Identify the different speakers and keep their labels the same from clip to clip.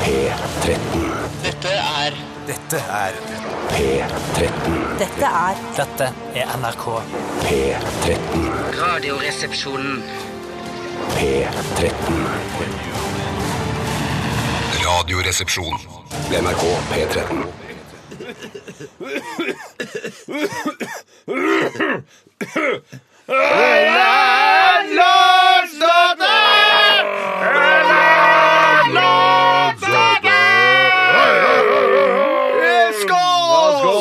Speaker 1: P13.
Speaker 2: Dette er
Speaker 3: Dette er
Speaker 1: P13.
Speaker 4: Dette er
Speaker 5: Dette er NRK.
Speaker 1: P13.
Speaker 2: Radioresepsjonen.
Speaker 6: E,
Speaker 1: P13.
Speaker 6: Radioresepsjon.
Speaker 1: NRK P13.
Speaker 7: Skål!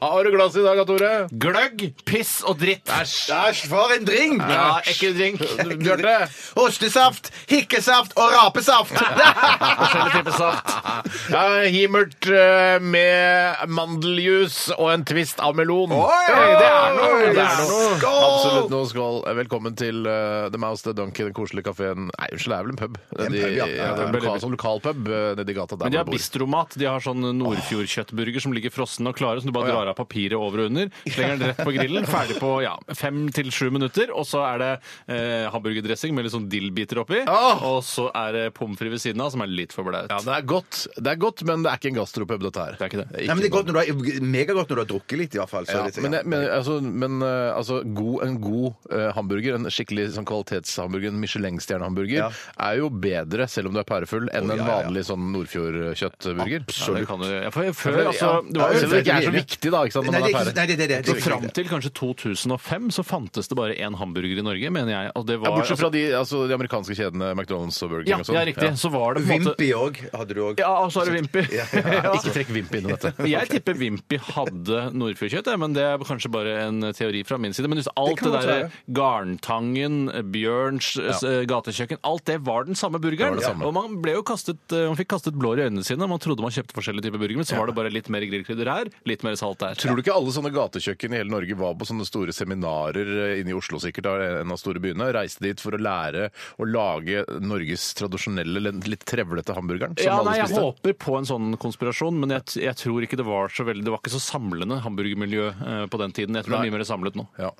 Speaker 8: Har du glass i dag, Tore?
Speaker 7: Gløgg, piss og dritt.
Speaker 8: Æsj, for en drink!
Speaker 7: Ja, ekkel drink.
Speaker 8: Bjarte. Ostesaft, hikkesaft og rapesaft.
Speaker 7: Forskjellig type saft. Ja, Himert eh, med mandeljus og en twist av melon.
Speaker 8: Oi!
Speaker 7: Hey, det er noe! Det er noe.
Speaker 8: Skål!
Speaker 7: Absolutt noe skål. Velkommen til eh, The Mouse, The Donkey, den koselige kafeen Nei, unnskyld, det er vel en pub?
Speaker 8: en
Speaker 7: De-
Speaker 8: pub, ja.
Speaker 7: ja, det er en lokal, sånn lokalpub eh, nedi gata der
Speaker 9: Men de
Speaker 7: hvor
Speaker 9: har
Speaker 7: jeg bor.
Speaker 9: bistromat. De har sånn Nordfjordkjøttburger som ligger frossen og klare, som du
Speaker 7: Å,
Speaker 9: bare
Speaker 7: ja.
Speaker 9: drar av papiret over og under. Slenger den rett på grillen. Ferdig på ja, fem til sju minutter. Og så er det eh, hamburgerdressing med litt sånn dillbiter oppi. Og så er det pommes frites ved siden av, som er litt for blaut.
Speaker 7: Ja, det er godt, det er godt, men det er ikke en gastropub, dette her.
Speaker 9: Det er ikke det.
Speaker 7: Ikke
Speaker 8: Nei, men det er godt når du har, megagodt når du har drukket litt, i hvert fall. Så
Speaker 7: Ja,
Speaker 8: er det-
Speaker 7: men jeg- men, altså, men eh, altså, god, en god eh, hamburger, en skikkelig sånn, kvalitetshamburger, en Michelin-stjernehamburger,
Speaker 8: Ja.
Speaker 7: er jo bedre, selv om du er pærefull, enn
Speaker 8: Å, ja,
Speaker 7: en
Speaker 8: ja, ja.
Speaker 7: vanlig sånn Nordfjord-kjøttburger.
Speaker 9: Ja, det kan du, ja, for før,
Speaker 7: Ja,
Speaker 9: altså, det
Speaker 7: ja,
Speaker 9: var jo
Speaker 7: selv om det ikke er så
Speaker 9: selvfølgelig-
Speaker 7: viktig, da, ikke sant, når
Speaker 8: Nei, det er
Speaker 7: man
Speaker 8: ikke,
Speaker 7: er
Speaker 8: nei,
Speaker 7: pære.
Speaker 8: det, det, det,
Speaker 9: Så
Speaker 8: det,
Speaker 9: fram til kanskje 2005 så fantes det bare én hamburger i Norge, mener jeg. Og det
Speaker 7: Ja,
Speaker 9: var,
Speaker 7: bortsett fra de, altså, de amerikanske kjedene McDonald's og Burger
Speaker 9: ja,
Speaker 7: og sånn.
Speaker 9: ja, riktig. Så var det på en måte
Speaker 8: Vimpi òg hadde du òg.
Speaker 9: Ja, og så er det Vimpi.
Speaker 7: Ja.
Speaker 9: Ja.
Speaker 7: Ikke trekk Vimp inn i dette.
Speaker 9: Jeg tipper Vimpi hadde Nordfjordkjøtt, jeg, men det er kanskje bare en eh, teori fra min side. Men just alt
Speaker 8: kan
Speaker 9: det,
Speaker 8: godt være.
Speaker 9: der eh, Garntangen, Bjørns eh, gatekjøkken, alt det var den samme burgeren.
Speaker 7: Det var det samme.
Speaker 9: Og man ble jo kastet, eh, man fikk kastet blår i øynene sine. Man trodde man kjøpte forskjellige typer burger, men så var det bare litt mer grillkrydder her, litt mer salt der.
Speaker 7: Tror du ikke alle sånne gatekjøkken i hele Norge var på sånne store seminarer eh, inne i Oslo sikkert, da, en av store byene, reiste dit for å lære å lage Norges tradisjonelle, litt trevlete hamburgeren? som
Speaker 9: Ja,
Speaker 7: alle
Speaker 9: nei, Jeg
Speaker 7: spiste?
Speaker 9: håper på en sånn konspirasjon, men jeg, t- jeg tror ikke det var så veldig Det var ikke så samlende hamburgermiljø eh, på den tiden. Jeg tror det
Speaker 7: Nei.
Speaker 9: er mye mer samlet nå.
Speaker 7: Ja.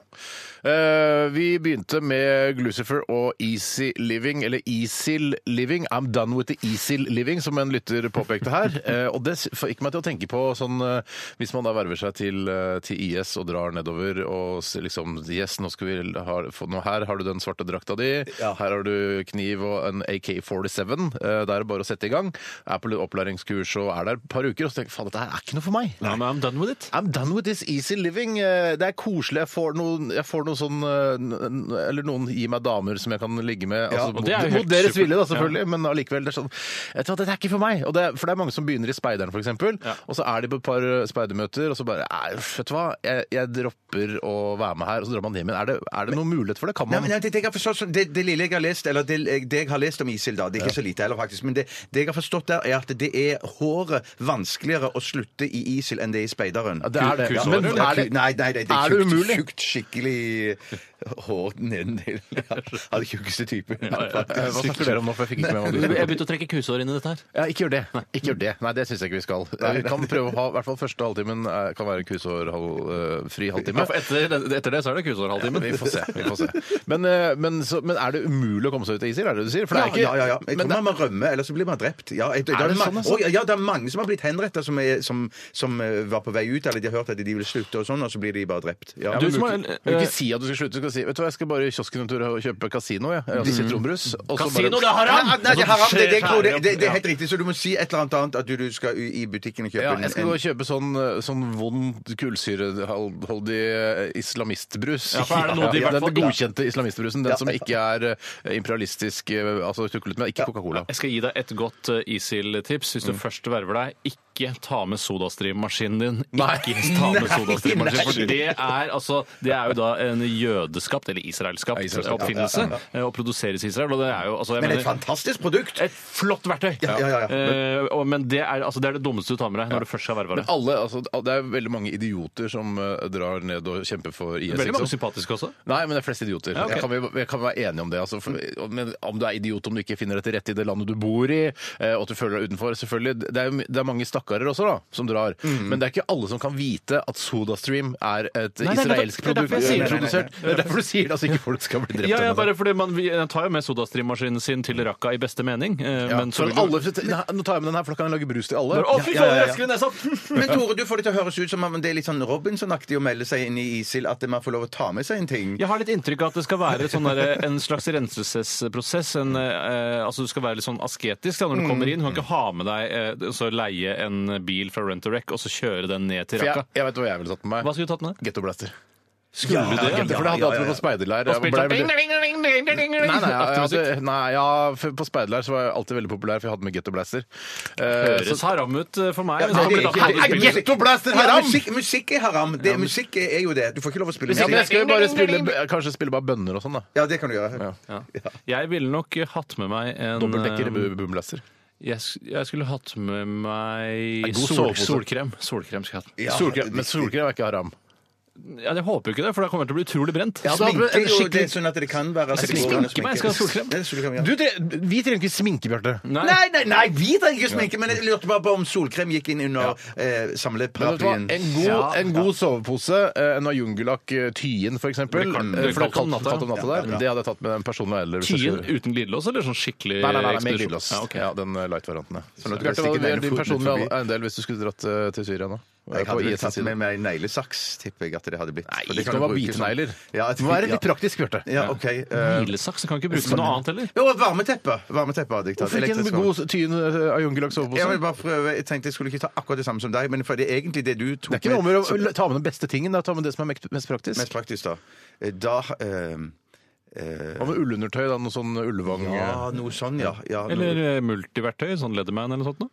Speaker 7: Eh, vi begynte med Glucifer og Easy Living, eller Easil Living. I'm done with the Easil Living, som en lytter påpekte her. Eh, og det s- fikk meg til å tenke på sånn eh, Hvis man da verver seg til, eh, til IS og drar nedover og s- liksom Yes, nå skal vi ha, få, nå her har du den svarte drakta di. Her har du kniv og en AK-47. Eh, det er det bare å sette i gang. Er på litt opplæringskurs og er der et par uker og så tenker jeg, faen, dette her er ikke noe for meg.
Speaker 9: Ja, men I'm done with it.
Speaker 7: I'm done with this easy living. Eh, Det er koselig. Jeg får noen, jeg får noen sånn eh, n- Eller noen gir meg damer som jeg kan ligge med. Altså,
Speaker 9: og det er jo
Speaker 7: mot,
Speaker 9: helt
Speaker 7: mot deres
Speaker 9: supert.
Speaker 7: vilje, da, selvfølgelig. Men allikevel. Det er sånn Vet du hva, dette er ikke for meg. Og det, er- for det er mange som begynner i Speideren, f.eks. eksempel Og så er de på et par eh, speidermøter, og så bare «Nei, uff, Vet du hva, jeg, jeg dropper å være med her. Og så drar man hjem igjen. Er det, er det noen mulighet for det? Kan
Speaker 8: Nei,
Speaker 7: man
Speaker 8: men nei, det, det, jeg har forstått, sånn- det, det lille jeg har lest Eller det, det jeg har lest om ISIL, da Det er ikke så lite heller, faktisk. Men det, det jeg har forstått der, er at det er håret vanskeligere å slutte i ISIL enn det er i speideren.
Speaker 7: Ja, det er det.
Speaker 8: Ja,
Speaker 7: Ja, men er det-
Speaker 8: nei, nei, det, det
Speaker 7: er
Speaker 8: er,
Speaker 7: det
Speaker 8: tjukt,
Speaker 7: umulig?
Speaker 8: Tjukt, skikkelig hår nedendel. Av den tjukkeste typen.
Speaker 7: Eh, Hva snakker dere om nå? For jeg fikk ikke med meg hva du
Speaker 9: Jeg
Speaker 7: snakket om.
Speaker 9: begynte å trekke kusehår inn i dette her.
Speaker 7: Ja, ikke gjør det. Ikke gjør det. Nei, det syns jeg ikke vi skal. Vi kan prøve å ha, i hvert fall første halvtimen eh, kan være en kusehårfri halvtime.
Speaker 9: etter, det så er det kusehårhalvtimen.
Speaker 7: Vi får se. vi får se. Men, eh, men, så, men er det umulig å komme seg ut av ISIL? Er det det du sier? For det er ikke,
Speaker 8: ja, ja, ja. Jeg
Speaker 7: Men
Speaker 8: tror
Speaker 7: det,
Speaker 8: man må rømme, eller så blir man drept. Ja, jeg, det,
Speaker 7: Er det
Speaker 8: ma-
Speaker 7: sånn, altså?
Speaker 8: Å, ja, ja, det er mange som har blitt henretta, som, er- som, som eh, var på vei ut, eller de har hørt at de vil slutte, og sånn, og så blir de bare drept. Ja.
Speaker 9: Du
Speaker 7: du
Speaker 9: som
Speaker 7: må
Speaker 9: er-
Speaker 7: ikke, du må ikke si at du skal slutte. Du skal si vet du hva, jeg skal bare i kiosken en tur og kjøpe kasino. Jeg. Altså, sitronbrus. og så
Speaker 9: Kasino, det
Speaker 7: bare,
Speaker 9: er haram!
Speaker 8: Nei, det er haram. Det, det, jeg tror det,
Speaker 9: Skjer
Speaker 8: det, det er helt riktig, så du må si et eller annet annet at du, du skal i i butikken og kjøpe
Speaker 7: ja,
Speaker 8: en-
Speaker 7: jeg skal gå og kjøpe sånn, eh, sånn vond kullsyreholdig eh, islamistbrus.
Speaker 9: Ja, for er det noe de i hvert
Speaker 7: den
Speaker 9: fall-
Speaker 7: godkjente islamistbrusen. Den som ikke er eh, imperialistisk eh, altså tuklet med. Ikke Coca-Cola.
Speaker 9: Jeg skal gi deg et godt eh, ISIL-tips. Hvis du først verver deg, ikke ta med sodastreammaskinen din.
Speaker 7: Nei.
Speaker 9: Ikke ta med sodastreammaskinen, for det er, altså, det er jo da en jødeskapt, eller israelskapt,
Speaker 7: Ja, israelskapt,
Speaker 9: oppfinnelse. eh, Og produseres i Israel. Og det er jo, altså, jeg
Speaker 8: Men et
Speaker 9: mener,
Speaker 8: fantastisk produkt!
Speaker 9: et flott verktøy!
Speaker 8: Ja, ja, ja, ja.
Speaker 9: Eh, og- Men det er, altså, det er det dummeste du tar med deg når du først skal verve
Speaker 7: Men
Speaker 9: deg.
Speaker 7: alle, altså, det er veldig mange idioter som eh, drar ned og kjemper for IS.
Speaker 9: Veldig
Speaker 7: ikke
Speaker 9: mange
Speaker 7: sant?
Speaker 9: sympatiske også.
Speaker 7: Nei, men det er flest idioter.
Speaker 9: ok.
Speaker 7: jeg, kan, vi- jeg kan være enig om det. Altså, for, men om du er idiot om du ikke finner deg til rette i det landet du bor i, eh, og at du føler deg utenfor, selvfølgelig. Det er, jo my- det er mange stakkarer også, da, som drar.
Speaker 9: Mhm.
Speaker 7: Men det er ikke alle som kan vite at Sodastream er et
Speaker 9: Nei, det er derfor-
Speaker 7: israelsk
Speaker 9: det er derfor jeg
Speaker 7: produkt.
Speaker 9: sier det.
Speaker 7: introdusert. Det er derfor du sier det, altså ikke folk skal bli drept.
Speaker 9: Ja,
Speaker 7: av
Speaker 9: ja,
Speaker 7: det.
Speaker 9: bare fordi man vi- jeg tar jo med sodastreammaskinen sin til rakka i beste mening. eh,
Speaker 7: Ja,
Speaker 9: men så
Speaker 7: for
Speaker 9: vil
Speaker 7: alle, nå tar jeg med den her, for da kan jeg lage brus til alle.
Speaker 9: Å, fy faen, jeg elsker den nesa!
Speaker 8: Men Tore, du får det til å høres ut som om det er litt sånn Robinson-aktig å melde seg inn i ISIL, at man får lov å ta med seg en ting.
Speaker 9: Jeg har litt inntrykk av at det skal være sånn der, en slags renselsesprosess. En, eh, altså Du skal være litt sånn asketisk da, når
Speaker 7: Mm.
Speaker 9: du kommer inn. Du kan ikke ha med deg eh, så leie en bil fra Rent a Wreck og så kjøre den ned til
Speaker 7: For jeg,
Speaker 9: Raqqa.
Speaker 7: jeg vet hva jeg ville tatt med
Speaker 9: Hva
Speaker 7: meg.
Speaker 9: skulle du tatt med?
Speaker 7: Ghetto Blaster.
Speaker 9: Skulle du det?
Speaker 7: For det hadde jeg hatt med på speiderleir.
Speaker 9: Og
Speaker 7: Jeg
Speaker 9: spilt
Speaker 7: ble
Speaker 9: sånn
Speaker 7: veldig-
Speaker 9: ding, ding, ding, ding, ding, ding,
Speaker 7: Nei, nei, jeg,
Speaker 9: aktiv musikk.
Speaker 7: hadde, nei ja, for på speiderleir så var jeg alltid veldig populær, for jeg hadde med Ghetto Blaster. Eh, så-
Speaker 9: Høres haram ut eh, for meg. men
Speaker 8: nei,
Speaker 9: så kommer
Speaker 8: det er
Speaker 9: det
Speaker 8: ikke-
Speaker 9: da-
Speaker 8: det er ikke-
Speaker 7: Ghetto Blaster
Speaker 8: Ja, musikk, musikk er haram. Det, musikk er jo det. Du får ikke lov å spille
Speaker 7: Ja, men jeg
Speaker 8: musikk.
Speaker 7: skal jo bare spille, kanskje spille bare bønner og sånn, da.
Speaker 8: Ja, det kan du gjøre.
Speaker 9: Ja. Jeg ville nok eh, hatt med meg en
Speaker 7: Dobbeltdekker i
Speaker 9: eh,
Speaker 7: bu- boomblaster.
Speaker 9: Jeg, sk- jeg skulle hatt med meg
Speaker 7: En god
Speaker 9: sol,
Speaker 7: sovepose.
Speaker 9: solkrem. Solkrem skal jeg ha.
Speaker 8: Ja,
Speaker 7: Solkrem, men
Speaker 8: riktig.
Speaker 7: solkrem er ikke haram.
Speaker 9: Ja, jeg håper jo ikke det, for da kommer jeg til å bli utrolig brent.
Speaker 7: Ja, da-
Speaker 8: Sminke er jo
Speaker 7: skikkelig-
Speaker 8: det er sånn at det kan være
Speaker 7: Altså,
Speaker 9: skal ikke sminke meg, jeg skal ha solkrem.
Speaker 8: Ja, solkrem, ja.
Speaker 7: Du, tre- vi trenger ikke sminke, Bjarte.
Speaker 9: Nei.
Speaker 8: Nei, nei, nei, vi trenger ikke sminke, men jeg lurte bare på om solkrem gikk inn under
Speaker 7: Men vet du hva?
Speaker 8: eh, samleparaplyen.
Speaker 7: En god, en god sovepose, eh, en av Jungelak-Tyen f.eks. For det
Speaker 9: blir kaldt-
Speaker 7: er
Speaker 9: det blir
Speaker 7: kaldt om natta
Speaker 9: om
Speaker 8: Ja,
Speaker 7: der.
Speaker 8: ja, ja.
Speaker 7: Det hadde jeg tatt med en person med eller hvis jeg
Speaker 9: Tyen
Speaker 7: skulle-
Speaker 9: uten glidelås, eller sånn skikkelig
Speaker 7: Nei, nei, nei, nei, med
Speaker 9: ekspedisjon?
Speaker 7: glidelås.
Speaker 9: Ja, ok.
Speaker 7: Ja, den eh, light-varianten, ja.
Speaker 8: at du
Speaker 7: Bjarte,
Speaker 8: stikker
Speaker 7: hva
Speaker 8: den
Speaker 7: ville
Speaker 8: ene
Speaker 7: din
Speaker 8: foten
Speaker 7: personlige
Speaker 8: forbi.
Speaker 7: eiendel hvis du skulle dratt eh, til Syria nå?
Speaker 8: Jeg
Speaker 7: På
Speaker 8: hadde vel
Speaker 7: IS'
Speaker 8: tatt
Speaker 7: side.
Speaker 8: med meg neglesaks, tipper jeg at det hadde blitt.
Speaker 7: Nei,
Speaker 8: For det
Speaker 7: det
Speaker 8: kan
Speaker 7: kan
Speaker 8: du
Speaker 7: være
Speaker 8: bruke som-
Speaker 7: bitenegler.
Speaker 8: Ja,
Speaker 7: Det må være litt praktisk, Bjarte.
Speaker 8: Ja, OK. eh,
Speaker 9: Hvilesaks kan ikke brukes til noe annet heller.
Speaker 8: jo, varmeteppe. Varmeteppe hadde jeg tatt.
Speaker 7: Hvorfor ikke en
Speaker 8: Elektrisk varme.
Speaker 7: god Tyen eh, av Jungelak
Speaker 8: Jeg vil
Speaker 7: sovepose?
Speaker 8: bare prøve. Jeg tenkte jeg skulle ikke ta akkurat det samme som deg, men for det er egentlig det du tok
Speaker 7: Det er ikke noe med
Speaker 8: med
Speaker 7: å ta med den beste tingen, det er å ta med det som er mekt- mest praktisk.
Speaker 8: mest praktisk, da. Eh, Da ehm, eh,
Speaker 7: Hva med ullundertøy? da, Noe sånn ullevang
Speaker 8: Ja, noe sånn, ja. ja noe-
Speaker 9: Eller eh, multiverktøy, sånn Leatherman eller noe sånt. da.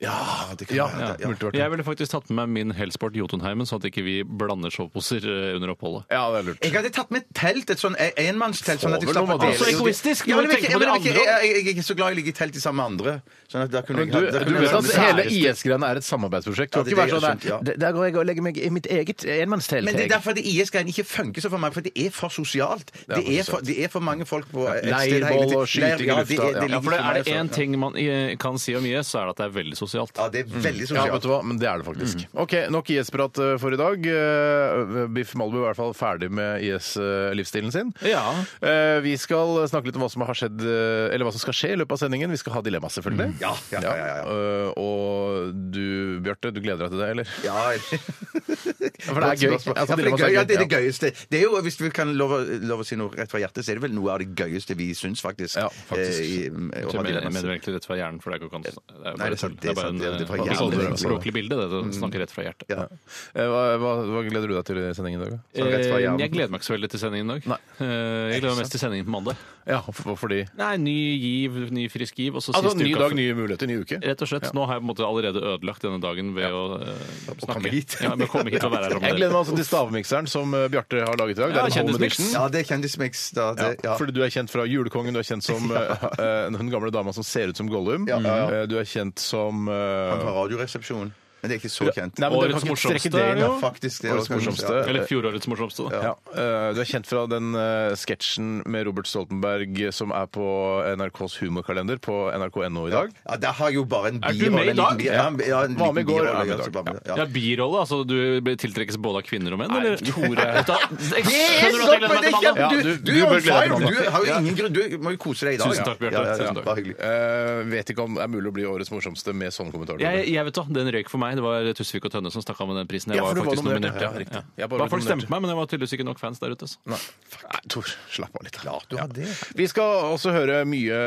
Speaker 8: Ja, det kan
Speaker 7: Ja,
Speaker 8: være det, ja.
Speaker 7: multiverktøy.
Speaker 9: Jeg ville faktisk tatt med meg min Hellsport Jotunheimen, sånn at ikke vi blander soveposer eh, under oppholdet.
Speaker 7: Ja, det er lurt.
Speaker 8: Jeg hadde tatt med et telt, et sånn en- enmannstelt. Sånn at
Speaker 7: Får vel
Speaker 8: jeg slapp å
Speaker 7: noe, da.
Speaker 8: dele.
Speaker 9: Så egoistisk,
Speaker 8: Ja,
Speaker 9: når
Speaker 8: men
Speaker 9: du
Speaker 8: jeg,
Speaker 9: tenker
Speaker 8: men
Speaker 9: på de
Speaker 8: jeg, jeg,
Speaker 9: andre.
Speaker 8: jeg, jeg er ikke så glad i å ligge i telt i sammen med andre. Sånn at da kunne
Speaker 7: Men
Speaker 8: jeg
Speaker 7: du,
Speaker 8: da
Speaker 7: du
Speaker 8: kunne
Speaker 7: vet
Speaker 8: jeg-
Speaker 7: at hele IS-greiene er et samarbeidsprosjekt.
Speaker 8: Ja,
Speaker 7: Du kan ikke være
Speaker 8: det er det jeg
Speaker 7: sånn
Speaker 8: har skjønt,
Speaker 7: der, der går jeg og legger meg i mitt eget enmannstelt.
Speaker 8: men det er
Speaker 7: jeg».
Speaker 8: derfor det IS-greiene ikke funker så for meg, for det er for sosialt. Det
Speaker 7: for
Speaker 8: er for, det er for mange folk på et
Speaker 7: Leirbål
Speaker 8: sted hele tiden.
Speaker 7: og skyting i
Speaker 8: Leir- ja,
Speaker 7: lufta,
Speaker 8: det er- det
Speaker 7: ja.
Speaker 9: Ja,
Speaker 8: ligger
Speaker 9: for det
Speaker 8: for meg,
Speaker 9: er det én
Speaker 8: altså.
Speaker 9: ting man eh, kan si om IS, så er det at det er veldig sosialt.
Speaker 8: Ja, det er veldig
Speaker 7: Mm. Ja, Mm. vet
Speaker 8: sosialt.
Speaker 7: du hva, men det er det faktisk. OK, nok IS-prat eh, for i dag. Eh, Biff Malbu er i hvert fall ferdig med IS-livsstilen sin.
Speaker 9: Ja.
Speaker 7: Eh, Vi skal snakke litt om hva som har skjedd, eh, eller hva som skal skje i løpet av sendingen. Vi skal ha dilemma, selvfølgelig.
Speaker 8: Ja, ja, ja, ja, ja.
Speaker 7: Eh, Og du, Bjarte, du gleder deg til det, eller?
Speaker 8: Ja,
Speaker 7: For det er gøy.
Speaker 8: Godt spørsmål. Ja, for det er gøy. Ja, det er det gøyeste. Det er jo, hvis vi kan lov, å- lov å si noe rett fra hjertet, så er det vel noe av det gøyeste vi syns, faktisk.
Speaker 7: Ja, faktisk.
Speaker 8: eh, i- å ha
Speaker 9: Jeg mener, jeg
Speaker 8: dilemmas.
Speaker 9: mener egentlig rett fra hjernen, for det er ikke kons- det er jo bare
Speaker 8: det er sant,
Speaker 9: tull.
Speaker 8: det er
Speaker 9: Det er bare
Speaker 8: sant,
Speaker 9: en,
Speaker 8: det er- det er fra
Speaker 9: eh,
Speaker 8: hjernen,
Speaker 9: sånn
Speaker 8: det er sant.
Speaker 9: språklig bilde, det. det snakker rett fra hjertet.
Speaker 8: Ja.
Speaker 7: Eh, Hva, hva, hva gleder du deg til i sendingen i dag? da?
Speaker 8: Så rett fra hjernen.
Speaker 9: Eh, Jeg gleder meg ikke så veldig til sendingen i dag. Eh, Jeg gleder meg mest til sendingen på mandag.
Speaker 7: Ja, for, fordi
Speaker 9: Nei, ny giv, ny frisk giv. Og så
Speaker 7: Altså,
Speaker 9: siste
Speaker 7: Ny
Speaker 9: uka
Speaker 7: dag,
Speaker 9: for-
Speaker 7: nye muligheter, ny uke.
Speaker 9: Rett og slett. Nå har jeg på en måte allerede ødelagt denne dagen ved å eh, snakke.
Speaker 8: komme hit.
Speaker 9: Ja, men komme hit og være her om
Speaker 7: Jeg gleder meg også til stavmikseren som eh, Bjarte har laget i dag.
Speaker 9: Ja,
Speaker 7: det er en home
Speaker 9: kjendismiks.
Speaker 7: edition.
Speaker 8: Ja, det er kjendismix. Da, det,
Speaker 7: Ja,
Speaker 8: Eh, ja.
Speaker 7: Fordi du er kjent fra Julekongen, du er kjent som eh, eh, den gamle dama som ser ut som Gollum.
Speaker 8: Ja, ja, ja.
Speaker 7: Eh, Du er kjent som eh,
Speaker 8: Han fra Radioresepsjonen. Men det er ikke så kjent.
Speaker 7: Nei, men dere
Speaker 9: Årets
Speaker 7: kan ikke
Speaker 9: morsomste
Speaker 7: strekke det
Speaker 9: er
Speaker 7: inn,
Speaker 9: det
Speaker 7: da.
Speaker 9: jo.
Speaker 8: faktisk. Det er
Speaker 7: Årets
Speaker 8: også-
Speaker 7: morsomste.
Speaker 8: Ja.
Speaker 9: Eller fjorårets morsomste, da.
Speaker 7: Ja, eh, Du er kjent fra den eh, sketsjen med Robert Stoltenberg som er på NRKs humorkalender på nrk.no i dag.
Speaker 8: Ja, der har jeg jo bare en birolle.
Speaker 9: du med i
Speaker 8: en liten
Speaker 9: dag?
Speaker 8: bi- Ja, en- ja, en
Speaker 7: Var
Speaker 8: liten
Speaker 7: med i går,
Speaker 8: birolle,
Speaker 7: er med i
Speaker 8: altså,
Speaker 7: dag.
Speaker 8: bare- ja.
Speaker 9: Ja, birolle. Altså du blir- tiltrekkes både av kvinner og menn, eller?
Speaker 7: Tore.
Speaker 9: Vet du hva? Jeg
Speaker 8: Det
Speaker 9: skjønner
Speaker 8: er
Speaker 9: at jeg
Speaker 8: stopp!
Speaker 9: gleder
Speaker 8: men det er
Speaker 9: meg til mandag.
Speaker 8: kjempe-
Speaker 7: Ja,
Speaker 8: du,
Speaker 7: du-
Speaker 8: du,
Speaker 7: du
Speaker 8: er
Speaker 7: bør glede deg
Speaker 8: on
Speaker 7: til
Speaker 8: fire!
Speaker 7: mandag.
Speaker 8: Du har jo ingen grunn Du må jo kose deg i dag.
Speaker 9: Tusen takk, Bjarte.
Speaker 8: Ja, ja, ja,
Speaker 9: Tusen takk.
Speaker 8: Bare hyggelig.
Speaker 7: Eh, vet ikke om det er mulig å bli årets morsomste med sånne kommentarer.
Speaker 9: Jeg, jeg vet da, Den røyk for meg. Det var Tusvik og Tønne som stakk av med den prisen. Jeg
Speaker 7: Ja, for
Speaker 9: var
Speaker 7: du var
Speaker 9: faktisk
Speaker 7: nominert,
Speaker 9: nominert.
Speaker 7: ja, riktig. Jeg bare
Speaker 9: Bare
Speaker 7: var
Speaker 9: Folk
Speaker 7: nominert.
Speaker 9: stemte meg, men det var tydeligvis ikke nok fans der ute. altså. Så.
Speaker 7: Nei, fuck. Nei, Tor, slapp av litt. da.
Speaker 8: du har det.
Speaker 7: Vi skal også høre mye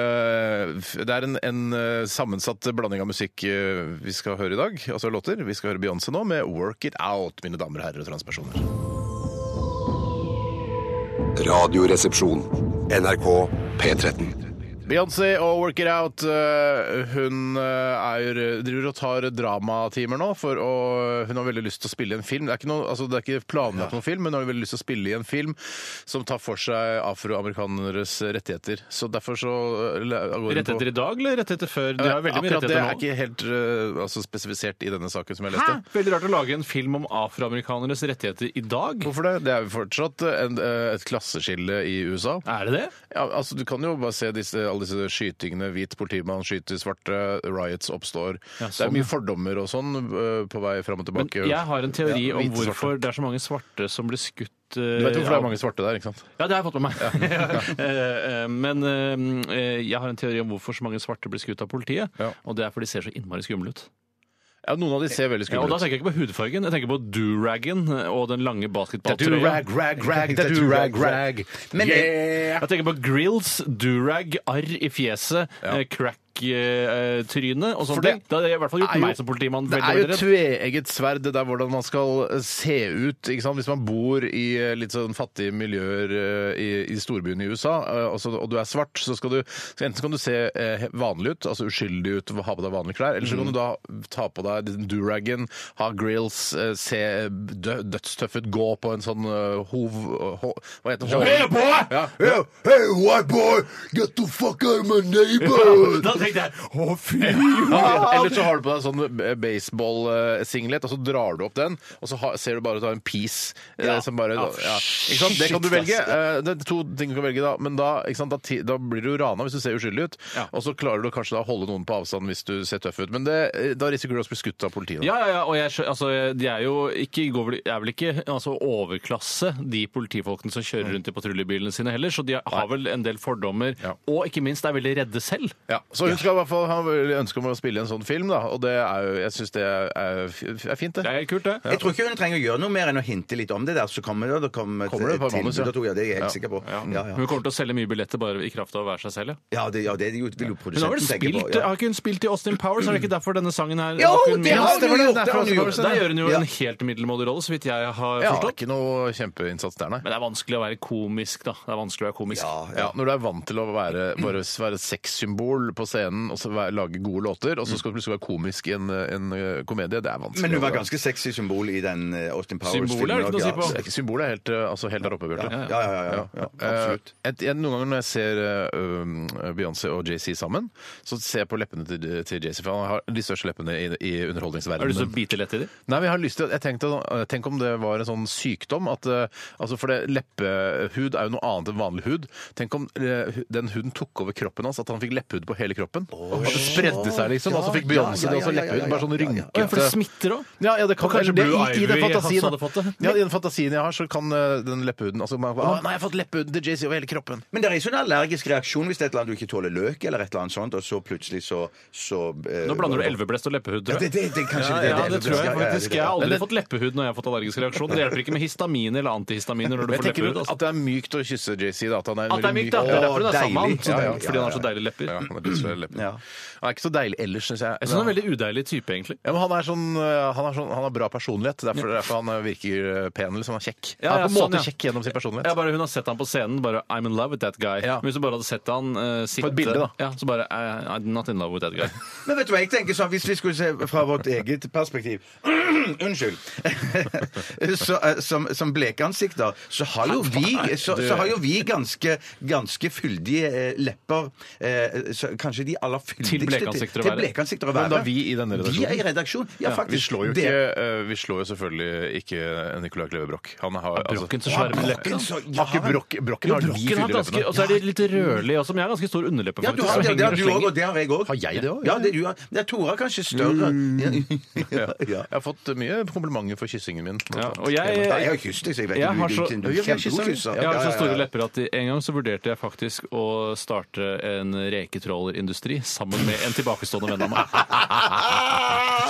Speaker 7: Det er en, en eh, sammensatt blanding av musikk eh, vi skal høre i dag, altså låter. Vi skal høre Beyoncé nå med 'Work It Out', mine damer og herrer og transpersoner.
Speaker 1: Radioresepsjon. NRK P13.
Speaker 7: Beyoncé og Work It Out. eh, Hun eh, er, driver og tar dramatimer nå, for å, hun har veldig lyst til å spille i en film. Det er ikke, noe, altså, det er ikke planlagt noen film, men hun har veldig lyst til å spille i en film som tar for seg afroamerikaneres rettigheter. Så derfor så eh, går hun på
Speaker 9: Rettigheter i dag eller rettigheter før? De har veldig mye
Speaker 7: Akkurat det er
Speaker 9: rettigheter nå.
Speaker 7: ikke helt eh, altså, spesifisert i denne saken som jeg
Speaker 9: Hæ?
Speaker 7: leste.
Speaker 9: Veldig rart å lage en film om afroamerikaneres rettigheter i dag.
Speaker 7: Hvorfor det? Det er jo fortsatt en, eh, et eh, klasseskille i USA.
Speaker 9: Er det det?
Speaker 7: Ja, altså, du kan jo bare se disse alle disse skytingene. Hvit politimann skyter svarte, riots oppstår.
Speaker 9: Ja,
Speaker 7: Det
Speaker 9: sånn,
Speaker 7: er
Speaker 9: ja.
Speaker 7: mye fordommer og sånn eh, på vei fram og
Speaker 9: Men
Speaker 7: tilbake.
Speaker 9: jeg har en teori
Speaker 7: Ja,
Speaker 9: om
Speaker 7: hvite svarte.
Speaker 9: hvorfor det er så mange svarte som blir skutt.
Speaker 7: Du
Speaker 9: eh,
Speaker 7: vet hvorfor det er mange svarte der, ikke sant?
Speaker 9: Ja, det har jeg fått med meg. Eh, eh, Men eh, jeg har en teori om hvorfor så mange svarte blir skutt av politiet.
Speaker 7: Ja.
Speaker 9: Og det er fordi de ser så innmari skumle ut.
Speaker 7: Ja, Noen av de ser veldig
Speaker 9: Ja, og
Speaker 7: skumle
Speaker 9: da
Speaker 7: ut.
Speaker 9: tenker jeg ikke på hudfargen, jeg tenker på do-raggen og den lange
Speaker 7: Det er
Speaker 9: basketballtrøya.
Speaker 7: do-rag, rag, rag, det er do-rag, rag. eh,
Speaker 8: Men-
Speaker 7: yeah!
Speaker 9: Jeg tenker på grills, do-rag, arr i fjeset, eh, crack eh, eh, tryne og sånne
Speaker 7: For det
Speaker 9: ting. Det hadde i hvert fall gjort
Speaker 7: er jo-
Speaker 9: meg som politimann
Speaker 7: Det
Speaker 9: veldig
Speaker 7: er jo
Speaker 9: veldig redd.
Speaker 7: tveegget sverd, det der hvordan man skal eh, se ut. Ikke sant? Hvis man bor i eh, litt sånn fattige miljøer eh, i, i storbyen i USA, eh, og, så, og du er svart, så skal du så enten kan du se eh, vanlig ut, altså uskyldig ut, ha på deg vanlige klær, eller så
Speaker 9: Mm.
Speaker 7: kan du da ta på deg den duragen, ha grills, eh, se dø, dødstøff ut, gå på en sånn eh, hov... hov hva heter det?
Speaker 9: Hei, boy!
Speaker 7: Ja.
Speaker 1: Hey, hey, white boy! Get the fuck out of my neighborhood!
Speaker 9: Da tenkte jeg å fy!
Speaker 7: Eller så har du på deg sånn baseball-singlet, og så drar du opp den, og så ha- ser du bare at du har en piece eh, som bare ja. Ikke sant? Det kan du velge. Eh, Det er to ting du kan velge, da. Men da, ikke sant? da, ti- da blir du rana hvis du ser uskyldig ut,
Speaker 9: Ja.
Speaker 7: og så klarer du kanskje da å holde noen på avstand hvis du ser tøff ut. Men det, eh, da risikerer du å bli skutt av politiet. da.
Speaker 9: Ja, ja, ja, og jeg, skjø- altså, de er jo ikke, går vel, er vel ikke altså, overklasse, de politifolkene som
Speaker 8: Mm.
Speaker 9: kjører rundt i patruljebilene sine heller, så de har vel en del fordommer,
Speaker 7: Ja.
Speaker 9: og ikke minst er veldig redde selv.
Speaker 7: Ja, så hun skal i hvert fall ha veldig ønske om å spille i en sånn film, da. Og det er jo, jeg syns det er, er fint, det.
Speaker 9: Det er kult, det.
Speaker 8: Jeg tror ikke hun trenger å gjøre noe mer enn å hinte litt om det der, så kommer det, det kommer et-
Speaker 7: Kommer det et par
Speaker 8: et
Speaker 7: manus, ja.
Speaker 8: tilbud og to, ja. Det er jeg helt sikker på. Ja, ja.
Speaker 9: Hun kommer til å selge mye billetter bare i kraft av å være seg selv. Ja.
Speaker 8: ja, det, ja det er jo- vil jo
Speaker 9: Hun har vel
Speaker 8: produsenten tenke
Speaker 9: spilt,
Speaker 8: på.
Speaker 9: Har
Speaker 8: Ja.
Speaker 9: ikke hun spilt i Austin Powers? Er det ikke derfor denne sangen her
Speaker 8: Jo,
Speaker 9: var ikke hun
Speaker 8: det
Speaker 9: med?
Speaker 8: har hun
Speaker 7: stemmer det.
Speaker 8: jo gjort!
Speaker 7: Det er
Speaker 8: Det har hun jo gjort.
Speaker 9: Der gjør hun jo
Speaker 8: Ja.
Speaker 9: en helt middelmådig rolle, så vidt jeg
Speaker 7: Ja,
Speaker 9: har
Speaker 7: det er
Speaker 9: forstått.
Speaker 7: ikke noe kjempeinnsats der, nei.
Speaker 9: Men det er vanskelig å være komisk, da. Det er vanskelig å være komisk.
Speaker 8: Ja,
Speaker 7: Ja, Når du er vant til å være, bare være sexsymbol på scenen og så være, lage gode låter, og så
Speaker 8: Mm.
Speaker 7: skal du plutselig være komisk i en, en eh, komedie, det er vanskelig.
Speaker 8: Men hun var ganske sexy symbol i den eh, Austin Powers-filmen.
Speaker 9: Symbol er det ikke noe å si
Speaker 8: ja.
Speaker 9: på.
Speaker 7: Symbolet er helt, eh, altså helt der oppe, Bjarte.
Speaker 8: Ja, ja, ja, ja, ja, absolutt.
Speaker 7: Eh, et, en- noen ganger når jeg ser eh, um, Beyoncé og JC sammen, så ser jeg på leppene til, til JC, for han har de største leppene i, i
Speaker 9: Har du lyst til å
Speaker 7: underholdningsverdenen.
Speaker 9: bite lett i det?
Speaker 7: Nei, men jeg har lyst til, jeg tenkte, eh, Tenk om det var en sånn sykdom. At, eh, altså for det, Leppehud er jo noe annet enn vanlig hud. Tenk om eh, hu- den huden tok over kroppen hans, at han fikk leppehud på hele kroppen. at det spredde seg, liksom. og så fikk Beyoncé det, og så
Speaker 8: ja, ja, ja,
Speaker 7: leppehud. Bare sånn
Speaker 8: ja, ja, ja.
Speaker 7: rynkete.
Speaker 9: for det smitter òg.
Speaker 7: Ja, ja, det kan
Speaker 9: Og kanskje
Speaker 7: eller det,
Speaker 9: Blue
Speaker 7: i, i den
Speaker 9: Ivy
Speaker 7: fantasien,
Speaker 9: hadde fått det.
Speaker 7: Ja, I den fantasien jeg har, så kan eh, den leppehuden altså, man, Å, nei, jeg har fått leppehuden til Jay-Z over hele kroppen.
Speaker 8: Men det er jo en sånn allergisk reaksjon hvis det er et eller annet du ikke tåler løk, eller et eller annet sånt, og så plutselig så, så eh,
Speaker 9: Nå blander du elveblest og leppehud,
Speaker 8: Ja,
Speaker 9: tror
Speaker 8: det,
Speaker 9: jeg.
Speaker 8: det, det, kanskje
Speaker 9: Ja,
Speaker 8: det,
Speaker 9: ja, det tror jeg faktisk. Jeg har
Speaker 7: Men
Speaker 9: aldri
Speaker 7: det-
Speaker 9: fått leppehud når jeg har fått allergisk reaksjon. Det hjelper ikke med histaminer eller antihistaminer når
Speaker 7: Men
Speaker 9: du
Speaker 7: jeg
Speaker 9: får
Speaker 7: tenker
Speaker 9: leppehud.
Speaker 7: at
Speaker 9: Altså.
Speaker 7: det er mykt å kysse Jay-Z. da, At han er, en
Speaker 9: At det er
Speaker 7: veldig
Speaker 9: mykt, da. Det er derfor hun er sammen med
Speaker 8: Å, deilig.
Speaker 9: han. Ja, ja.
Speaker 8: Ja,
Speaker 9: Fordi han
Speaker 8: ja,
Speaker 9: har så deilige lepper.
Speaker 7: Ja,
Speaker 9: Jeg
Speaker 7: han er dødsfløy lepper.
Speaker 8: Ja.
Speaker 7: Han er ikke så deilig ellers, syns jeg.
Speaker 9: synes han er en veldig udeilig type, egentlig.
Speaker 7: Ja, men han, er sånn, eh, han, er sånn, han har bra personlighet. Derfor, derfor han eh, virker eh, pen. Liksom, han er kjekk.
Speaker 9: Ja,
Speaker 7: han er på
Speaker 9: ja,
Speaker 7: en måte
Speaker 9: sånn, ja.
Speaker 7: kjekk gjennom sin personlighet.
Speaker 9: Ja, bare Hun har sett ham på scenen. bare I'm in love with that guy.
Speaker 7: Ja.
Speaker 9: Men hvis du bare hadde sett han eh, sitte
Speaker 7: et bilde, da.
Speaker 9: Ja, så bare eh, I'm not in love with that guy.
Speaker 8: Men vet du hva, jeg tenker sånn, hvis vi skulle se fra vårt eget perspektiv Unnskyld. så, eh, som, som blekansikter, så har jo vi, så, så har jo vi ganske, ganske fyldige eh, lepper. Eh, så kanskje de aller fyldigste
Speaker 9: blekansikter å
Speaker 8: til
Speaker 9: være.
Speaker 8: blekansikter å være.
Speaker 7: Men da vi i denne
Speaker 8: Vi er i
Speaker 7: redaksjonen
Speaker 8: redaksjon. Ja, faktisk.
Speaker 7: vi slår, jo
Speaker 8: Det-
Speaker 7: ikke, eh, vi slår jo selvfølgelig ikke Nicolai Kleve Broch. Han har altså-
Speaker 9: Brokken så svære med lepper.
Speaker 8: Brokken,
Speaker 9: da.
Speaker 8: så,
Speaker 7: Har ikke Broch- Brokken har de
Speaker 9: Brokken
Speaker 7: fyldige
Speaker 9: har ganske,
Speaker 7: leppene.
Speaker 9: Og så er de litt rødlige også, men jeg har ganske stor underleppe.
Speaker 8: Ja, du
Speaker 9: faktisk,
Speaker 8: har
Speaker 9: som
Speaker 8: det, det
Speaker 9: henger
Speaker 8: har
Speaker 9: og
Speaker 8: du
Speaker 9: slenger.
Speaker 8: òg, og det har jeg òg.
Speaker 7: Har jeg det også?
Speaker 8: Ja, det er du har. Det er Tora kanskje større. Ja, ja, ja.
Speaker 7: Jeg har fått mye komplimenter for kyssingen min.
Speaker 9: Ja, og
Speaker 8: Jeg
Speaker 9: jeg,
Speaker 8: har jo kysset deg, så jeg vet
Speaker 9: Jeg
Speaker 8: du-
Speaker 9: har
Speaker 8: du-
Speaker 9: så-
Speaker 8: du-
Speaker 7: Jo,
Speaker 8: du-
Speaker 7: vi har kysset,
Speaker 8: kjempegod kysser.
Speaker 9: Jeg har
Speaker 8: Ja,
Speaker 9: så
Speaker 8: ja,
Speaker 9: store
Speaker 8: ja.
Speaker 9: lepper at en gang så vurderte jeg faktisk å starte en reketrollerindustri sammen med en tilbakestående venn av meg.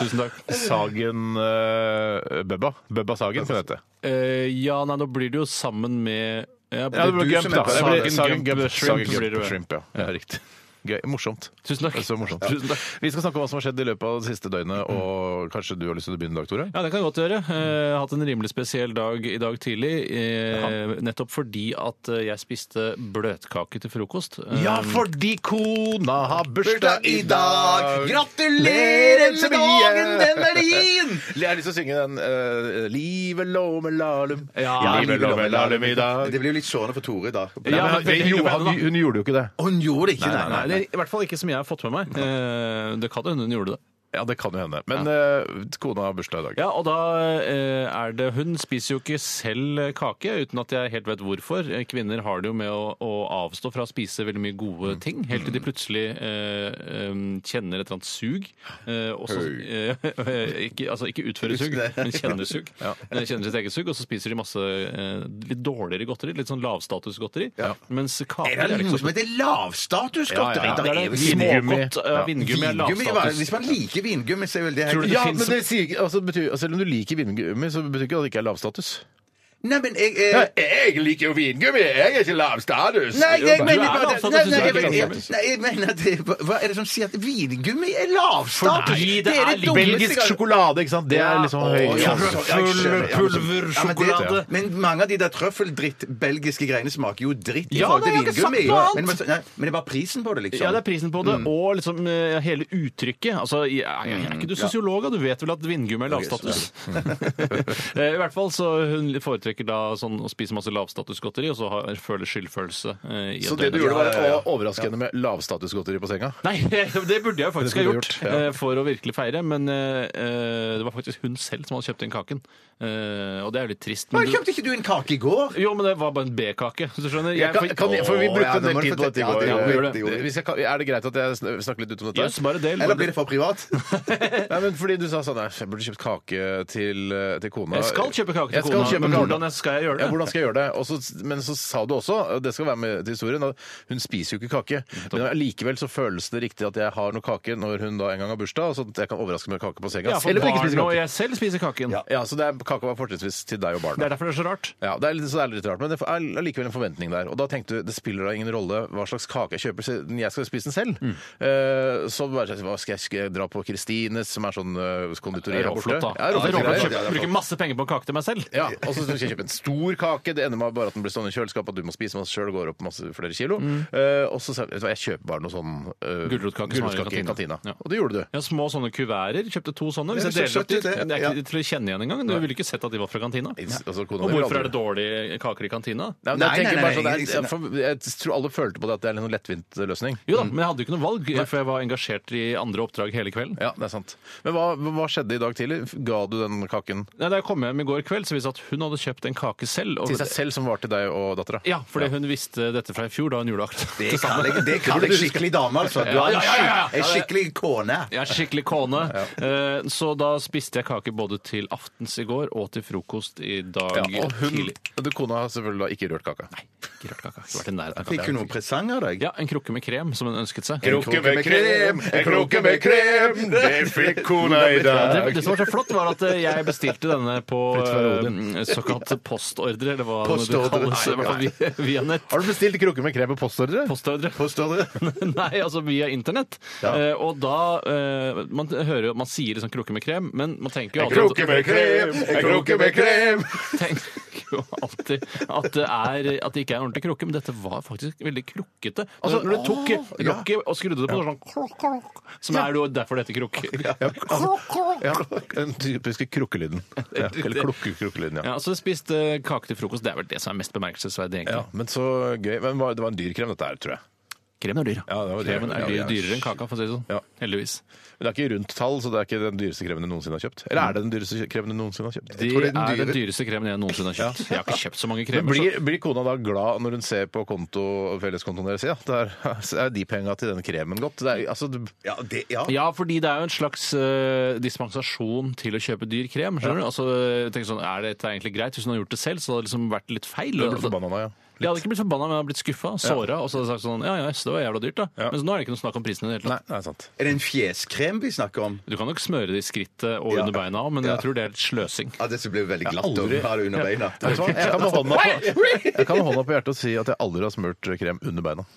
Speaker 9: Tusen takk.
Speaker 7: Sagen eh, Bøbba. Bøbba Sagen, kan det hete.
Speaker 9: Eh, ja, nei, nå blir det jo sammen med ja,
Speaker 7: Ja, det blir
Speaker 8: du
Speaker 7: Gump,
Speaker 8: som
Speaker 7: da.
Speaker 8: heter det.
Speaker 7: Det blir
Speaker 9: Sagen
Speaker 7: Sagen Gump
Speaker 9: Gump
Speaker 7: Sagen
Speaker 9: Shrimp blir
Speaker 7: Gump
Speaker 9: det.
Speaker 7: Shrimp, ja. ja. Riktig. Gøy. Morsomt.
Speaker 9: Tusen takk.
Speaker 7: Det er Så morsomt.
Speaker 9: Tusen takk.
Speaker 7: Vi skal snakke om hva som har skjedd i løpet av det siste døgnet, og kanskje du har lyst til å begynne, Dag Tore?
Speaker 9: Ja, det kan jeg godt gjøre. Eh, Jeg har hatt en rimelig spesiell dag i dag tidlig. eh, Nettopp fordi at eh, jeg spiste bløtkake til frokost. Eh,
Speaker 7: Um, fordi kona har
Speaker 8: Bursdag i dag! Gratulerer med dagen, den er din!
Speaker 7: Jeg har lyst til å synge den eh, Livet lov med lalum.
Speaker 9: Ja,
Speaker 7: livet lov med lalum i dag.
Speaker 8: Det blir jo litt sårende for Tore da.
Speaker 9: Ja,
Speaker 7: Nei,
Speaker 9: men
Speaker 7: men
Speaker 9: veldig hyggelig
Speaker 7: jo,
Speaker 9: med henne,
Speaker 7: han,
Speaker 9: da.
Speaker 7: hun gjorde jo ikke det.
Speaker 8: Hun gjorde det ikke,
Speaker 9: Nei, nei, det er I hvert fall ikke som jeg har fått med meg. Eh, Det kan hende hun gjorde det.
Speaker 7: Ja, det kan jo hende. Men eh, kona har bursdag i dag.
Speaker 9: Ja, og da eh, er det Hun spiser jo ikke selv kake, uten at jeg helt vet hvorfor. Eh, Kvinner har det jo med å, å avstå fra å spise veldig mye
Speaker 8: Mm.
Speaker 9: gode ting, helt til de plutselig eh, em, kjenner et eller annet sug. Eh, og så, eh, ikke, altså ikke utfører sug, men kjenner sug. Eh, Kjenner sitt eget sug, og så spiser de masse eh, litt dårligere godteri, litt sånn lavstatusgodteri. Mens kaker
Speaker 8: Er det
Speaker 9: ikke
Speaker 8: noe som
Speaker 9: så
Speaker 8: heter lavstatusgodteri?
Speaker 9: ja, ja.
Speaker 8: Det er
Speaker 9: Det er det.
Speaker 8: jo små-
Speaker 7: Vingummi.
Speaker 9: Smågodt, eh, vingummi er
Speaker 8: Vingummi, hva-
Speaker 9: lavstatus.
Speaker 8: Hvis man liker vingummi, så er vel det
Speaker 9: Tror du
Speaker 8: helt
Speaker 9: det
Speaker 7: Ja,
Speaker 9: finnes-
Speaker 7: men det sier, ikke- altså, betyr, altså, Selv om du liker vingummi, så betyr ikke det at det ikke er lavstatus.
Speaker 8: Nei, men eh, jeg, jeg
Speaker 7: Jeg liker jo vingummi! Jeg er ikke lavstatus!
Speaker 8: Nei, jeg
Speaker 9: du
Speaker 8: mener
Speaker 9: er
Speaker 8: bare
Speaker 9: lavstatus,
Speaker 8: nei,
Speaker 9: du
Speaker 8: nei,
Speaker 9: er
Speaker 8: jeg
Speaker 9: ikke
Speaker 8: mener- jeg-
Speaker 9: lavstatus.
Speaker 8: nei, jeg mener at det, hva- Hva er det som sier at vingummi er lavstatus?
Speaker 9: Fordi det er litt
Speaker 8: dummeste
Speaker 7: Belgisk
Speaker 8: gang-
Speaker 7: sjokolade, ikke sant? Det er liksom høy
Speaker 8: Å, ja,
Speaker 7: sjanse.
Speaker 8: ja, jeg skjønner. Ja, men så- ja, men det-
Speaker 9: Pulversjokolade.
Speaker 8: Men mange av de der trøffeldritt-belgiske greiene smaker jo dritt i
Speaker 9: Ja,
Speaker 8: forhold til
Speaker 9: nei, jeg har ikke
Speaker 8: vingummi.
Speaker 9: sagt noe annet.
Speaker 8: Men, men, nei, men det er bare prisen på det, liksom.
Speaker 9: Ja, det er prisen på
Speaker 7: Mm.
Speaker 9: det, og liksom eh, hele uttrykket. Altså, jeg, jeg, jeg er
Speaker 7: Mm,
Speaker 9: ikke du sosiolog, da? du vet vel at vindgummi er lavstatus? Eh, I hvert fall så hun foretrekker da sånn å spise masse lavstatusgodteri, og så har, føler skyldfølelse. eh, i
Speaker 7: Så
Speaker 9: at
Speaker 7: det du
Speaker 9: er-
Speaker 7: gjorde, var å overraske henne med lavstatusgodteri på senga?
Speaker 9: Nei, det burde jeg faktisk ha
Speaker 7: Det burde
Speaker 9: gjort,
Speaker 7: du gjort, ja.
Speaker 9: eh, for å virkelig feire, men eh, eh, det var faktisk hun selv som hadde kjøpt inn kaken. Eh, Og det er jo litt trist.
Speaker 8: Men
Speaker 9: Men du,
Speaker 8: kjøpte ikke du en kake i går?
Speaker 9: jo, men det var bare en B-kake. hvis Du skjønner?
Speaker 7: Jeg kan, kan, for vi
Speaker 8: Å,
Speaker 7: brukte
Speaker 8: ja,
Speaker 7: en
Speaker 8: det
Speaker 7: del
Speaker 8: må du
Speaker 7: tid på dette i
Speaker 8: fortelle.
Speaker 7: går.
Speaker 8: Ja,
Speaker 9: det gjorde
Speaker 8: det, det gjorde det.
Speaker 7: Hvis jeg kan, er det greit at jeg sn- snakker litt ut om dette?
Speaker 9: Yes, bare del.
Speaker 8: Eller blir det for privat?
Speaker 7: Nei, men fordi du sa sånn nei, Jeg burde kjøpt kake til, eh, til kona.
Speaker 9: Jeg skal kjøpe kake til
Speaker 7: Jeg skal
Speaker 9: kona,
Speaker 7: kjøpe
Speaker 9: men
Speaker 7: kake.
Speaker 9: hvordan skal jeg gjøre det?
Speaker 7: Ja, hvordan skal jeg gjøre det? Og så- men så sa du også, og det skal være med til historien, at hun spiser jo ikke kake. Men likevel så føles det riktig at jeg har noe kake når hun da en gang har bursdag, sånn at jeg kan overraske med kake på senga.
Speaker 9: Ja, for
Speaker 7: Selv om jeg ikke spiser
Speaker 9: barna og
Speaker 7: kake.
Speaker 9: jeg selv spiser kaken.
Speaker 7: Ja, så det er, kake var fortrinnsvis til deg og barna.
Speaker 9: Det er derfor det er så rart.
Speaker 7: Ja, det er, litt, så det er litt rart, men det er likevel en forventning der. Og da tenkte du det spiller da ingen rolle hva slags kake jeg kjøper, siden jeg skal spise den selv.
Speaker 9: Mm.
Speaker 7: Eh, så bare, hva skal jeg, skal jeg dra på Kristines, som er sånn eh, konditori her borte?
Speaker 9: Råflott, da.
Speaker 7: Ja, råflott,
Speaker 9: Råflott
Speaker 7: greier.
Speaker 9: kjøper- bruker masse penger på en kake til meg selv.
Speaker 7: Ja, og så skal jeg kjøpe en stor kake. Det ender med bare at den blir stående i kjøleskapet, at du må spise masse sjøl og går opp masse flere kilo. Eh, og så sa jeg vet du hva, jeg kjøper bare noe sånn uh,
Speaker 9: Mm. Gulrotkake som er i
Speaker 7: i
Speaker 9: kantina.
Speaker 7: kantina.
Speaker 9: Ja.
Speaker 7: Og det gjorde du.
Speaker 9: Ja, små sånne kuverter. Kjøpte to sånne. Hvis
Speaker 8: Ja,
Speaker 9: jeg
Speaker 8: det er så
Speaker 9: deler opp de,
Speaker 8: søtt, det.
Speaker 9: det er ikke til å kjenne igjen engang. Du ville ikke sett at de var fra kantina.
Speaker 7: Altså, kona
Speaker 9: Og
Speaker 7: mi vil aldri-
Speaker 9: hvorfor er det dårlige kaker i kantina?
Speaker 7: Nei, men jeg,
Speaker 8: Nei, nei,
Speaker 7: tenker
Speaker 8: nei,
Speaker 7: bare sånn,
Speaker 8: nei,
Speaker 7: det er- jeg, for, jeg tror alle følte på det at det er en sånn lettvint løsning.
Speaker 9: Jo da, men jeg hadde jo ikke noe valg, eh, for jeg var engasjert i andre oppdrag hele kvelden.
Speaker 7: Ja, det er sant. Men hva, hva skjedde i dag tidlig? Ga du den kaken
Speaker 9: Nei, Da jeg kom hjem i går kveld, så viste det at hun hadde kjøpt en kake selv. og-
Speaker 7: til seg selv, som var til deg og dattera?
Speaker 9: Ja, fordi hun visste dette fra i fjor, da hun gjorde akkurat
Speaker 8: Det kan jeg, det kan jeg skikkelig dame, altså. Du
Speaker 9: Ja,
Speaker 8: er
Speaker 9: ja,
Speaker 8: en
Speaker 9: ja, ja.
Speaker 8: skik- en skikkelig kone.
Speaker 9: Jeg er skikkelig kone. Eh, Så da spiste jeg kake både til aftens i går og til frokost i dag
Speaker 7: og hun,
Speaker 9: tidlig.
Speaker 7: du, kona har selvfølgelig da ikke rørt kaka.
Speaker 9: Ikke rørt kake. Ikke vært i nærheten av kake.
Speaker 8: Fikk hun noen presang av deg?
Speaker 9: Ja, en krukke med krem, som hun ønsket seg.
Speaker 7: med krem, en krukke med krem, det fikk kona i
Speaker 9: Det, det som var så flott, var at eh, jeg bestilte denne på eh, såkalt postordre, eller hva
Speaker 8: Postordre.
Speaker 9: det kalles. i hvert fall via- Via nett.
Speaker 7: Har du bestilt krukke med krem på postordre?
Speaker 9: Postordre.
Speaker 8: Påstår du?
Speaker 9: Nei, altså via internett. Eh, og da eh, Man hører jo Man sier liksom 'krukke med krem', men man tenker jo alltid at-
Speaker 7: krem!
Speaker 9: tenker jo alltid at det, er, at det ikke er en ordentlig krukke, men dette var faktisk veldig krukkete. Altså, når du tok lokket og skrudde det på, så var det sånn klokk, klokk, som er jo derfor det heter krukke. Klokk, klokk.
Speaker 7: altså, Ja, den typiske krukkelyden. Ja, eller klukke-krukkelyden, ja.
Speaker 9: Ja, så spiste kake til frokost. Det er vel det som er mest bemerkelsesverdig,
Speaker 7: ja.
Speaker 9: egentlig.
Speaker 7: Men så gøy. Men var- det var en dyr krem, dette her, tror jeg.
Speaker 9: Kremen er dyr.
Speaker 7: Ja, det var dyr.
Speaker 9: Kremen er
Speaker 7: Ja,
Speaker 9: dyr,
Speaker 7: ja.
Speaker 9: dyrere enn kaka, for å si det sånn.
Speaker 7: Ja.
Speaker 9: Heldigvis.
Speaker 7: Men det er ikke rundt tall, så det er ikke den dyreste kremen du noensinne har kjøpt. Eller er det den dyreste kremen du noensinne har kjøpt?
Speaker 8: tror
Speaker 9: Det er
Speaker 8: det er den
Speaker 9: den
Speaker 8: dyre-
Speaker 9: dyreste kremen jeg noensinne har kjøpt. Jeg har ikke kjøpt så mange
Speaker 7: Men
Speaker 9: kremer.
Speaker 7: blir, blir kona da glad når hun ser på konto, felleskontoen deres? Ja, der er de penga til den kremen gått. Det er, altså, du-
Speaker 8: Ja, det, ja.
Speaker 9: Ja, fordi det er jo en slags eh, dispensasjon til å kjøpe dyr krem. skjønner du? Altså, jeg tenker sånn, Er dette egentlig greit? Hvis hun hadde gjort det selv, så hadde det liksom vært litt feil.
Speaker 7: du blir forbanna nå, ja.
Speaker 9: Jeg hadde ikke blitt forbanna, men jeg hadde blitt skuffa, såra. Og så hadde jeg sagt sånn Ja ja, yes, det var jævla dyrt, da.
Speaker 7: Ja.
Speaker 9: Men nå er det ikke noe snakk om prisen i det hele
Speaker 7: Nei,
Speaker 9: tatt.
Speaker 7: det er sant.
Speaker 8: Er det en fjeskrem vi snakker om?
Speaker 9: Du kan nok smøre det i skrittet og under beina òg, men jeg tror det er litt sløsing.
Speaker 8: Ja, det som blir veldig glatt
Speaker 7: aldri-
Speaker 8: å ha det under beina.
Speaker 7: Vet du hva? Jeg kan med hånda på, jeg kan med hånda på hjertet og si at jeg aldri har smurt krem under beina.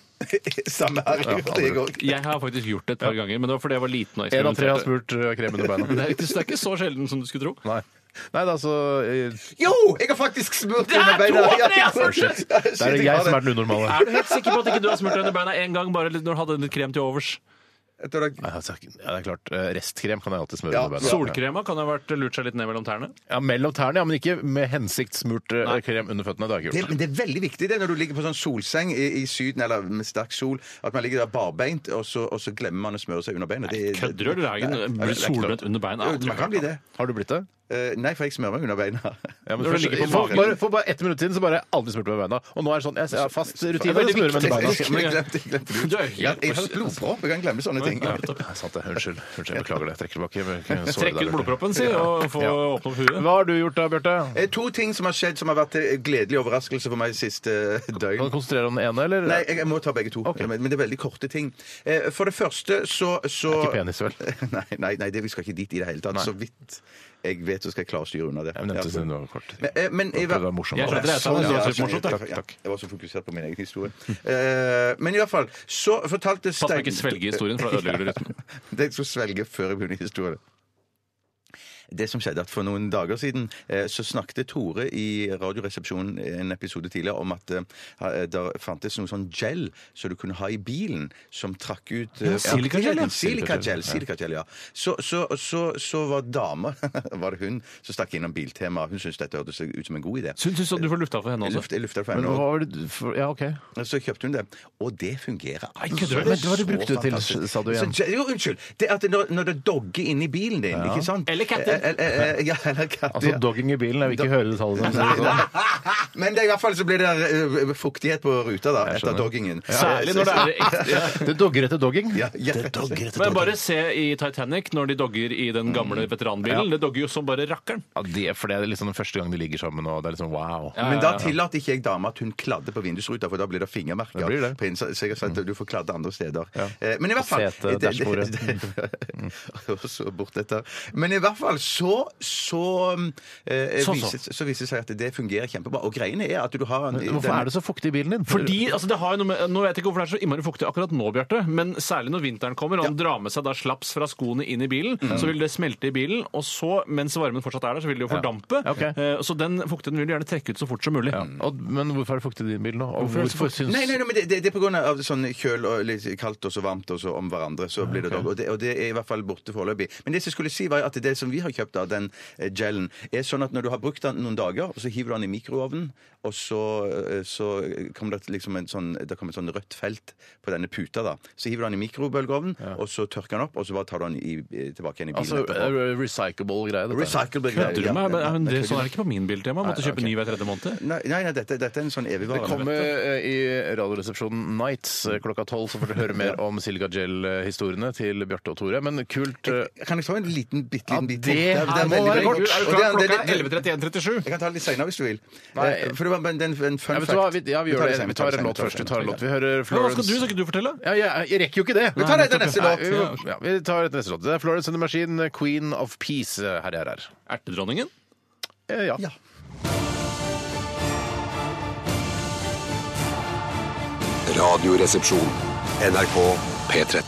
Speaker 8: Samme her. jeg gjorde det i går.
Speaker 9: Jeg har faktisk gjort det et par ganger, men det var fordi jeg var liten og
Speaker 7: Én av tre har
Speaker 9: eksperimenterte.
Speaker 7: smurt eh, krem under
Speaker 9: Det
Speaker 7: beina.
Speaker 9: er, ikke, det er ikke så sjelden som du skulle tro.
Speaker 7: Nei. Nei, det er altså eh,
Speaker 8: Jo, jeg har faktisk smurt
Speaker 9: er
Speaker 8: under beina!
Speaker 9: to av
Speaker 8: Ja,
Speaker 9: tre, altså.
Speaker 8: shit. Ja, shit,
Speaker 7: Det er
Speaker 8: jeg
Speaker 7: jeg
Speaker 8: har
Speaker 7: som er den unormale.
Speaker 9: Er du helt sikker på at ikke du har smurt deg under beina én gang bare litt når du hadde litt krem til overs?
Speaker 8: etter dere?
Speaker 7: Nei, altså, ja, det er klart. eh, Restkrem kan jeg alltid smøre
Speaker 8: Ja,
Speaker 7: under beina.
Speaker 9: Solkrema kan ha vært lurt seg litt ned mellom tærne.
Speaker 7: Ja, mellom tærne, ja, men ikke med hensikt smurt eh, krem under føttene. Det har jeg ikke
Speaker 8: Det,
Speaker 7: gjort.
Speaker 8: men det er veldig viktig det når du ligger på sånn solseng i, i Syden eller med sterk sol, at man ligger der barbeint, og så, og så glemmer man å smøre seg under beina. Det- det-
Speaker 9: Kødder du? eller er det ikke-
Speaker 8: Nei, det er
Speaker 9: Blir
Speaker 8: ikke
Speaker 9: solbrent
Speaker 8: lov.
Speaker 9: under beina?
Speaker 8: Jo, Man kan bli det.
Speaker 7: Har du blitt det?
Speaker 8: Eh, Nei, for jeg smører meg under beina.
Speaker 7: Ja, men
Speaker 9: Når du
Speaker 7: først-
Speaker 9: ligger på
Speaker 7: for,
Speaker 9: magen.
Speaker 7: bare, for bare ett minutt siden så bare aldri smurt meg med beina. Og nå er det sånn, jeg jeg har fast rutine.
Speaker 9: veldig
Speaker 7: jeg smører meg
Speaker 9: viktig.
Speaker 7: under beina.
Speaker 8: Men
Speaker 9: Det er
Speaker 8: jeg glemte- jeg glemte det.
Speaker 9: Du er
Speaker 8: Jeg
Speaker 9: helt
Speaker 8: jeg har blodpropp, jeg kan glemme sånne ting.
Speaker 9: Ja,
Speaker 8: Nei,
Speaker 7: Nei, sant det. Unnskyld. Unnskyld, jeg beklager det. Jeg trekker tilbake. Jeg kan såre
Speaker 9: Trekk
Speaker 7: deg,
Speaker 9: ut
Speaker 7: Bjarte.
Speaker 9: blodproppen, si, og få
Speaker 7: Ja.
Speaker 9: åpne opp huet.
Speaker 7: Hva har du gjort da, Bjarte?
Speaker 8: Eh, To ting som har skjedd som har vært eh, gledelig overraskelse for meg siste døgn.
Speaker 7: Kan du konsentrere deg om den ene, eller?
Speaker 8: Nei, jeg jeg må ta begge to.
Speaker 7: Ok.
Speaker 8: Men men det er veldig korte ting. Eh, For det første så, så
Speaker 7: Ikke penis, vel?
Speaker 8: Nei, nei, nei det, vi skal ikke dit i det hele tatt. Så vidt jeg vet, så skal jeg klare å styre unna det.
Speaker 7: Jeg nevnte det var kort.
Speaker 8: Men, eh, men,
Speaker 7: Jeg prøvde å være morsom.
Speaker 9: Jeg skjønte det, jeg sa det,
Speaker 8: Sånn,
Speaker 9: det var
Speaker 8: ja,
Speaker 9: litt
Speaker 8: skjønner,
Speaker 9: morsomt, da.
Speaker 8: ja,
Speaker 9: Takk,
Speaker 8: ja.
Speaker 9: takk.
Speaker 8: Jeg var så fokusert på min egen historie. Eh, Men i hvert fall, så fortalte
Speaker 9: Pass på
Speaker 8: Stein
Speaker 9: ikke svelge historien, for da ødelegger du rytmen.
Speaker 8: Det jeg skulle svelge før jeg begynner historien. Det som skjedde at For noen dager siden eh, så snakket Tore i Radioresepsjonen en episode tidligere om at eh, der fantes noe sånn gel som du kunne ha i bilen, som trakk ut eh,
Speaker 9: silikagel, ja.
Speaker 8: Silikagel, silikagel, ja. Så, så, så, så var dama, var det hun, som stakk innom Biltema. Hun syntes dette hørtes ut som en god idé.
Speaker 9: Syns du så du får lufta for henne
Speaker 8: Jeg
Speaker 9: også?
Speaker 8: lufta, jeg lufta det for
Speaker 7: Men
Speaker 8: henne,
Speaker 7: hva
Speaker 8: og
Speaker 7: var det for, Ja, OK. Altså,
Speaker 8: så kjøpte hun det. Og det fungerer. Nei,
Speaker 9: kødder
Speaker 7: Men hva var
Speaker 8: så er
Speaker 9: du?
Speaker 7: det
Speaker 8: så
Speaker 7: brukte det til,
Speaker 8: fantastisk.
Speaker 7: sa du igjen?
Speaker 8: Så, jo, unnskyld. Det at det- når, når det dogger inni bilen din, ikke sant?
Speaker 9: Eller katter.
Speaker 8: Eh, eh, eh, ja, eller katter.
Speaker 7: Altså
Speaker 8: ja.
Speaker 7: dogging i bilen. Jeg vil ikke høre detaljene. som sier sånn.
Speaker 8: Men det, er i hvert fall så blir det eh, fuktighet på ruta da, etter
Speaker 7: skjønner.
Speaker 8: doggingen.
Speaker 9: Særlig når det er ekte ja.
Speaker 7: Det dogger etter dogging.
Speaker 8: Ja, ja.
Speaker 9: Men bare se i Titanic, når de dogger i den gamle
Speaker 8: Mm.
Speaker 9: veteranbilen. Det dogger jo som bare rakkeren.
Speaker 7: Ja, det, for det er liksom den første gang de ligger sammen, og det er liksom wow.
Speaker 8: Men da tillater ikke jeg dama at hun kladder på vindusruta, for da blir det fingermerker.
Speaker 7: Det blir det.
Speaker 8: På innsiden, så jeg har sagt at du får kladde andre steder. Eh, Men i hvert fall
Speaker 7: Sete,
Speaker 8: det- det-
Speaker 7: dashbordet.
Speaker 8: det- Og så bort etter. Men i hvert fall så så, eh,
Speaker 9: Så, så.
Speaker 8: Viser, så viser det seg at det fungerer kjempebra. Og greiene er at du har
Speaker 7: Men Hvorfor er det så fuktig i bilen din?
Speaker 9: Fordi, altså det har jo noe med, Nå vet jeg ikke hvorfor det er så innmari fuktig akkurat nå, Bjarte, men særlig når vinteren kommer og han drar med seg da slaps fra skoene inn i bilen,
Speaker 8: Mm.
Speaker 9: så vil det smelte i bilen, og så, mens varmen fortsatt er der, så vil det jo fordampe.
Speaker 7: Ok.
Speaker 9: Eh, Så den fuktigheten vil du gjerne trekke ut så fort som mulig.
Speaker 7: Ja. Og, men hvorfor er det fuktig i din bil nå? Og
Speaker 9: Hvorfor er det
Speaker 7: hvorfor,
Speaker 9: så
Speaker 7: syns
Speaker 8: Nei, nei, nei, men det, det, det er på grunn av sånn kjøl og litt kaldt og så varmt og så om hverandre. så blir det dog, og, det, og det er i hvert fall borte foreløpig. Men det som jeg skulle si var at det som vi har kjøpt av den eh, gelen, er sånn at når du har brukt den noen dager, og så hiver du den i mikroovnen, og så, eh, så kommer det liksom en sånn, det kommer et sånn rødt felt på denne puta. da. Så hiver du den i mikrobølgeovnen, og så tørker den opp, og så bare tar du den i, eh, tilbake igjen i bilen.
Speaker 7: Altså
Speaker 8: etterpå.
Speaker 7: eh, recyclable greie, dette.
Speaker 8: Recyclable greier,
Speaker 9: Kødder du
Speaker 8: ja.
Speaker 9: med meg?
Speaker 8: Ja,
Speaker 9: Men det,
Speaker 8: jeg
Speaker 9: sånn er
Speaker 8: kødder.
Speaker 9: det ikke på min biltema. Måtte kjøpe ny hver tredje måned.
Speaker 8: Nei, nei, nei dette, dette er en sånn evigvarende.
Speaker 7: Det kommer eh, i Radioresepsjonen Nights eh, klokka tolv, så får dere høre mer om Silga Gel-historiene til Bjarte og Tore. Men kult eh,
Speaker 8: Kan jeg ta en liten, bitte
Speaker 7: Ja,
Speaker 8: liten bit?
Speaker 7: det
Speaker 8: til?
Speaker 7: her
Speaker 8: er
Speaker 7: må
Speaker 8: veldig,
Speaker 7: være
Speaker 8: veldig
Speaker 7: kort.
Speaker 8: kort.
Speaker 9: Er
Speaker 8: Og
Speaker 9: du klar?
Speaker 8: det er-
Speaker 9: Klokka
Speaker 8: det-
Speaker 9: er 11.31.37.
Speaker 8: Jeg kan ta det litt seinere hvis du vil.
Speaker 7: Nei.
Speaker 8: Eh, For det var en, en, en
Speaker 7: ja, vet
Speaker 8: fun
Speaker 7: du
Speaker 8: fact.
Speaker 7: hva, vi, ja, vi
Speaker 8: tar
Speaker 7: gjør det.
Speaker 8: senere,
Speaker 7: Vi tar en
Speaker 8: senere,
Speaker 7: låt først. Vi
Speaker 8: senere,
Speaker 7: tar en
Speaker 8: senere.
Speaker 7: låt. Vi hører
Speaker 9: Men Hva skal du,
Speaker 7: Florence
Speaker 9: skal ikke du fortelle?
Speaker 7: ja, jeg, jeg rekker jo ikke det.
Speaker 8: Vi tar det etter neste
Speaker 7: Nei,
Speaker 8: låt.
Speaker 7: vi- Ja, vi tar etter neste låt. Det er Florence and the Machine, Queen of Peace, eh, her jeg er her.
Speaker 9: Ertedronningen?
Speaker 7: Eh, Ja.
Speaker 8: Ja.
Speaker 6: Radioresepsjon. NRK P13.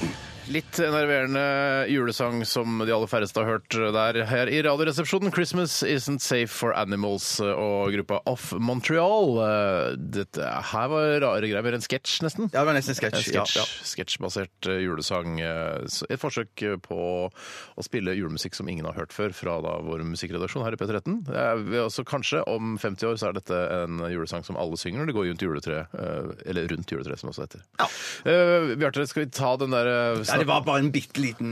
Speaker 7: Litt enerverende julesang som de aller færreste har hørt der her i Radioresepsjonen. 'Christmas Isn't Safe for Animals' og gruppa Off Montreal. Eh, Dette her var rare greier. Mer en sketsj, nesten.
Speaker 8: Ja, det var nesten en
Speaker 7: En
Speaker 8: sketsj. Ja,
Speaker 7: sketsj-
Speaker 8: ja.
Speaker 7: sketsjbasert eh, julesang. eh, s- Et forsøk på å spille julemusikk som ingen har hørt før, fra da vår musikkredaksjon her i P13. Det er vi- altså kanskje om 50 år så er dette en julesang som alle synger når de går rundt juletreet. eh, Eller rundt juletreet, som det også heter. Eh, Bjarte, skal vi ta den der eh,
Speaker 8: Nei, det var bare en bitte liten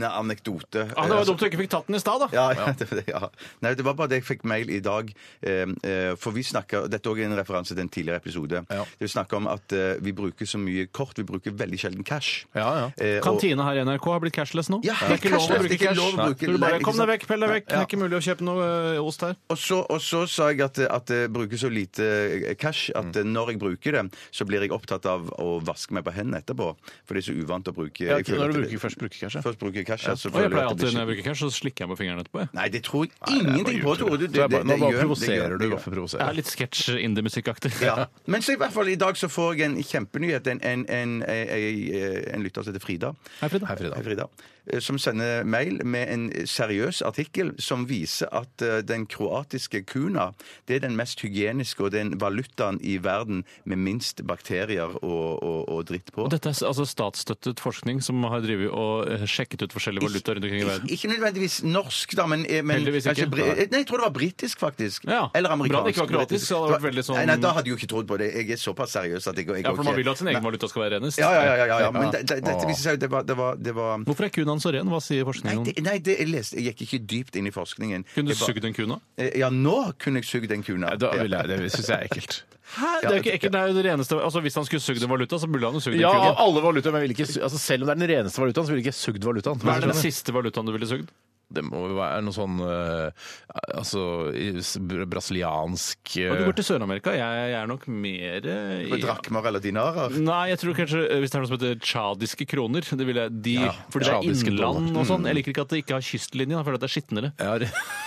Speaker 7: Ah,
Speaker 8: anekdote. Eh,
Speaker 9: Ja, Ah, det var jo dumt du ikke fikk tatt den i stad, da.
Speaker 8: Ja, ja, det var det, ja. Nei, det var bare det jeg fikk mail i dag. eh, eh, For vi snakker, Dette er også en referanse til en tidligere episode.
Speaker 7: Ja.
Speaker 8: Vi snakker om at eh, vi bruker så mye kort. Vi bruker veldig sjelden cash.
Speaker 7: Ja, ja.
Speaker 8: Eh, og-
Speaker 9: Kantina her i NRK har blitt cashless nå.
Speaker 8: Ja,
Speaker 9: det er ikke lov
Speaker 8: cashless.
Speaker 9: å
Speaker 8: Det er
Speaker 9: bruke
Speaker 8: ikke
Speaker 9: cash.
Speaker 8: lov å
Speaker 9: Nei.
Speaker 8: bruke-
Speaker 9: Så du bare,
Speaker 8: Nei,
Speaker 9: Kom deg vekk, pell deg vekk. Det
Speaker 8: Ja.
Speaker 9: er ikke mulig å kjøpe noe ø, ost her.
Speaker 8: Og så, og så sa jeg at, at jeg bruker så lite cash at
Speaker 7: Mm.
Speaker 8: når jeg bruker det, så blir jeg opptatt av å vaske meg på hendene etterpå. For det er så uvant å bruke
Speaker 7: Ja,
Speaker 8: jeg føler
Speaker 7: når du
Speaker 8: at det-
Speaker 7: bruker- først bruker cash, ja.
Speaker 8: Først bruker jeg cash, ja. så
Speaker 9: Og
Speaker 8: føler
Speaker 9: jeg pleier
Speaker 8: at det blir
Speaker 9: alltid når jeg
Speaker 8: ikke-
Speaker 9: bruker cash, så slikker jeg på fingeren etterpå. Jeg.
Speaker 8: Nei, det tror jeg ingenting på, Tore. Du-
Speaker 7: Så jeg bare- Nå
Speaker 8: det
Speaker 7: bare
Speaker 8: gjør- det gjør-
Speaker 7: provoserer
Speaker 8: det
Speaker 7: du.
Speaker 8: gjør.
Speaker 7: Hvorfor provoserer
Speaker 9: Det
Speaker 7: du?
Speaker 9: er litt sketsj indie-musikkaktig.
Speaker 8: Ja. Men så i hvert fall i dag så får jeg en kjempenyhet. En, en, en, en, en lytter som heter Frida.
Speaker 9: Hei, Frida.
Speaker 7: Hei, Frida.
Speaker 8: Frida. eh, som sender mail med en seriøs artikkel som viser at eh, den kroatiske kuna det er den mest hygieniske og den valutaen i verden med minst bakterier og, og, og dritt på.
Speaker 9: Og dette er s- altså statsstøttet forskning som har drivet og eh, sjekket ut forskjellige valutaer rundt omkring i verden.
Speaker 8: Ikke nødvendigvis norsk, da, men, eh, men
Speaker 9: Heldigvis
Speaker 8: kanskje
Speaker 9: ikke.
Speaker 8: bri- Nei, jeg tror det var britisk, faktisk.
Speaker 9: Ja,
Speaker 8: Eller
Speaker 9: bra det
Speaker 8: amerikansk.
Speaker 9: ikke var
Speaker 8: britisk.
Speaker 9: kroatisk, så hadde det vært veldig sånn-
Speaker 8: Nei, nei, da hadde jeg jo ikke trodd på det. Jeg er såpass seriøs at jeg, jeg
Speaker 9: Ja, for
Speaker 8: går
Speaker 9: man
Speaker 8: ikke-
Speaker 9: vil at sin egen valuta skal være renest.
Speaker 8: Ja, ja, ja, ja, ja, ja. men det, det, dette viser seg jo det var, det var, det var
Speaker 9: Hvorfor er kunaen så ren? Hva sier
Speaker 8: Nei,
Speaker 9: forskningen? om
Speaker 8: det, nei det, jeg, leste, jeg gikk ikke dypt inn i forskningen.
Speaker 9: Kunne du
Speaker 8: Jeg bare-
Speaker 9: sugd en kuna?
Speaker 8: Eh, Ja, nå kunne jeg sugd en kuna.
Speaker 7: Da vil jeg, det syns jeg er ekkelt.
Speaker 9: Hæ? Det er jo ikke ekkelt. Det er jo det reneste Altså, hvis han skulle sugd en valuta, så burde han jo sugd en
Speaker 7: Ja,
Speaker 9: kuna.
Speaker 7: alle valutaer, men vil ikke, altså selv om det er den reneste valutaen, så ville jeg ikke sugd valutaen.
Speaker 9: Hva er den siste valutaen du ville sugd?
Speaker 7: Det må jo være noe sånn eh, altså, i- s- br- brasiliansk eh,
Speaker 9: Ja, Du går til Sør-Amerika. Jeg, jeg er nok mer eh, i-
Speaker 8: Med drakmer eller dinarer.
Speaker 9: Nei, jeg tror kanskje eh, hvis det er noe som heter tsjadiske kroner. Det vil jeg, de, fordi det er
Speaker 7: tsjadiske
Speaker 9: innland og sånn. Jeg liker ikke at det ikke har kystlinje. Jeg føler at det er skitnere.
Speaker 7: Mm. ja, re-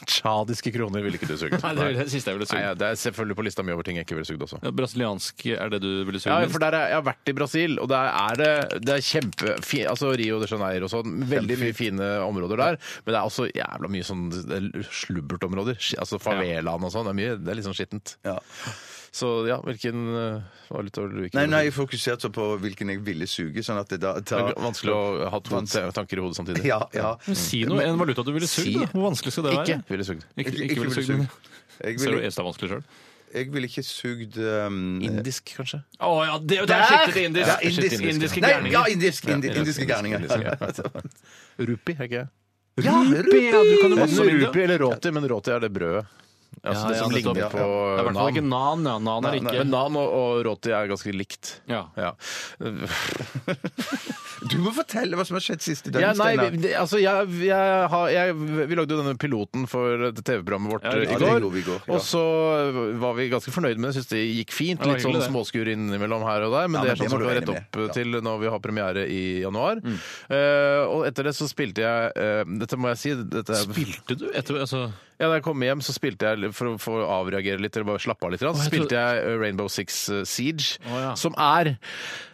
Speaker 7: Tsjadiske kroner ville ikke du sugd.
Speaker 9: Nei, det er det siste jeg ville sugd.
Speaker 7: Nei, ja, det er selvfølgelig på lista mi over ting jeg ikke ville sugd også.
Speaker 9: Ja, brasiliansk er det du ville Mm. sugd?
Speaker 7: Ja,
Speaker 9: minst?
Speaker 7: for der er, Jeg har vært i Brasil, og der er det, det er kjempe fi- altså Rio de Janeiro og sånn. Veldig mye fine områder der. Men det er også jævla mye sånn det er slubbertområder. sk- Altså favelaen og sånn. Det er mye, det er litt sånn skittent.
Speaker 8: Ja.
Speaker 7: Så ja, hvilken eh, valuta vil du ikke
Speaker 8: Nei, nei, jeg fokuserte så på hvilken jeg ville suge, sånn at det da
Speaker 7: Det er
Speaker 8: da-
Speaker 7: Vanskelig å ha to
Speaker 8: Vans-
Speaker 7: te- tanker i hodet samtidig.
Speaker 8: Ja, ja.
Speaker 9: Men Si noe, en valuta du ville
Speaker 7: Si-
Speaker 9: sugd. da. Hvor vanskelig skal det
Speaker 7: Ikke
Speaker 9: være?
Speaker 7: ville sugd.
Speaker 9: Ikke, ikke,
Speaker 8: Ikke ville
Speaker 9: ville sugd, men
Speaker 8: sugd. Jeg
Speaker 9: Ser du
Speaker 8: ville,
Speaker 9: eneste er vanskelig sjøl?
Speaker 8: jeg ville ikke sugd um,
Speaker 7: Indisk, kanskje?
Speaker 9: Å ja, det, det
Speaker 8: Der!
Speaker 9: er skiktet til indisk.
Speaker 8: Ja, indisk.
Speaker 9: Skiktet til indiske
Speaker 8: Nei,
Speaker 9: gærninger.
Speaker 8: ja, indisk, indi, indiske gærninger.
Speaker 7: Rupi, er ikke det?
Speaker 8: Ja,
Speaker 9: Rupi, ja, du kan jo masse om India.
Speaker 7: Rupi eller roti, men roti er det brødet. Altså det som
Speaker 9: nettopp.
Speaker 7: ligner på
Speaker 9: Det er i hvert fall ikke
Speaker 7: nan.
Speaker 9: nan. Ja, nan er
Speaker 7: Men
Speaker 9: ikke
Speaker 7: nan og, og roti er ganske likt.
Speaker 9: ja.
Speaker 7: Ja.
Speaker 8: Du må fortelle hva som har skjedd siste
Speaker 7: Ja,
Speaker 8: døgn,
Speaker 7: nei, vi,
Speaker 8: Steinar.
Speaker 7: det- altså, jeg, jeg, har- jeg, vi lagde jo denne piloten for det TV-programmet vårt
Speaker 9: Ja,
Speaker 7: eh,
Speaker 9: det
Speaker 7: i
Speaker 8: gjorde vi i går,
Speaker 7: går.
Speaker 8: ja.
Speaker 7: Og så var vi ganske fornøyd med det. Syns det gikk fint.
Speaker 9: Ja, det var
Speaker 7: Litt sånn
Speaker 9: hyggelig, det.
Speaker 7: småskur innimellom her og der, men det er
Speaker 8: Ja, men det
Speaker 7: sånn som vi
Speaker 8: må
Speaker 7: kan
Speaker 8: du regne
Speaker 7: rette opp
Speaker 8: med, ja. Mm.
Speaker 7: til når vi har premiere i januar. Eh, og etter det så spilte jeg eh, Dette må jeg si. Dette er
Speaker 9: Spilte du etter altså,
Speaker 7: ja, da jeg kom hjem, så spilte jeg for å få avreagere litt, eller bare slappe av litt, så
Speaker 9: jeg
Speaker 7: spilte jeg eh, Rainbow Six eh, Siege,
Speaker 9: Å, ja.
Speaker 7: som er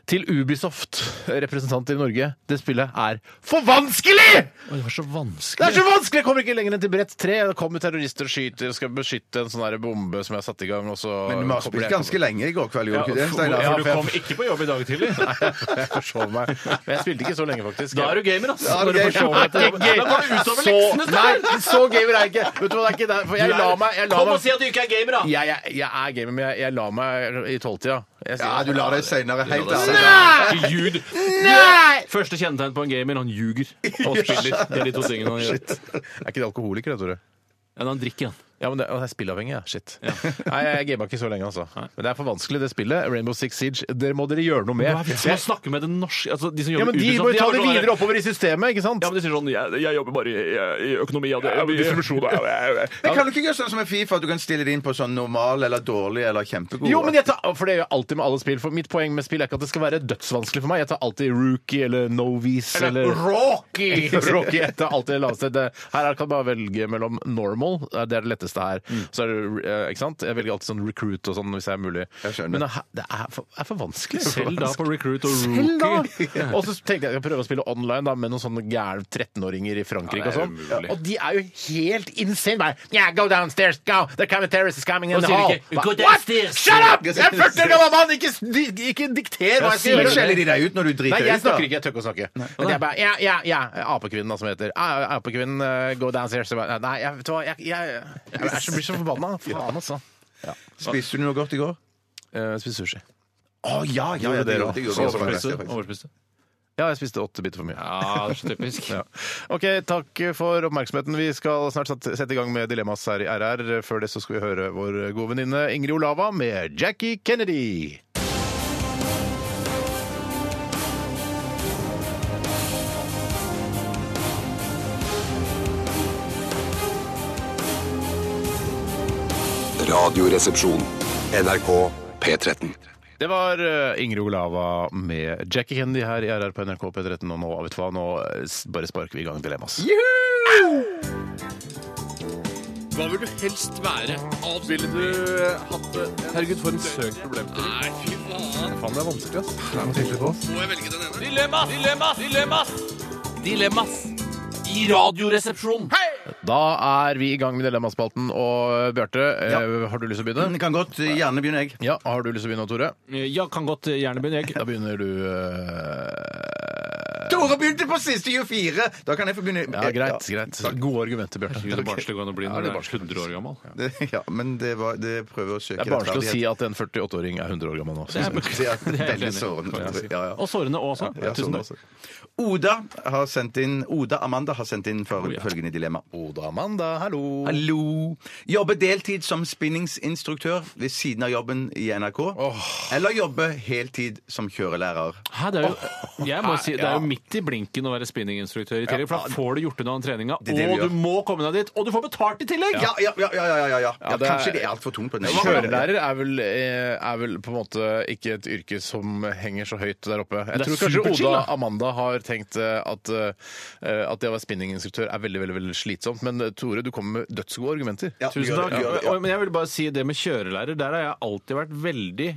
Speaker 7: til Ubisoft, representant i Norge, det spillet er for vanskelig!
Speaker 9: Å, Det var så
Speaker 7: Det er
Speaker 9: vanskelig.
Speaker 7: så vanskelig! Jeg kommer ikke lenger enn til brett tre. Det kommer terrorister og skyter, skal beskytte en sånn her bombe som jeg har satt i gang, og så
Speaker 8: Men du har spilt ganske lenge i går kveld, gjorde du ikke det, Steinar?
Speaker 9: Ja, for du kom ikke på jobb i dag tidlig.
Speaker 7: Jeg forsov meg. Men jeg spilte ikke så lenge, faktisk.
Speaker 9: Da er du gamer, altså.
Speaker 8: Da er du
Speaker 9: Når du
Speaker 8: gamer.
Speaker 9: forsov deg etter jobben.
Speaker 7: Gøy.
Speaker 9: Da går du utover
Speaker 7: Så-
Speaker 9: leksene. Steinar.
Speaker 7: Nei, så gamer er jeg ikke. Vet du hva, det er ikke der. For jeg la meg jeg la
Speaker 9: Kom
Speaker 7: meg-
Speaker 9: og si at du ikke er gamer, da!
Speaker 7: Jeg, jeg, jeg er gamer, men jeg, jeg la meg i tolvtida. Jeg sier-
Speaker 8: Ja, du lar deg seinere helt
Speaker 9: Ikke ljud. Nei! Første kjennetegn på en gamer, han ljuger og spiller. Det er de to tingene han gjør.
Speaker 7: Er ikke det alkoholiker, det, Tore?
Speaker 9: Men han drikker, han.
Speaker 7: Ja, men det, å, det er spillavhengig, ja. Shit. Nei, jeg gama ikke så lenge, altså. Men det er for vanskelig, det spillet. Rainbow Six Siege, dere må dere gjøre noe med.
Speaker 9: Hva er vitsen med å snakke med den norske altså, De som
Speaker 7: ja, men
Speaker 9: jobber
Speaker 7: De
Speaker 9: Ubisoft,
Speaker 7: må jo ta
Speaker 9: har
Speaker 7: det
Speaker 9: sånn der-
Speaker 7: videre oppover i systemet, ikke sant?
Speaker 9: Ja, men de sier sånn Jeg, jeg jobber bare i, i økonomi, ja. Det, distribusjon, ja, ja, ja.
Speaker 8: Men kan du ikke gjøre sånn som med Fifa, at du kan stille det inn på sånn normal eller dårlig eller kjempegod?
Speaker 7: Jo, men jeg tar, for det gjør jeg alltid med alle spill. For mitt poeng med spill er ikke at det skal være dødsvanskelig for meg. Jeg tar alltid rookie eller novice eller
Speaker 8: Rocky!
Speaker 7: Rocky etter alt det laveste. Det- Her kan du bare velge mellom normal, det er det letteste her. Så er det, eh, ikke sant? Jeg velger alltid sånn recruit og sånn hvis det er mulig.
Speaker 8: Jeg skjønner.
Speaker 7: Men det er, det er, for, er for vanskelig.
Speaker 9: Selv da på Recruit og
Speaker 7: Selv da!
Speaker 9: Rookie.
Speaker 7: Og så tenkte jeg jeg skal prøve å spille online da, med noen sånne gærne 13-åringer i Frankrike
Speaker 9: Ja, det
Speaker 7: og
Speaker 9: er
Speaker 7: sånn.
Speaker 9: umulig.
Speaker 7: Og de er jo helt insane. Bare, yeah, go downstairs, go! The coming terrorist is coming in
Speaker 9: Og
Speaker 7: the
Speaker 9: sier
Speaker 7: hall.
Speaker 9: ikke, «Go
Speaker 7: Bare,
Speaker 9: downstairs!»
Speaker 7: What? Shut up! Jeg er 40 år gammel mann! Ikke, s- di- ikke dikter hva jeg skal
Speaker 8: Sier
Speaker 7: gjøre.
Speaker 8: skjeller de deg ut når du driter
Speaker 7: Nei, jeg
Speaker 8: ut, da?
Speaker 7: snakker ikke. Jeg tør ikke å snakke. Men det er bare, ja, ja, ja, Apekvinnen, da, som heter. Ja, ja, Apekvinnen, eh, go downstairs. Jeg bare, Nei, jeg, vet du hva, jeg, jeg, jeg, er så- blir så forbanna. Faen, altså.
Speaker 8: Spiste du noe godt i går?
Speaker 7: Jeg Eh, spiste sushi.
Speaker 8: Å ja, ja, ja, det
Speaker 7: Gjorde
Speaker 8: gjorde jeg også.
Speaker 9: Overspiste. Overspiste.
Speaker 7: Ja, jeg spiste åtte biter for mye.
Speaker 9: Ja, det er så typisk.
Speaker 7: Ja. OK, takk for oppmerksomheten. Vi skal snart sette sette i gang med Dilemmas her i RR. Før det så skal vi høre vår gode venninne Ingrid Olava med Jackie Kennedy.
Speaker 6: Radioresepsjon. NRK P13.
Speaker 7: Det var eh, Ingrid Olava med Jackie Kennedy her i RR på NRK P13. Og nå, vet du hva, nå eh, s- bare sparker vi i gang Dilemmas.
Speaker 9: Hva vil du helst være? Ville du
Speaker 8: eh,
Speaker 9: hatt det? Herregud, for en søk problemstilling. Nei, fy faen.
Speaker 7: Faen, det er vanskelig, ass.
Speaker 9: Dilemmas! Dilemmas! Dilemmas! Dilemmas i Radioresepsjonen.
Speaker 7: Da er vi i gang med Dilemmaspalten. Og Bjarte, eh, har du lyst til å begynne?
Speaker 8: Den kan godt eh, gjerne begynne, jeg.
Speaker 7: Ja, har du lyst til å begynne, Tore?
Speaker 9: Ja, kan godt gjerne begynne, eh, jeg.
Speaker 7: Da begynner du eh,
Speaker 8: Tore begynte på siste 24! Da kan jeg få begynne.
Speaker 7: Ja, greit. greit. Gode argumenter, Bjarte.
Speaker 9: Herregud, det barnslige går an å bli
Speaker 7: Ja,
Speaker 9: når
Speaker 7: det
Speaker 9: du
Speaker 7: er
Speaker 9: er 100 år gammel.
Speaker 8: Det, ja, men det, var, det prøver å søke
Speaker 7: Det er barnslig å si
Speaker 8: rettferdighet.
Speaker 7: at en 48-åring er 100 år gammel nå. Sånn synes jeg.
Speaker 8: Det er
Speaker 9: Det er helt
Speaker 8: veldig
Speaker 9: enig.
Speaker 8: sårende.
Speaker 9: Ja,
Speaker 8: Ja, ja.
Speaker 9: Og sårende også.
Speaker 8: Ja,
Speaker 9: Tusen
Speaker 8: sånn
Speaker 9: takk.
Speaker 8: også. Oda har sendt inn Oda Amanda har sendt inn for følgende dilemma.
Speaker 7: Oda Amanda, hallo.
Speaker 8: Hallo! Jobbe deltid som spinningsinstruktør ved siden av jobben i NRK. Eller jobbe heltid som kjørelærer.
Speaker 9: Hæ, det, er jo, jeg må si, det er jo midt i blinken å være spinninginstruktør i tillegg, for da får du gjort unna den treninga,
Speaker 8: Det er det vi
Speaker 9: og
Speaker 8: gjør.
Speaker 9: du må komme deg dit, og du får betalt i tillegg!
Speaker 8: Ja, ja, ja, ja, ja, ja, ja. ja
Speaker 7: det er-
Speaker 8: Kanskje det er altfor tungt på den
Speaker 7: Kjørelærer er vel, eh, er vel på en måte ikke et yrke som henger så høyt der oppe. Jeg
Speaker 9: Det er
Speaker 7: tror kanskje
Speaker 9: superchill,
Speaker 7: Oda
Speaker 9: da.
Speaker 7: Amanda har tenkt eh, at, eh, at det å være spinninginstruktør er veldig veldig, veldig slitsomt. Men eh, Tore, du kommer med dødsgode argumenter.
Speaker 8: Ja,
Speaker 9: Tusen
Speaker 8: gjør
Speaker 9: takk.
Speaker 8: det, gjør det, ja.
Speaker 9: Og- Men jeg vil bare si det med kjørelærer. Der har jeg alltid vært veldig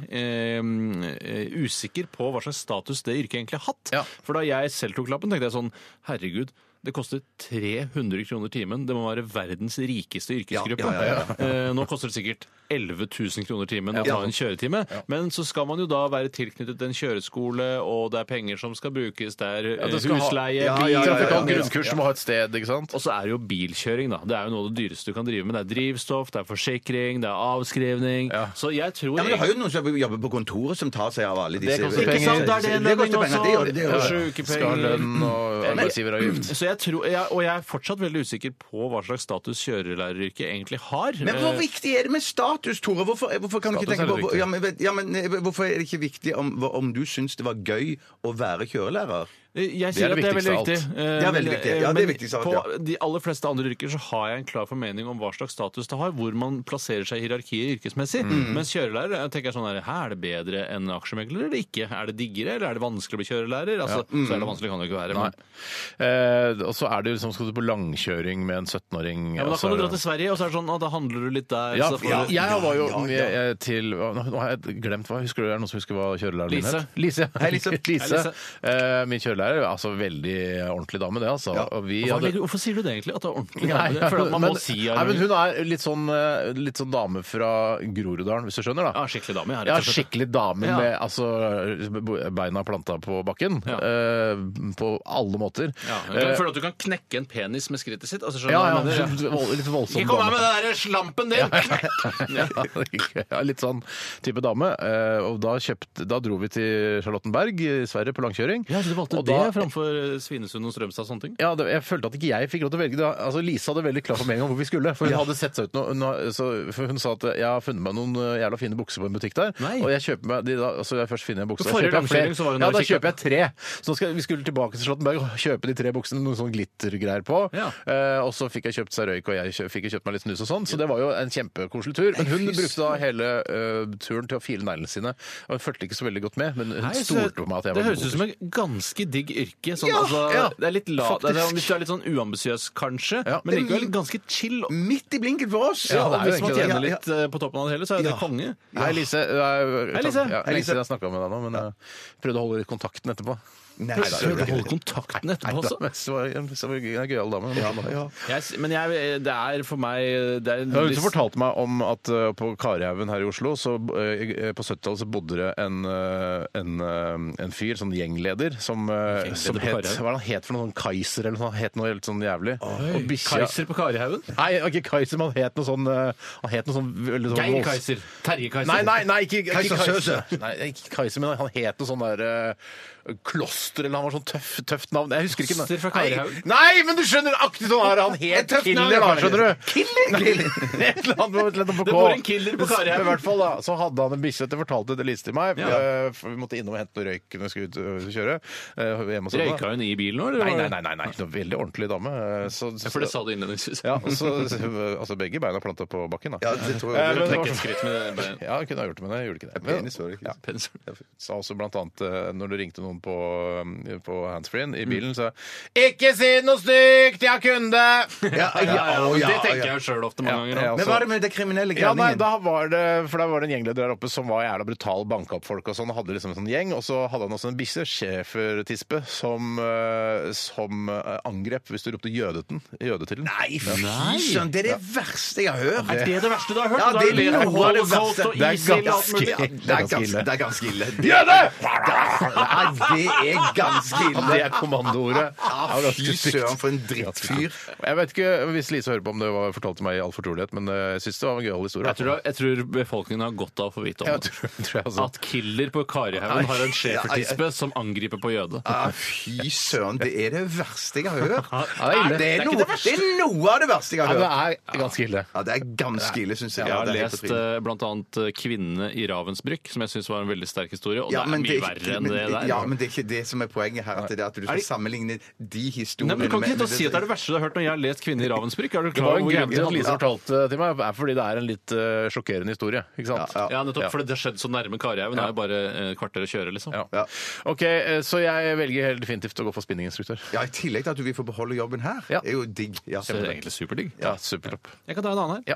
Speaker 9: eh, eh, usikker på hva slags status det yrket egentlig har hatt.
Speaker 7: Ja.
Speaker 9: For da jeg selv tok lappen, tenkte jeg sånn Herregud. Det koster 300 kroner timen. Det må være verdens rikeste yrkesgruppe.
Speaker 8: Ja, ja, ja,
Speaker 9: Eh, Nå koster det sikkert 11 000 kroner timen å ta en kjøretime. Men så skal man jo da være tilknyttet en kjøreskole, og det er penger som skal brukes der. eh,
Speaker 7: du skal ha-
Speaker 9: Husleie,
Speaker 8: Ja, ja, ja,
Speaker 9: bil
Speaker 8: ja, ja.
Speaker 7: Trafikant grunnkurs må ha et sted, ikke sant?
Speaker 9: og så er det jo bilkjøring, da. Det er jo noe av det dyreste du kan drive med. Det er drivstoff, det er forsikring, det er avskrivning. Så jeg tror
Speaker 8: Ja, men du har jo noen som jobber på kontoret som tar seg av alle disse
Speaker 7: Det koster
Speaker 9: Ikke sant? Da er det en
Speaker 8: Det
Speaker 9: lønning
Speaker 8: koster
Speaker 9: også.
Speaker 8: penger. Det gjør det. det
Speaker 9: og
Speaker 8: gjør det.
Speaker 7: Skal ha
Speaker 9: sykepenger.
Speaker 7: lønn og arbeidsgiveravgift.
Speaker 9: Så jeg tror, jeg, og jeg er fortsatt veldig usikker på hva slags status kjørelæreryrket egentlig har.
Speaker 8: Men hvor
Speaker 9: Eh,
Speaker 8: viktig er det med status, Tore? Hvorfor, hvorfor kan du ikke
Speaker 7: Status er
Speaker 8: tenke på
Speaker 7: det
Speaker 8: hvor-
Speaker 7: viktige.
Speaker 8: ja, men, vet- ja, men, eh, Hvorfor er det ikke viktig om, hva- om du syns det var gøy å være kjørelærer?
Speaker 9: Eh, Jeg
Speaker 7: Det er
Speaker 9: sier
Speaker 7: det
Speaker 9: at det er veldig
Speaker 7: viktigste av alt.
Speaker 9: viktig. Eh,
Speaker 8: Det er veldig
Speaker 9: men-
Speaker 8: viktig. Ja, det er
Speaker 9: men
Speaker 8: viktigst av alt,
Speaker 9: På de aller fleste andre yrker så har jeg en klar formening om hva slags status det har, hvor man plasserer seg i hierarkiet yrkesmessig.
Speaker 7: Mm.
Speaker 9: Mens kjørelærer jeg tenker jeg sånn her, Hæ, er det bedre enn aksjemegler eller ikke? Er det diggere, eller er det vanskelig å bli kjørelærer? Altså,
Speaker 7: Mm.
Speaker 9: Så er det vanskelig kan det jo ikke være. Men,
Speaker 7: Eh, og så er det jo liksom, skal du på langkjøring med en 17-åring
Speaker 9: ja, men da
Speaker 7: altså-
Speaker 9: kan du dra til Sverige, og så er det sånn at da handler du litt der.
Speaker 7: ja,
Speaker 9: så får
Speaker 7: ja,
Speaker 9: du-
Speaker 7: Altså, jeg var jo
Speaker 8: Ja, ja,
Speaker 7: med eh, til Nå nå har jeg glemt hva. Husker du det er noen som husker hva kjørelæreren min
Speaker 9: Lise.
Speaker 7: het? Lise.
Speaker 8: Hei, Lise.
Speaker 7: Lise.
Speaker 9: Hei, Lise.
Speaker 7: Eh, min kjørelærer. Altså veldig ordentlig dame, det, altså. Og vi
Speaker 9: Hvorfor,
Speaker 7: hadde
Speaker 9: legger- hvorfor sier du det egentlig? At det er ordentlig?
Speaker 7: Nei,
Speaker 9: dame? For at man
Speaker 7: men-
Speaker 9: må si
Speaker 7: nei, men hun er litt sånn, eh, litt sånn dame fra Groruddalen, hvis du skjønner, da.
Speaker 9: Ja, skikkelig dame. Ja, rett
Speaker 7: Ja,
Speaker 9: og slett.
Speaker 7: skikkelig dame
Speaker 9: Ja.
Speaker 7: med altså, beina planta på bakken.
Speaker 9: Ja.
Speaker 7: eh, på alle måter.
Speaker 9: Ja, du
Speaker 7: Eh,
Speaker 9: kan føle at du kan knekke en penis med skrittet sitt. Altså, skjønner du
Speaker 7: ja,
Speaker 9: hva
Speaker 7: ja,
Speaker 9: jeg mener?
Speaker 7: litt vold- litt voldsom
Speaker 9: Ikke kom her
Speaker 7: dame.
Speaker 9: med den der slampen din!
Speaker 7: ja, litt sånn type dame. Eh, Og da, kjøpt, da dro vi til Charlottenberg i Sverige på langkjøring.
Speaker 9: Ja, så du valgte
Speaker 7: Og da-
Speaker 9: det framfor eh, Svinesund og Strømstad og sånne ting?
Speaker 7: Ja, det, jeg følte at ikke jeg fikk lov til å velge. Da. Altså, Lise hadde veldig klar formening om hvor vi skulle. For hun hadde sett seg ut nå, hun, har- så, for hun sa at jeg har funnet meg noen eh, jævla fine bukser på en butikk der.
Speaker 9: Nei.
Speaker 7: Og jeg kjøper meg de da, altså, jeg først finner en bukse. da
Speaker 9: For forrige
Speaker 7: kjøper jeg flere.
Speaker 9: langkjøring så var hun
Speaker 7: ja,
Speaker 9: der
Speaker 7: da
Speaker 9: og kikket.
Speaker 7: kjøper jeg tre. Så nå skal, vi skulle tilbake til Charlottenberg og kjøpe de tre buksene med noen sånn glittergreier på.
Speaker 9: Ja.
Speaker 7: Eh, og så fikk jeg kjøpt seg røyk, og jeg kjø, fikk jeg kjøpt meg litt snus og sånn. Så det var jo en kjempekoselig tur. Men hun brukte da hele eh, turen til å file neglene sine. Og hun fulgte ikke så veldig godt med, men hun stolte på meg at jeg
Speaker 9: det
Speaker 7: var
Speaker 9: høres ut som et ganske digg yrke. Sånn,
Speaker 7: Ja,
Speaker 9: altså,
Speaker 7: ja,
Speaker 9: det er litt la, det er,
Speaker 7: faktisk.
Speaker 9: hvis du er litt sånn uambisiøs, kanskje,
Speaker 7: Ja. Mm.
Speaker 9: men likevel ganske chill. Og
Speaker 8: Midt i blinken for oss!
Speaker 7: Ja, det er jo
Speaker 9: hvis man
Speaker 7: egentlig det.
Speaker 9: tjener litt eh, på toppen av det hele, så er det
Speaker 8: Ja.
Speaker 9: konge.
Speaker 7: Hei, Lise. Det er-
Speaker 9: Hei, Lise.
Speaker 7: Ja,
Speaker 8: Hei,
Speaker 7: lenge
Speaker 8: Lise.
Speaker 7: siden jeg snakka med deg nå, men jeg prøvde å holde litt kontakten etterpå.
Speaker 8: Nei,
Speaker 9: Prøv
Speaker 8: da,
Speaker 9: prøv
Speaker 8: det
Speaker 9: å
Speaker 8: er
Speaker 9: holde
Speaker 8: greit.
Speaker 9: kontakten etterpå
Speaker 7: Altså.
Speaker 9: også.
Speaker 7: Så var jeg- så var jeg en gøyal dame.
Speaker 8: Ja, ja.
Speaker 9: Jeg, s- men jeg, eh, det er for meg det er
Speaker 7: Ja, Hun som fortalte meg om at eh, på Karihaugen her i Oslo så, eh, på 70-tallet så bodde det en, eh, en, eh, en fyr, sånn gjengleder, som, eh,
Speaker 9: Gjengleder
Speaker 7: som
Speaker 9: på
Speaker 7: het
Speaker 9: Karihaugen?
Speaker 7: Hva er det han het for noe? Sånn Kaiser eller noe? sånt? Han het noe helt sånn jævlig. Og bikkja
Speaker 9: Kaiser på Karihaugen?
Speaker 7: Nei, ikke Kaiser, men han het noe sånn eh, Han het noe sånn veldig sånn
Speaker 9: Geir
Speaker 7: volds-
Speaker 9: Kaiser. Terje Kaiser.
Speaker 7: Nei, nei, nei, ikke, ikke
Speaker 8: Kaiser
Speaker 7: Kaiser. Nei, ikke Kaiser, men han het noe sånn der eh, Kloster, eller han var sånn tøff, tøft navn. Jeg husker ikke.
Speaker 9: Kloster fra
Speaker 7: Nei,
Speaker 9: Karihaugen.
Speaker 7: Nei, men du skjønner aktig sånn her. Han
Speaker 8: Et
Speaker 7: het
Speaker 8: tøft
Speaker 7: Killer,
Speaker 8: navn,
Speaker 7: da,
Speaker 8: Karihaugen.
Speaker 7: skjønner du. Killer? Et eller annet med et eller annet på K.
Speaker 9: Det bor en killer på Karihaugen.
Speaker 7: Men I hvert fall, da. Så hadde han en bikkje. Dette fortalte det Lise til meg.
Speaker 9: Ja.
Speaker 7: Eh, for Vi måtte innom og hente noe røyk når vi skulle ut og kjøre. eh, hjemme hos henne.
Speaker 9: Røyka hun i bilen nå, eller?
Speaker 7: Nei, nei,
Speaker 9: var det-
Speaker 7: nei. nei, nei. Ikke noe veldig ordentlig dame. eh, Så, så,
Speaker 9: For det sa du innledningsvis.
Speaker 7: ja, så, altså begge beina planta på bakken, da.
Speaker 8: Ja, det tror
Speaker 7: Eh,
Speaker 8: jeg.
Speaker 7: men det var
Speaker 9: Knekk
Speaker 7: så-
Speaker 9: et skritt med bein-
Speaker 7: ja, jeg kunne ha gjort det, men jeg gjorde ikke det. Men,
Speaker 8: Penis var det ikke.
Speaker 7: ja.
Speaker 9: pensel.
Speaker 7: sa også blant annet eh, når du ringte noen på på handsfree-en i bilen, så Ikke si noe stygt, jeg har kunde!
Speaker 8: Ja, ja, å, ja,
Speaker 9: det tenker
Speaker 8: ja.
Speaker 9: jeg sjøl ofte mange
Speaker 7: Ja,
Speaker 9: ganger.
Speaker 7: ja,
Speaker 9: også.
Speaker 8: Men hva er det med det kriminelle
Speaker 7: Ja, nei,
Speaker 8: gjerningen?
Speaker 7: da var det, for da var det en gjengleder der oppe som var jævla brutal, banka opp folk og sånn. og Hadde liksom en sånn gjeng. Og så hadde han også en bikkje, schæfertispe, som, eh, som eh, angrep hvis du ropte 'jødeten'. jøde til den.
Speaker 8: Nei, fy søren! Det er det verste jeg har hørt!
Speaker 9: Er det det verste du har hørt?
Speaker 8: Ja,
Speaker 9: Da
Speaker 8: det
Speaker 9: ler
Speaker 8: er
Speaker 9: du
Speaker 8: noe av det
Speaker 9: holocaust
Speaker 8: verste.
Speaker 9: og
Speaker 7: Det er
Speaker 9: ISIL og alt
Speaker 7: ganske-
Speaker 9: mulig.
Speaker 8: Ja, det, er ganske, det er ganske ille. Det, nei, det er ganske ille!
Speaker 7: Det er kommandoordet. Det
Speaker 8: Ja,
Speaker 7: var ganske
Speaker 8: fy
Speaker 7: stygt.
Speaker 8: søren, for en drittfyr.
Speaker 7: Jeg vet ikke hvis Lise hører på om det var fortalt til meg i all fortrolighet, men eh, jeg syns det var en gøyal historie. altså.
Speaker 9: Jeg tror, jeg tror befolkningen har godt av å få vite om
Speaker 7: Jeg
Speaker 9: det.
Speaker 7: tror- tror jeg også.
Speaker 9: At killer på Karihaugen har en schæfertispe som angriper på jøde.
Speaker 8: Ja, fy søren, det er det verste jeg har hørt.
Speaker 7: det er ille.
Speaker 8: det, er noe, det er noe av det verste jeg
Speaker 7: Ja,
Speaker 8: har hørt.
Speaker 7: det er ganske ille.
Speaker 8: Ja, det er ganske ille, syns jeg.
Speaker 9: Jeg
Speaker 8: Ja,
Speaker 9: har
Speaker 8: det er helt
Speaker 9: lest
Speaker 8: på trynet.
Speaker 9: eh, blant annet 'Kvinnene i Ravensbrück', som jeg syns var en veldig sterk historie. Og
Speaker 8: Ja,
Speaker 9: det
Speaker 8: men
Speaker 9: er mye
Speaker 8: det er ikke-
Speaker 9: verre enn
Speaker 8: men-
Speaker 9: det der.
Speaker 8: Ja, men det er ikke det som er poenget her. At, det er at du skal
Speaker 9: det-
Speaker 8: sammenligne de historiene
Speaker 9: Nei, men Du kan ikke sitte og
Speaker 8: med-
Speaker 9: si at det er det verste du har hørt når jeg har lest 'Kvinner i Ravensbrück'. Er du
Speaker 7: Det
Speaker 9: klar
Speaker 7: var
Speaker 9: over
Speaker 7: en
Speaker 9: hvor
Speaker 7: grunn til
Speaker 9: jævlig
Speaker 7: at
Speaker 9: det
Speaker 7: Lise
Speaker 9: er?
Speaker 7: fortalte til meg, er fordi det er en litt eh, sjokkerende historie. ikke sant?
Speaker 8: Ja.
Speaker 9: Ja, nettopp. For det har skjedd så nærme Karihaugen. Det er jo bare eh, kvarter å kjøre, liksom.
Speaker 7: Ja.
Speaker 8: Ja.
Speaker 7: OK, eh, så jeg velger helt definitivt å gå for spinninginstruktør.
Speaker 8: Ja, I tillegg til at du vil få beholde jobben her.
Speaker 7: Ja.
Speaker 8: er jo digg. Ja.
Speaker 9: Så det er egentlig superdigg.
Speaker 7: Ja, supertopp.
Speaker 9: Jeg kan ta en annen
Speaker 7: Ja.
Speaker 9: her.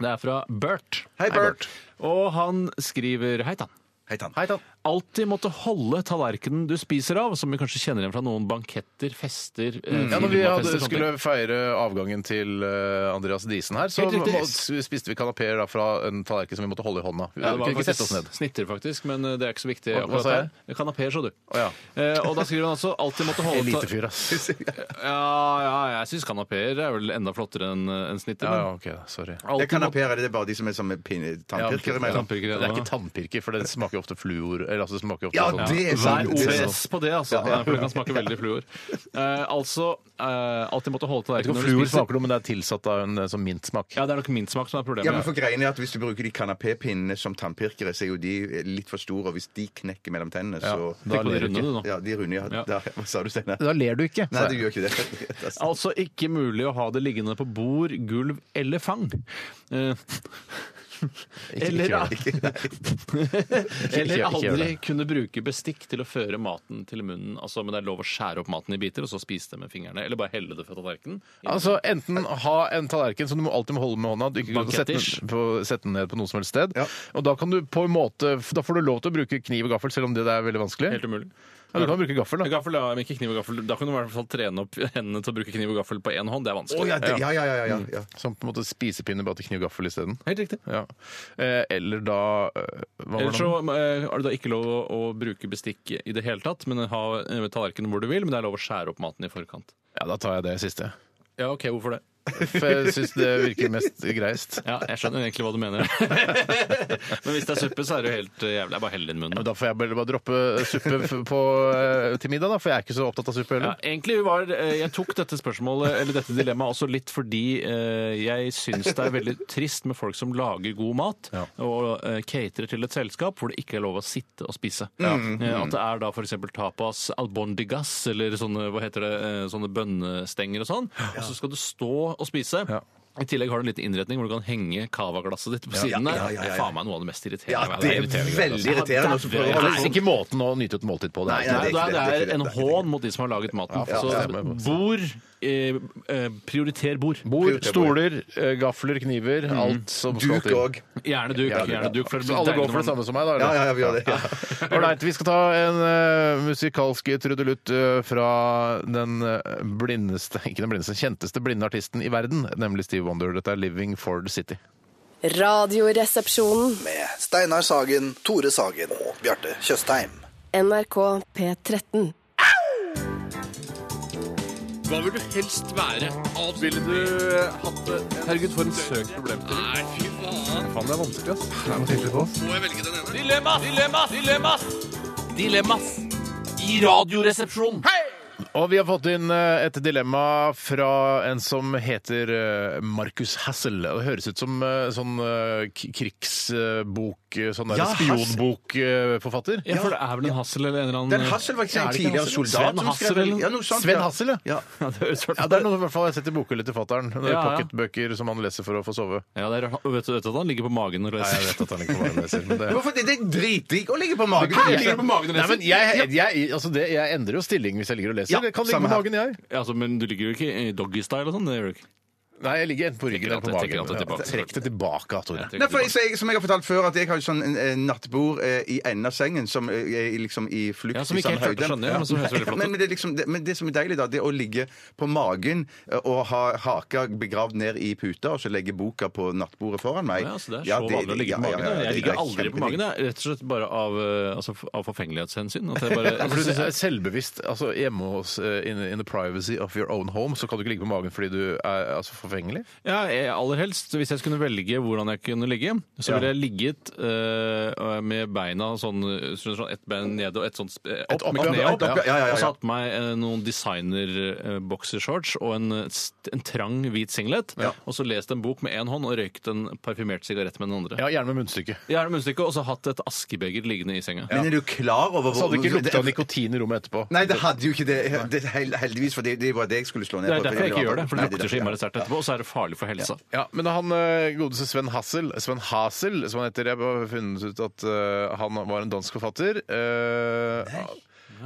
Speaker 9: Det er fra Bert.
Speaker 8: Hei, Bert.
Speaker 9: Og han skriver Hei tann.
Speaker 8: Hei, Tann.
Speaker 7: Hei tann.
Speaker 9: Alltid måtte holde tallerkenen du spiser av, som vi kanskje kjenner igjen fra noen banketter, fester eh,
Speaker 7: Mm. Ja, når vi hadde,
Speaker 9: firmafester, sånne
Speaker 7: skulle
Speaker 9: ting.
Speaker 7: feire avgangen til eh, Andreas Diesen her, så
Speaker 9: Helt riktig.
Speaker 7: må, spiste vi kanapeer fra en tallerken som vi måtte holde i hånda. Vi
Speaker 9: ja, det
Speaker 7: kunne
Speaker 9: var
Speaker 7: ikke sette oss ned.
Speaker 9: faktisk snitter, faktisk, men eh, det er ikke så viktig.
Speaker 7: Hva- hva
Speaker 9: akkurat
Speaker 7: sa jeg?
Speaker 9: her. Kanapeer, så du.
Speaker 7: Å,
Speaker 9: Eh, og da skriver han altså alltid måtte holde ta-
Speaker 7: Elitefyr, ass.
Speaker 9: Ja, ja, jeg syns kanapeer er vel enda flottere enn eh, enn snitter.
Speaker 7: Ja, ja,
Speaker 9: men
Speaker 7: OK, da, sorry.
Speaker 8: Jeg
Speaker 9: alltid
Speaker 8: kan
Speaker 9: måtte-
Speaker 8: appellere, det er bare de som er som pinne- tannpirkere
Speaker 9: Ja,
Speaker 8: imellom.
Speaker 9: tannpirkere,
Speaker 7: Det er
Speaker 9: ja.
Speaker 7: ikke tannpirker, for det smaker jo ofte fluor. Eller altså, det smaker ofte
Speaker 8: Ja,
Speaker 7: sånn-
Speaker 8: det er
Speaker 9: Vær
Speaker 8: sant. Det er sant.
Speaker 9: OBS på det, altså. For det kan smake veldig fluor. Eh, altså, eh, alltid måtte holde
Speaker 7: Jeg vet ikke om
Speaker 9: tallerkenen når du
Speaker 7: fluor
Speaker 9: spiser.
Speaker 7: smaker noe, men det er tilsatt av en eh, sånn mintsmak.
Speaker 9: Ja, det er nok min smak som er problemet.
Speaker 8: Ja, men for greien er at Hvis du bruker de kanapépinnene som tannpirkere, så er jo de litt for store. Og hvis de knekker mellom tennene, så
Speaker 7: da
Speaker 9: Tenk på de
Speaker 7: ler du
Speaker 9: runde,
Speaker 7: ikke.
Speaker 9: du, nå.
Speaker 8: Ja, de runder ja.
Speaker 9: Ja.
Speaker 8: Da- Hva sa du, Steinar?
Speaker 7: Da ler du ikke.
Speaker 8: Nei, du gjør ikke det.
Speaker 9: Altså ikke mulig å ha det liggende på bord, gulv eller fang. Eh,
Speaker 7: ikke
Speaker 9: Eller,
Speaker 7: gjør
Speaker 9: eller
Speaker 7: ikke gjør
Speaker 9: aldri
Speaker 7: det.
Speaker 9: kunne bruke bestikk til å føre maten til munnen. Altså, men det er lov å skjære opp maten i biter og så spise det med fingrene. Eller bare helle det fra tallerkenen.
Speaker 7: Altså, Enten ha en tallerken som du må alltid må holde med hånda, du ikke kan sette
Speaker 9: Bankettisj.
Speaker 7: den, på, sette den ned på noe som helst sted.
Speaker 8: Ja.
Speaker 7: Og da kan du på en måte, da får du lov til å bruke kniv og gaffel, selv om det der er veldig vanskelig.
Speaker 9: Helt umulig.
Speaker 7: Ja, du kan bruke gaffel, da.
Speaker 9: Gaffel, ja, men ikke kniv og gaffel. Da kan du i hvert fall trene opp hendene til å bruke kniv og gaffel på én hånd. Det er vanskelig.
Speaker 8: Å, ja, det- ja, ja, ja, ja,
Speaker 9: Mm.
Speaker 8: ja.
Speaker 7: Som på en måte spisepinne, bare til kniv og gaffel isteden.
Speaker 9: Helt riktig.
Speaker 7: Ja. Eh, eller da eh, hva var
Speaker 9: Ellers
Speaker 7: det
Speaker 9: så
Speaker 7: nå?
Speaker 9: eh, har du da ikke lov å, å bruke bestikk i det hele tatt, men ha eh, tallerkenen hvor du vil, men det er lov å skjære opp maten i forkant.
Speaker 7: Ja, da tar jeg det siste.
Speaker 9: Ja, ok, hvorfor det?
Speaker 7: For jeg syns det virker mest greist.
Speaker 9: Ja, jeg skjønner egentlig hva du mener. men hvis det er suppe, så er det jo helt eh, jævlig. Det er bare å helle det i
Speaker 7: Men
Speaker 9: munnen.
Speaker 7: Da får jeg bare, bare droppe suppe f- på, eh, til middag, da, for jeg er ikke så opptatt av suppe
Speaker 9: Ja,
Speaker 7: heller.
Speaker 9: egentlig var eh, Jeg tok dette spørsmålet, eller dette dilemmaet også litt fordi eh, jeg syns det er veldig trist med folk som lager god mat
Speaker 7: Ja.
Speaker 9: og eh, caterer til et selskap hvor det ikke er lov å sitte og spise. Eh,
Speaker 8: Mm.
Speaker 9: At det er da f.eks. tapas albondigas eller sånne, hva heter det, eh, sånne bønnestenger og sånn, og så skal du stå og spise.
Speaker 7: Ja.
Speaker 9: I tillegg har du en liten innretning hvor du kan henge cava-glasset ditt på
Speaker 8: Ja,
Speaker 9: siden der.
Speaker 8: ja, ja, ja, ja.
Speaker 9: Faen meg noe av det mest
Speaker 8: Ja,
Speaker 9: irriterende. jeg vet.
Speaker 8: det er
Speaker 9: irriterende greier, altså.
Speaker 8: veldig irriterende. og så prøver
Speaker 9: Ja,
Speaker 8: du å
Speaker 7: Det
Speaker 8: holde
Speaker 7: er ikke måten å nyte et måltid på. Det er
Speaker 8: Nei, nei,
Speaker 9: Nei,
Speaker 7: ikke
Speaker 8: det
Speaker 7: det.
Speaker 9: det,
Speaker 8: er ikke det, det er ikke
Speaker 9: er,
Speaker 8: det,
Speaker 9: en
Speaker 8: det er ikke
Speaker 9: hån mot de som har laget maten.
Speaker 7: Ja,
Speaker 9: så
Speaker 7: ja, det må jeg bare si.
Speaker 9: bord eh, eh, Prioriter bord.
Speaker 7: Bord, stoler, eh, gafler, kniver, alt som skal
Speaker 8: Duk
Speaker 7: til.
Speaker 8: òg.
Speaker 9: Gjerne duk. Gjerne duk for det
Speaker 7: Så
Speaker 9: blir
Speaker 7: alle
Speaker 9: deilig
Speaker 7: går for
Speaker 9: når
Speaker 7: det
Speaker 9: man-
Speaker 7: samme som meg, da?
Speaker 8: Ja, ja, ja, vi gjør det. Ja.
Speaker 7: Ålreit, vi skal ta en eh, musikalsk trudelutt eh, fra den eh, blindeste, ikke den blindeste, kjenteste blinde artisten i verden, nemlig Steve Wonder. Dette er 'Living for the City'.
Speaker 3: Radioresepsjonen.
Speaker 4: med Steinar Sagen, Tore Sagen og Bjarte Tjøstheim.
Speaker 3: NRK P13.
Speaker 9: Hva vil du helst være? Ville du eh, hatt det? Herregud, for en søk problem til. Nei, fy faen.
Speaker 7: Faen, det er vanskelig, ass.
Speaker 9: Må jeg velge den ene? Dilemmas! Dilemmas! Dilemmas! Dilemmas! I Radioresepsjonen!
Speaker 7: Og vi har fått inn eh, et dilemma fra en som heter eh, Markus Hassel. Det høres ut som eh, sånn eh, k- krigsbok, eh, sånn der eh,
Speaker 8: Ja,
Speaker 7: spionbokforfatter.
Speaker 9: Ja, for det er vel en Hassel eller en eller annen
Speaker 8: Den Hassel var ikke en
Speaker 9: Er det
Speaker 8: tidligere
Speaker 9: Hassel?
Speaker 8: soldat
Speaker 9: Sven
Speaker 8: som skrev-
Speaker 9: Hassel eller
Speaker 8: Ja, noe sånt,
Speaker 7: Sven
Speaker 8: ja.
Speaker 7: Hassel, ja.
Speaker 8: Ja.
Speaker 9: Ja, det høres
Speaker 7: Ja, Det er noe i hvert fall jeg har sett i bokhyllet til fatter'n. Ja,
Speaker 9: Ja, ja.
Speaker 7: Pocketbøker som han leser for å få sove.
Speaker 9: Ja, det er, vet, du, vet du at han ligger på magen og
Speaker 7: Nei,
Speaker 9: leser?
Speaker 7: jeg vet at han ikke bare leser, men det
Speaker 8: Hvorfor det, det er dritdigg å ligge på magen?
Speaker 9: Hæ, ligger du på magen og
Speaker 7: Nei,
Speaker 9: leser?
Speaker 7: men jeg, jeg, altså det, jeg endrer jo stilling hvis jeg ligger og leser.
Speaker 8: Ja,
Speaker 7: jeg kan ligge
Speaker 8: samme
Speaker 7: på
Speaker 8: her.
Speaker 7: magen, jeg.
Speaker 9: Altså, men du ligger jo ikke i doggystyle og sånn? Det gjør du ikke.
Speaker 7: Nei, jeg ligger enten på ryggen eller
Speaker 9: Trekker
Speaker 7: på
Speaker 9: alt- trekker
Speaker 7: magen.
Speaker 9: alt det tilbake.
Speaker 7: Ja, Trekk det tilbake, Tore.
Speaker 9: Jeg trekker
Speaker 8: Nei, for jeg,
Speaker 9: tilbake.
Speaker 8: så jeg, som jeg har fortalt før, at jeg har jo sånn eh, nattbord eh, i enden av sengen som eh, er liksom i flukt.
Speaker 9: Ja, som ikke
Speaker 8: i samme
Speaker 9: helt
Speaker 8: høyde.
Speaker 9: klarte å skjønne, ja, men som høres veldig flott ut.
Speaker 8: men, men, det er liksom, det, men det som er deilig, da, det er å ligge på magen eh, og ha haka begravd ned i puta, og så legge boka på nattbordet foran meg.
Speaker 9: Ja, altså, det er så
Speaker 8: Ja,
Speaker 9: vanlig å ligge på
Speaker 8: ja, ja, ja,
Speaker 9: magen. jeg
Speaker 8: det
Speaker 9: ligger
Speaker 8: er
Speaker 9: aldri på
Speaker 8: kjempedigg.
Speaker 9: magen, jeg. rett og slett bare av, eh, altså, av forfengelighetshensyn. At jeg bare,
Speaker 7: Ja,
Speaker 8: Altså,
Speaker 7: for du er selvbevisst. altså Hjemme hos eh, in, in the privacy of your own home så kan du ikke ligge på magen fordi du er altså, forfengelig.
Speaker 9: Ja, jeg- aller helst. Hvis jeg skulle velge hvordan jeg kunne ligge, så ville jeg ligget eh, med beina sånn, sånn sånn ett bein nede og ett sånt eh, opp,
Speaker 7: Et opp,
Speaker 9: med
Speaker 7: ja,
Speaker 9: kneet
Speaker 7: et
Speaker 9: opp.
Speaker 8: opp, ja, ja, ja, ja.
Speaker 9: Og satt meg eh, noen designer-boksershorts og en, eh, st- en trang hvit singlet. Og så lest en bok med én hånd og røykt en parfymert sigarett med den andre.
Speaker 7: Ja, Gjerne med munnstykke.
Speaker 9: Gjerne munnstykke, og så hatt et askebeger liggende i senga.
Speaker 8: Men er du klar over
Speaker 7: Så hadde du ikke lukta
Speaker 8: det-
Speaker 7: nikotin i rommet etterpå.
Speaker 8: Nei, det hadde jo ikke det. det hel- heldigvis, for det, det var det jeg skulle slå ned
Speaker 9: Det
Speaker 8: på.
Speaker 9: er derfor jeg ikke gjør det, for
Speaker 8: Nei,
Speaker 9: det lukter så
Speaker 8: derfor-
Speaker 9: innmari sterkt etterpå, og så er det farlig for helsa.
Speaker 7: Ja, Men han eh, godeste Sven Hassel, Sven Hasel, som han heter Jeg har funnet ut at eh, han var en dansk forfatter. Eh,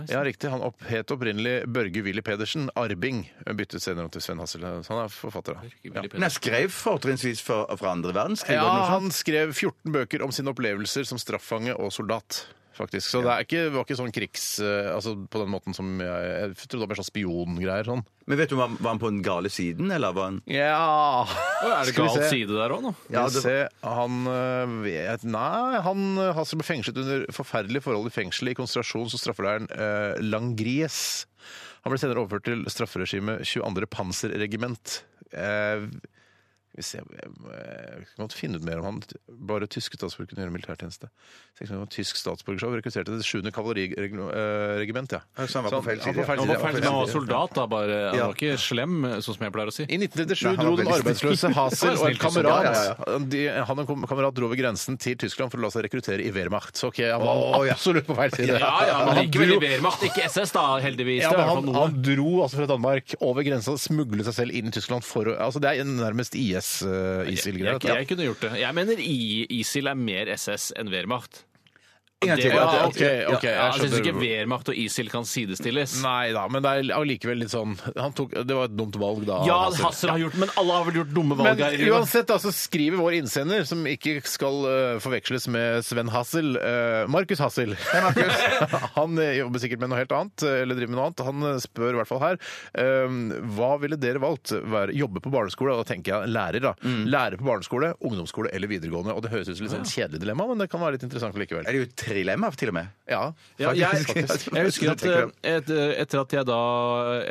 Speaker 7: ja, riktig. Han opp, het opprinnelig Børge Willy Pedersen. Arving. Byttet senere om til Sven Hassel. eh, Så han er forfatter, da. Ja.
Speaker 8: Men jeg skrev fortrinnsvis for, for andre verdenskrig.
Speaker 7: Ja,
Speaker 8: var det noe sånt?
Speaker 7: han skrev 14 bøker om sine opplevelser som straffange og soldat. Faktisk. Så det er ikke, var ikke sånn krigs... eh, altså På den måten som jeg, jeg trodde det var sånn spiongreier. Sånn.
Speaker 8: Men vet du, om han- var han på den gale siden, eller var han
Speaker 7: Ja
Speaker 9: Og Er det gal side der òg, nå?
Speaker 7: Ja,
Speaker 8: Ja,
Speaker 7: det...
Speaker 8: det-
Speaker 7: se, han øh, vet Nei, han øh, har seg fengslet under forferdelige forhold i fengselet i konsentrasjons- og straffeleiren øh, Langries. Han ble senere overført til strafferegimet 22. panserregiment. Eh, skal vi se Jeg jeg kan godt finne ut mer om han. Bare tyske statsborgere kunne gjøre militærtjeneste. Så jeg kan ha tysk statsborgerskap rekrutterte til det 7. kavaleriregiment, ja.
Speaker 8: Ja, så han var på feil side,
Speaker 7: Han, var på feil
Speaker 8: ja.
Speaker 7: side,
Speaker 9: Han var,
Speaker 7: ja.
Speaker 9: feil, men han var soldat, da. Bare, eh, han
Speaker 8: Ja.
Speaker 9: var ikke slem, sånn som jeg pleier å si.
Speaker 7: I 1937
Speaker 8: Nei, han
Speaker 7: dro
Speaker 8: var
Speaker 7: den
Speaker 8: veldig
Speaker 7: arbeidsløse Hazel
Speaker 9: Han
Speaker 7: og
Speaker 9: var
Speaker 7: en
Speaker 9: snill til
Speaker 7: kamerat
Speaker 8: soldat. Ja,
Speaker 7: De, Han og en kamerat dro over grensen til Tyskland for å la seg rekruttere i Wehrmacht. Så ok, han var
Speaker 8: Å, ja.
Speaker 7: absolutt på feil side.
Speaker 9: Ja, ja, men
Speaker 7: Han
Speaker 9: likevel i
Speaker 7: dro-
Speaker 9: Wehrmacht, ikke SS, da, heldigvis.
Speaker 7: ja,
Speaker 9: det
Speaker 7: men
Speaker 9: er i hvert
Speaker 7: han,
Speaker 9: fall noe.
Speaker 7: han dro altså fra Danmark over grensa og smuglet seg selv inn i Tyskland for å altså Det er en nærmest eh, IS-ISIL-greie.
Speaker 9: Jeg, jeg kunne gjort det. Jeg mener I- ISIL er mer SS enn Wehrmacht.
Speaker 8: En gang til.
Speaker 9: Det-
Speaker 7: ja,
Speaker 9: ja,
Speaker 7: ok, ok,
Speaker 9: Ja,
Speaker 7: jeg
Speaker 9: jeg syns ikke
Speaker 7: skjønner.
Speaker 9: Wehrmacht og ISIL kan sidestilles.
Speaker 7: Nei da, men det er allikevel litt sånn han tok, Det var et dumt valg, da.
Speaker 9: Ja,
Speaker 7: Hazel.
Speaker 9: Hasser har gjort men alle har vel gjort dumme valg
Speaker 7: Men
Speaker 9: her. i livet.
Speaker 7: uansett, altså, skriver vår innsender, som ikke skal eh, forveksles med Sven Hassel, eh, Markus Hassel Han eh, jobber sikkert med noe helt annet, eh, eller driver med noe annet. Han eh, spør i hvert fall her eh, hva ville dere valgt? Være, jobbe på barneskole? Og da tenker jeg lærer, da. Lærer på barneskole, ungdomsskole eller videregående. Og det høres ut som litt sånn kjedelig dilemma, men det kan være litt interessant
Speaker 8: Er
Speaker 7: likevel.
Speaker 8: det jo et trilemma, til og med?
Speaker 7: Ja,
Speaker 9: Ja, jeg,
Speaker 7: faktisk, faktisk.
Speaker 9: jeg husker at
Speaker 8: tenker
Speaker 9: eh, et, etter at jeg da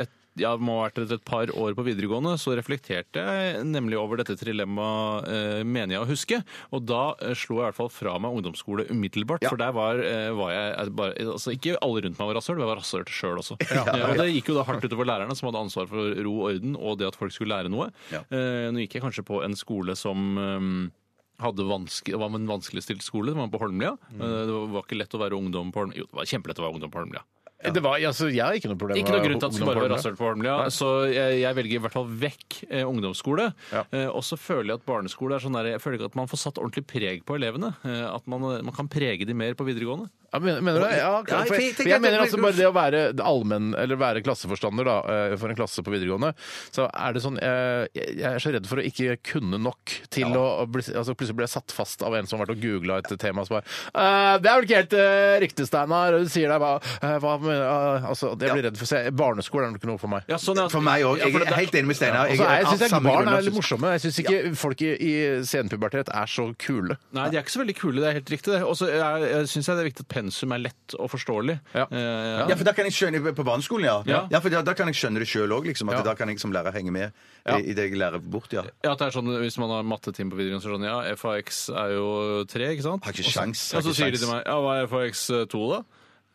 Speaker 9: et, ja, det må ha vært et, et par år på videregående, så reflekterte jeg nemlig over dette trilemmaet, eh, mener jeg å huske. Og da eh, slo jeg i hvert fall fra meg ungdomsskole umiddelbart, for der var, eh, var jeg eh, bare altså, Ikke alle rundt meg var rasshøl, men jeg var rasshøl sjøl også. Eh, Og det gikk jo da hardt utover lærerne, som hadde ansvar for ro og orden, og det at folk skulle lære noe. Eh, Nå gikk jeg kanskje på en skole som eh, hadde vanske, det var en vanskeligstilt skole. Det var på Holmlia. Eh, Det var ikke lett å være ungdom på Holmlia. Jo, det var kjempelett å være ungdom på Holmlia.
Speaker 7: Det var, altså, jeg har ikke noe problem
Speaker 9: Ikke noe
Speaker 7: med
Speaker 9: grunn til at det skulle
Speaker 7: ungdom
Speaker 9: bare være
Speaker 7: på
Speaker 9: rasshøl på Holmlia. Så jeg, jeg velger i hvert fall vekk eh, ungdomsskole.
Speaker 7: Ja.
Speaker 9: Eh, og så føler jeg at barneskole er sånn der, jeg føler ikke at man får satt ordentlig preg på elevene. Eh, at man, man kan prege de mer på videregående.
Speaker 7: Ja, men- mener du det? Ja,
Speaker 8: Ja,
Speaker 7: for, for jeg,
Speaker 8: jeg tenker at-
Speaker 7: mener altså bare det å være allmenn, eller være klasseforstander da, eh, for en klasse på videregående, så er det sånn eh, Jeg jeg er så redd for å ikke kunne nok til å å bli, altså Plutselig blir jeg satt fast av en som har vært og googla et tema som bare eh, Det er vel ikke helt eh, riktig, Steinar. Du sier deg hva, eh, hva med, eh, altså, Jeg blir redd for å se. Barneskole er nok ikke noe for meg.
Speaker 9: Ja, sånn, ja.
Speaker 8: For meg òg.
Speaker 9: Ja,
Speaker 8: Jeg
Speaker 9: for
Speaker 8: er
Speaker 9: det-
Speaker 8: helt enig med Steinar.
Speaker 7: Altså, jeg syns
Speaker 8: av samme
Speaker 7: barn
Speaker 8: grunner,
Speaker 7: er litt
Speaker 8: synes-
Speaker 7: morsomme. Jeg syns ikke folk i, i senpubertet er så kule.
Speaker 9: Nei, de er ikke så veldig kule. Det er helt riktig. det. Og så er- jeg syns jeg det er viktig at pensum er lett og forståelig.
Speaker 7: Ja.
Speaker 9: Eh,
Speaker 8: Ja, for da kan jeg skjønne På barneskolen, ja.
Speaker 9: Ja.
Speaker 8: ja. for da, da kan jeg skjønne det sjøl òg, liksom. At
Speaker 7: Ja.
Speaker 8: Da kan jeg som lærer henge med i- i det jeg lærer bort, ja.
Speaker 9: Ja, at det er sånn, Hvis man har mattetime på videregående, så er det sånn Ja, FAX er jo tre, ikke sant?
Speaker 8: Har ikke
Speaker 9: Og så-
Speaker 8: sjans, har
Speaker 9: Og så
Speaker 8: ikke
Speaker 9: sier de
Speaker 8: sjans.
Speaker 9: til meg Ja, hva er FAX 2, da?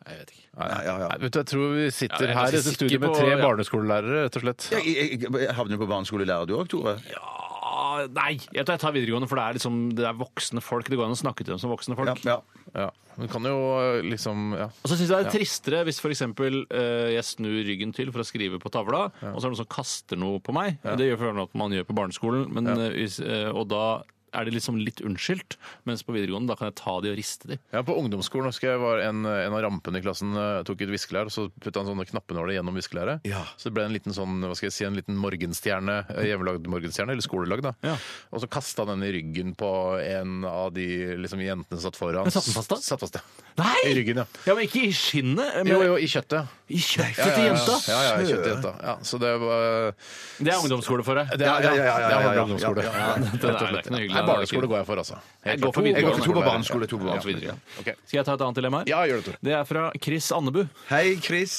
Speaker 9: Jeg vet ikke.
Speaker 8: Nei, ja, ja.
Speaker 7: Nei, vet du, Jeg tror vi sitter
Speaker 9: Ja, jeg er
Speaker 7: her i
Speaker 9: ganske
Speaker 7: dette
Speaker 9: sikker
Speaker 7: studiet med
Speaker 9: på-
Speaker 7: tre
Speaker 9: ja.
Speaker 7: barneskolelærere, rett og slett.
Speaker 8: Jeg, jeg, jeg havner på barneskolelærer du òg, Tore?
Speaker 9: Ah, nei! Jeg tror jeg tar videregående, for det er liksom det er voksne folk. Det går an å snakke til dem som voksne folk.
Speaker 8: Ja, ja.
Speaker 7: Ja. Du kan jo eh, liksom ja.
Speaker 9: Og så syns jeg det er tristere hvis f.eks. Uh, jeg snur ryggen til for å skrive på tavla, og så er det noen som kaster noe på meg. Det gjør for at man gjør på barneskolen, men, eh, hvis, eh, og da er det liksom litt unnskyldt, mens på videregående da kan jeg ta de og riste de.
Speaker 7: Ja, På ungdomsskolen husker jeg var en, en av rampene i klassen eh, tok et viskelær, og så putta han sånne knappenåler gjennom viskelæret.
Speaker 8: Ja.
Speaker 7: Så det ble en liten sånn, hva skal jeg si, en liten morgenstjerne, eh, hjemmelagd morgenstjerne, eller skolelag, da.
Speaker 9: Ja.
Speaker 7: Og så kasta han den i ryggen på en av de liksom, jentene som satt foran.
Speaker 9: Men satt den fast da?
Speaker 7: Satt fast, ja.
Speaker 9: Nei!
Speaker 7: I ryggen, ja.
Speaker 9: Ja, men ikke i skinnet, men
Speaker 7: Jo, jo, i kjøttet.
Speaker 9: i kjøttet
Speaker 7: Ja, ja,
Speaker 9: til jenta.
Speaker 7: Ja, ja, ja, i kjøttet til jenta. Ja, så det var
Speaker 9: Det er ungdomsskole for deg.
Speaker 7: det er,
Speaker 8: ja, ja, ja, ja,
Speaker 7: det
Speaker 8: ja,
Speaker 7: var
Speaker 8: ja.
Speaker 7: ungdomsskole.
Speaker 8: Ja,
Speaker 9: ja. Det er- det er ikke noe hyggelig.
Speaker 7: Nei, barneskole går jeg for, altså.
Speaker 9: Jeg går for
Speaker 7: klart.
Speaker 9: videregående.
Speaker 8: Jeg går for to på barneskole, to på
Speaker 9: Ja, så
Speaker 8: barneskole.
Speaker 9: videre.
Speaker 7: Ok.
Speaker 9: Skal jeg ta et annet dilemma her?
Speaker 7: Ja, gjør det, Tore.
Speaker 9: Det er fra Chris Andebu.
Speaker 8: Hei, Chris.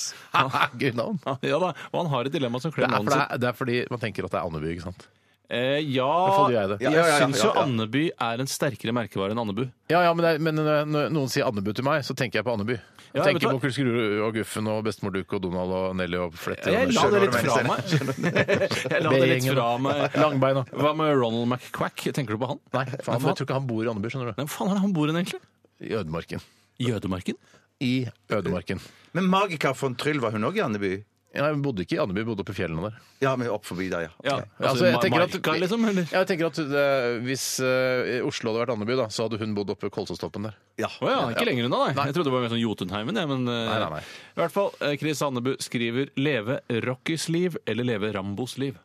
Speaker 7: Gøy navn.
Speaker 9: Ja da, og han har et dilemma som
Speaker 7: Ah. Det
Speaker 9: kler
Speaker 7: er, for
Speaker 9: navnet
Speaker 7: det,
Speaker 9: sitt.
Speaker 7: er, det er fordi man tenker at det er Andeby, ikke sant?
Speaker 9: Eh, ja,
Speaker 7: Iallfall gjør jeg det.
Speaker 8: Ja, ja, ja, ja,
Speaker 9: syns
Speaker 8: ja,
Speaker 9: jo
Speaker 8: ja.
Speaker 9: Andeby er en sterkere merkevare enn Andebu.
Speaker 7: Ja, ja, men, det, er- men eh, når noen sier Andebu til meg, så tenker jeg på Andeby. Jeg
Speaker 9: Ja, vet
Speaker 7: tenker
Speaker 9: du
Speaker 7: på Kulskerud og Guffen og Bestemor Duck og Donald og Nelly og Flette.
Speaker 9: Jeg la
Speaker 7: og
Speaker 9: det litt fra meg. Jeg la det litt
Speaker 7: B-gjengen.
Speaker 9: fra meg.
Speaker 7: Langbein og
Speaker 9: Hva med Ronald McQuack? Tenker du på han?
Speaker 7: Nei, faen, jeg tror ikke han bor i Andeby, skjønner du.
Speaker 9: Hvem faen er det han bor hen, egentlig?
Speaker 7: I ødemarken.
Speaker 9: Jødemarken?
Speaker 7: I ødemarken.
Speaker 8: Men Magica von Tryll, var hun òg i Andeby?
Speaker 7: Jeg bodde ikke i Andeby, jeg bodde oppe i fjellene der.
Speaker 8: Ja, men opp forbi der, ja.
Speaker 9: Ja,
Speaker 7: Altså, jeg tenker at-
Speaker 9: Marka, liksom? Eller?
Speaker 7: Jeg tenker at det, Hvis eh, Oslo hadde vært Andeby, da, så hadde hun bodd oppe ved Kolsåstoppen der.
Speaker 8: ja.
Speaker 9: Å ja, ikke lenger unna, nei. Jeg trodde det var mer sånn Jotunheimen. jeg, men eh,
Speaker 7: Nei, nei, nei.
Speaker 9: I hvert fall, eh, Chris Andebu skriver 'Leve Rockys liv' eller 'Leve Rambos liv'.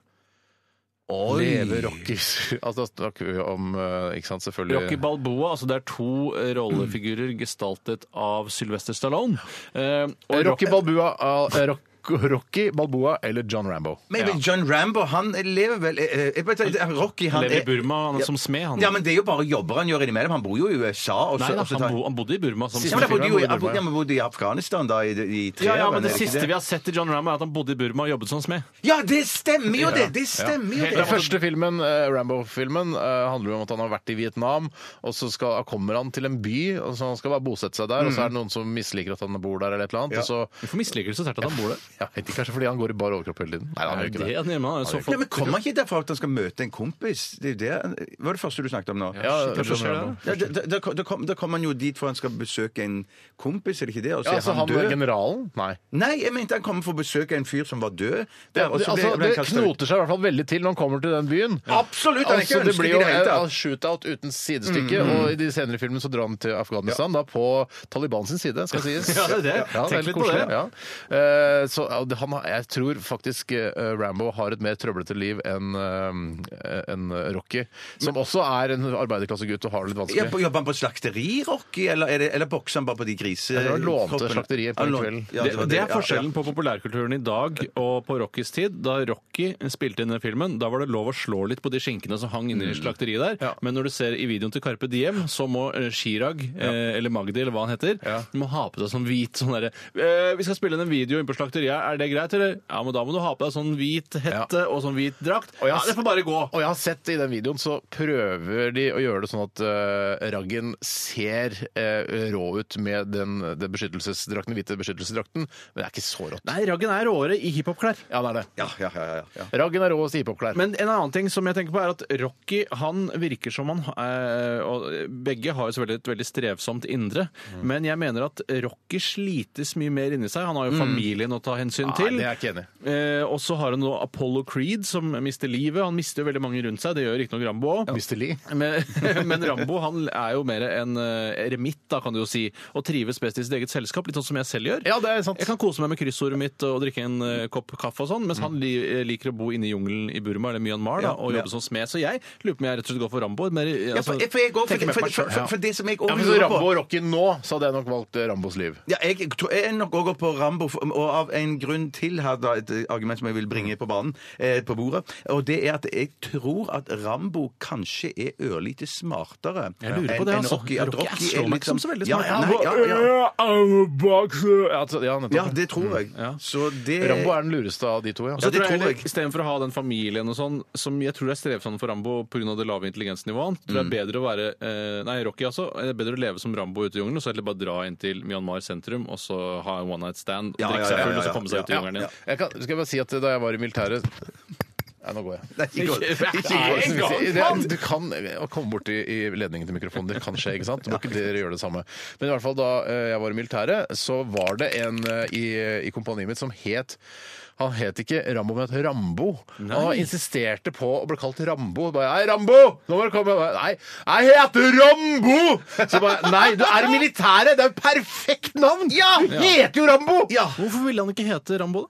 Speaker 7: Leve rockers. Altså, da snakker vi om eh, Ikke sant, selvfølgelig
Speaker 9: Rocky Balboa, altså det er to eh, rollefigurer gestaltet av Sylvester Stallone. Eh,
Speaker 7: Eh,
Speaker 9: og
Speaker 7: Rocky Balboa, eh, Rock- Rocky Balboa eller John Rambo.
Speaker 8: Men jeg vet, John Rambo, han lever vel eh, eh, jeg, vet ikke, Rocky, han
Speaker 9: lever i
Speaker 8: er-
Speaker 9: Burma han er
Speaker 8: Ja.
Speaker 9: som smed, han.
Speaker 8: Ja, men det er jo bare jobber han gjør innimellom. Han bor jo i USA. Og
Speaker 9: Nei,
Speaker 8: så,
Speaker 9: da,
Speaker 8: og så
Speaker 9: han,
Speaker 8: tar-
Speaker 9: bo, han bodde i Burma. Som
Speaker 8: Ja, men han bodde jo i, han
Speaker 7: Burma, ja.
Speaker 8: bodde- han bodde i Afghanistan da i, i tre
Speaker 9: ja, ja,
Speaker 8: år, er
Speaker 9: men Det
Speaker 8: ikke
Speaker 9: siste vi har sett til John Rambo, er at han bodde i Burma og jobbet som smed.
Speaker 8: Ja, det stemmer jo det! Det stemmer jo
Speaker 7: Den
Speaker 8: det!
Speaker 7: første filmen, eh, Rambo-filmen, eh, handler jo om at han har vært i Vietnam, og så skal, kommer han til en by, og så han skal bare bosette seg der, og så er det noen som misliker at han bor der eller et eller annet,
Speaker 8: Ja.
Speaker 7: og så
Speaker 9: Hvorfor misliker du så sterkt at han bor der?
Speaker 7: ja, vet ikke, Kanskje fordi han går i bar overkropp hele tiden. Nei, han gjør ikke
Speaker 9: Det
Speaker 7: det.
Speaker 9: er nærmere, han er så
Speaker 8: Ja, men Kommer han ikke derfra at han skal møte en kompis? Det er jo det Hva var det første du snakket om nå?
Speaker 7: Ja,
Speaker 9: Shit, hvorfor
Speaker 7: John
Speaker 9: skjer det?
Speaker 7: Rambo.
Speaker 8: Ja, da, da, da, kom, da kom han jo dit for han skal besøke en kompis, er det ikke det? Og
Speaker 7: Ja,
Speaker 8: så er
Speaker 7: altså,
Speaker 8: han
Speaker 7: han
Speaker 8: død.
Speaker 7: generalen? Nei.
Speaker 8: Nei, jeg mente han kom for å besøke en fyr som var død.
Speaker 7: Det,
Speaker 8: Der, og så ble-
Speaker 7: altså,
Speaker 8: ble
Speaker 7: det
Speaker 8: han kastet ut.
Speaker 7: knoter seg i hvert fall veldig til når han kommer til den byen.
Speaker 8: Absolutt! Han er
Speaker 7: Altså,
Speaker 8: ikke
Speaker 7: det
Speaker 8: ønsket
Speaker 7: blir
Speaker 8: i
Speaker 7: jo
Speaker 8: det hele
Speaker 7: en
Speaker 8: tatt. Mm,
Speaker 7: shootout uten sidestykke, og i de senere filmene så drar han til Afghanistan, da på Taliban sin side, skal sies.
Speaker 9: Ja, det er det.
Speaker 7: Ja,
Speaker 9: Tenk
Speaker 7: veldig
Speaker 9: litt på
Speaker 7: koselig,
Speaker 9: det.
Speaker 7: Ja. Eh, så ja, det- han, har- jeg tror faktisk eh, Rambo har et mer trøblete liv enn eh, enn Rocky, som også er en arbeiderklassegutt og har det litt
Speaker 8: Ja, på-
Speaker 7: vanskelig.
Speaker 8: Jobber han på slakteri, Rocky, eller, er det, eller bokser han bare på de grise...
Speaker 7: Jeg tror han lånte
Speaker 8: kroppene?
Speaker 7: slakteriet på
Speaker 8: Han
Speaker 7: en
Speaker 8: lån-
Speaker 7: kveld.
Speaker 8: Ja,
Speaker 9: det,
Speaker 8: var
Speaker 9: det er
Speaker 8: ja,
Speaker 9: forskjellen på populærkulturen i dag og på Rockys tid. Da Rocky spilte inn den filmen, da var det lov å slå litt på de skinkene som hang inne i slakteriet der.
Speaker 7: Ja.
Speaker 9: Men når du ser i videoen til Carpe Diem, så må eh, Chirag, eh, eller Magdi, eller hva han heter,
Speaker 7: Ja.
Speaker 9: må ha på deg sånn hvit sånn derre eh, Vi skal spille inn en video inne på slakteriet, er det greit, eller? Ja, men da må du ha på deg sånn hvit hette og sånn hvit drakt.
Speaker 7: Og jeg
Speaker 9: Ja,
Speaker 7: har-
Speaker 9: det får bare gå.
Speaker 7: Og jeg har sett i den videoen så prøver de å gjøre det sånn at eh, raggen ser eh, rå ut med den, den beskyttelsesdrakten, hvite beskyttelsesdrakten, men det er ikke så rått.
Speaker 9: Nei, Raggen er råere i hiphop-klær.
Speaker 7: Ja, det er det.
Speaker 8: Ja, ja, ja, ja, ja, ja.
Speaker 7: Raggen er rå og hiphop-klær.
Speaker 9: Men en annen ting som jeg tenker på er at Rocky han virker som han eh, og Begge har jo selvfølgelig et veldig strevsomt indre,
Speaker 7: Mm.
Speaker 9: men jeg mener at Rocky slites mye mer inni seg. Han har jo familien å ta hensyn
Speaker 7: Nei,
Speaker 9: til.
Speaker 7: Mm. det er jeg ikke enig i.
Speaker 9: Eh, og så har han nå Apollo Creed, som mister livet. Han mister jo veldig mange rundt seg, det gjør riktignok Rambo òg.
Speaker 7: Mr. Lee.
Speaker 9: Men, men Rambo han er jo mer en eh, eremitt, da, kan du jo si, og trives best i sitt eget selskap, litt sånn som jeg selv gjør.
Speaker 7: Ja, det er sant.
Speaker 9: Jeg kan kose meg med kryssordet mitt og drikke en eh, kopp kaffe og sånn, mens han li liker å bo inne i jungelen i Burma eller Myanmar da, og jobbe som smed. Så jeg lurer på om jeg rett og slett går for Rambo. Mer, eh,
Speaker 8: Ja, for,
Speaker 9: altså,
Speaker 8: for, jeg går, for,
Speaker 9: tenker mer
Speaker 8: for,
Speaker 9: på meg
Speaker 8: for,
Speaker 9: selv.
Speaker 8: for, for det som jeg
Speaker 7: Ja,
Speaker 8: også
Speaker 7: men så
Speaker 8: lurer
Speaker 7: Rambo
Speaker 8: på
Speaker 7: og Rocky nå, så hadde jeg nok valgt eh, Rambos liv.
Speaker 8: ja, jeg, tror- jeg er nok også på Rambo, for- og av en en grunn til her, da, et eh, argument som jeg vil bringe på banen, eh, på bordet. Og det er at jeg tror at Rambo kanskje er ørlite smartere
Speaker 9: Jeg lurer på det,
Speaker 8: enn- enn
Speaker 9: altså.
Speaker 8: Rocky. At Rocky er
Speaker 9: slår meg ikke
Speaker 8: liksom-
Speaker 9: som så veldig
Speaker 8: Ja,
Speaker 9: smart.
Speaker 8: ja, nei, ja, ja.
Speaker 7: Ja,
Speaker 8: Ja,
Speaker 7: nettopp.
Speaker 8: det tror jeg.
Speaker 9: Ja.
Speaker 8: Så det
Speaker 7: Rambo er den lureste av Altså, de to, ja.
Speaker 9: Så
Speaker 8: det
Speaker 9: tror jeg
Speaker 8: tror jeg.
Speaker 9: heller, Istedenfor å ha den familien og sånn, som jeg tror er strevsomt for Rambo pga. det lave intelligensnivået hans, tror
Speaker 7: Mm.
Speaker 9: jeg det er bedre å være eh, Nei, Rocky altså. Det er bedre å leve som Rambo ute i jungelen og så heller bare dra inn til Myanmar sentrum og så ha en one night stand,
Speaker 8: Ja,
Speaker 9: drikke
Speaker 8: ja,
Speaker 9: seg
Speaker 8: ja,
Speaker 9: full og
Speaker 8: ja,
Speaker 9: så komme seg ut i
Speaker 8: ja,
Speaker 9: jungelen igjen.
Speaker 7: Jeg kan, skal jeg bare si at da jeg var i militæret Nei, nå går jeg.
Speaker 8: Nei, ikke- ikke-
Speaker 7: Nei,
Speaker 8: ikke-
Speaker 7: det- det- Du kan å komme borti i ledningen til mikrofonen. Det kan skje, ikke sant? Du må ikke dere gjøre det samme. Men i hvert fall da eh, jeg var i militæret, så var det en eh, i, i kompaniet mitt som het han het ikke Rambo, men het Rambo. Han insisterte på å bli kalt Rambo. Bare, Nei, Rambo! Nå må du komme Nei, jeg heter Rambo! Så bare, Nei, du er i militæret! Det er jo perfekt navn! Ja! Du heter jo Rambo! Ja.
Speaker 9: Hvorfor ville han ikke hete Rambo, da?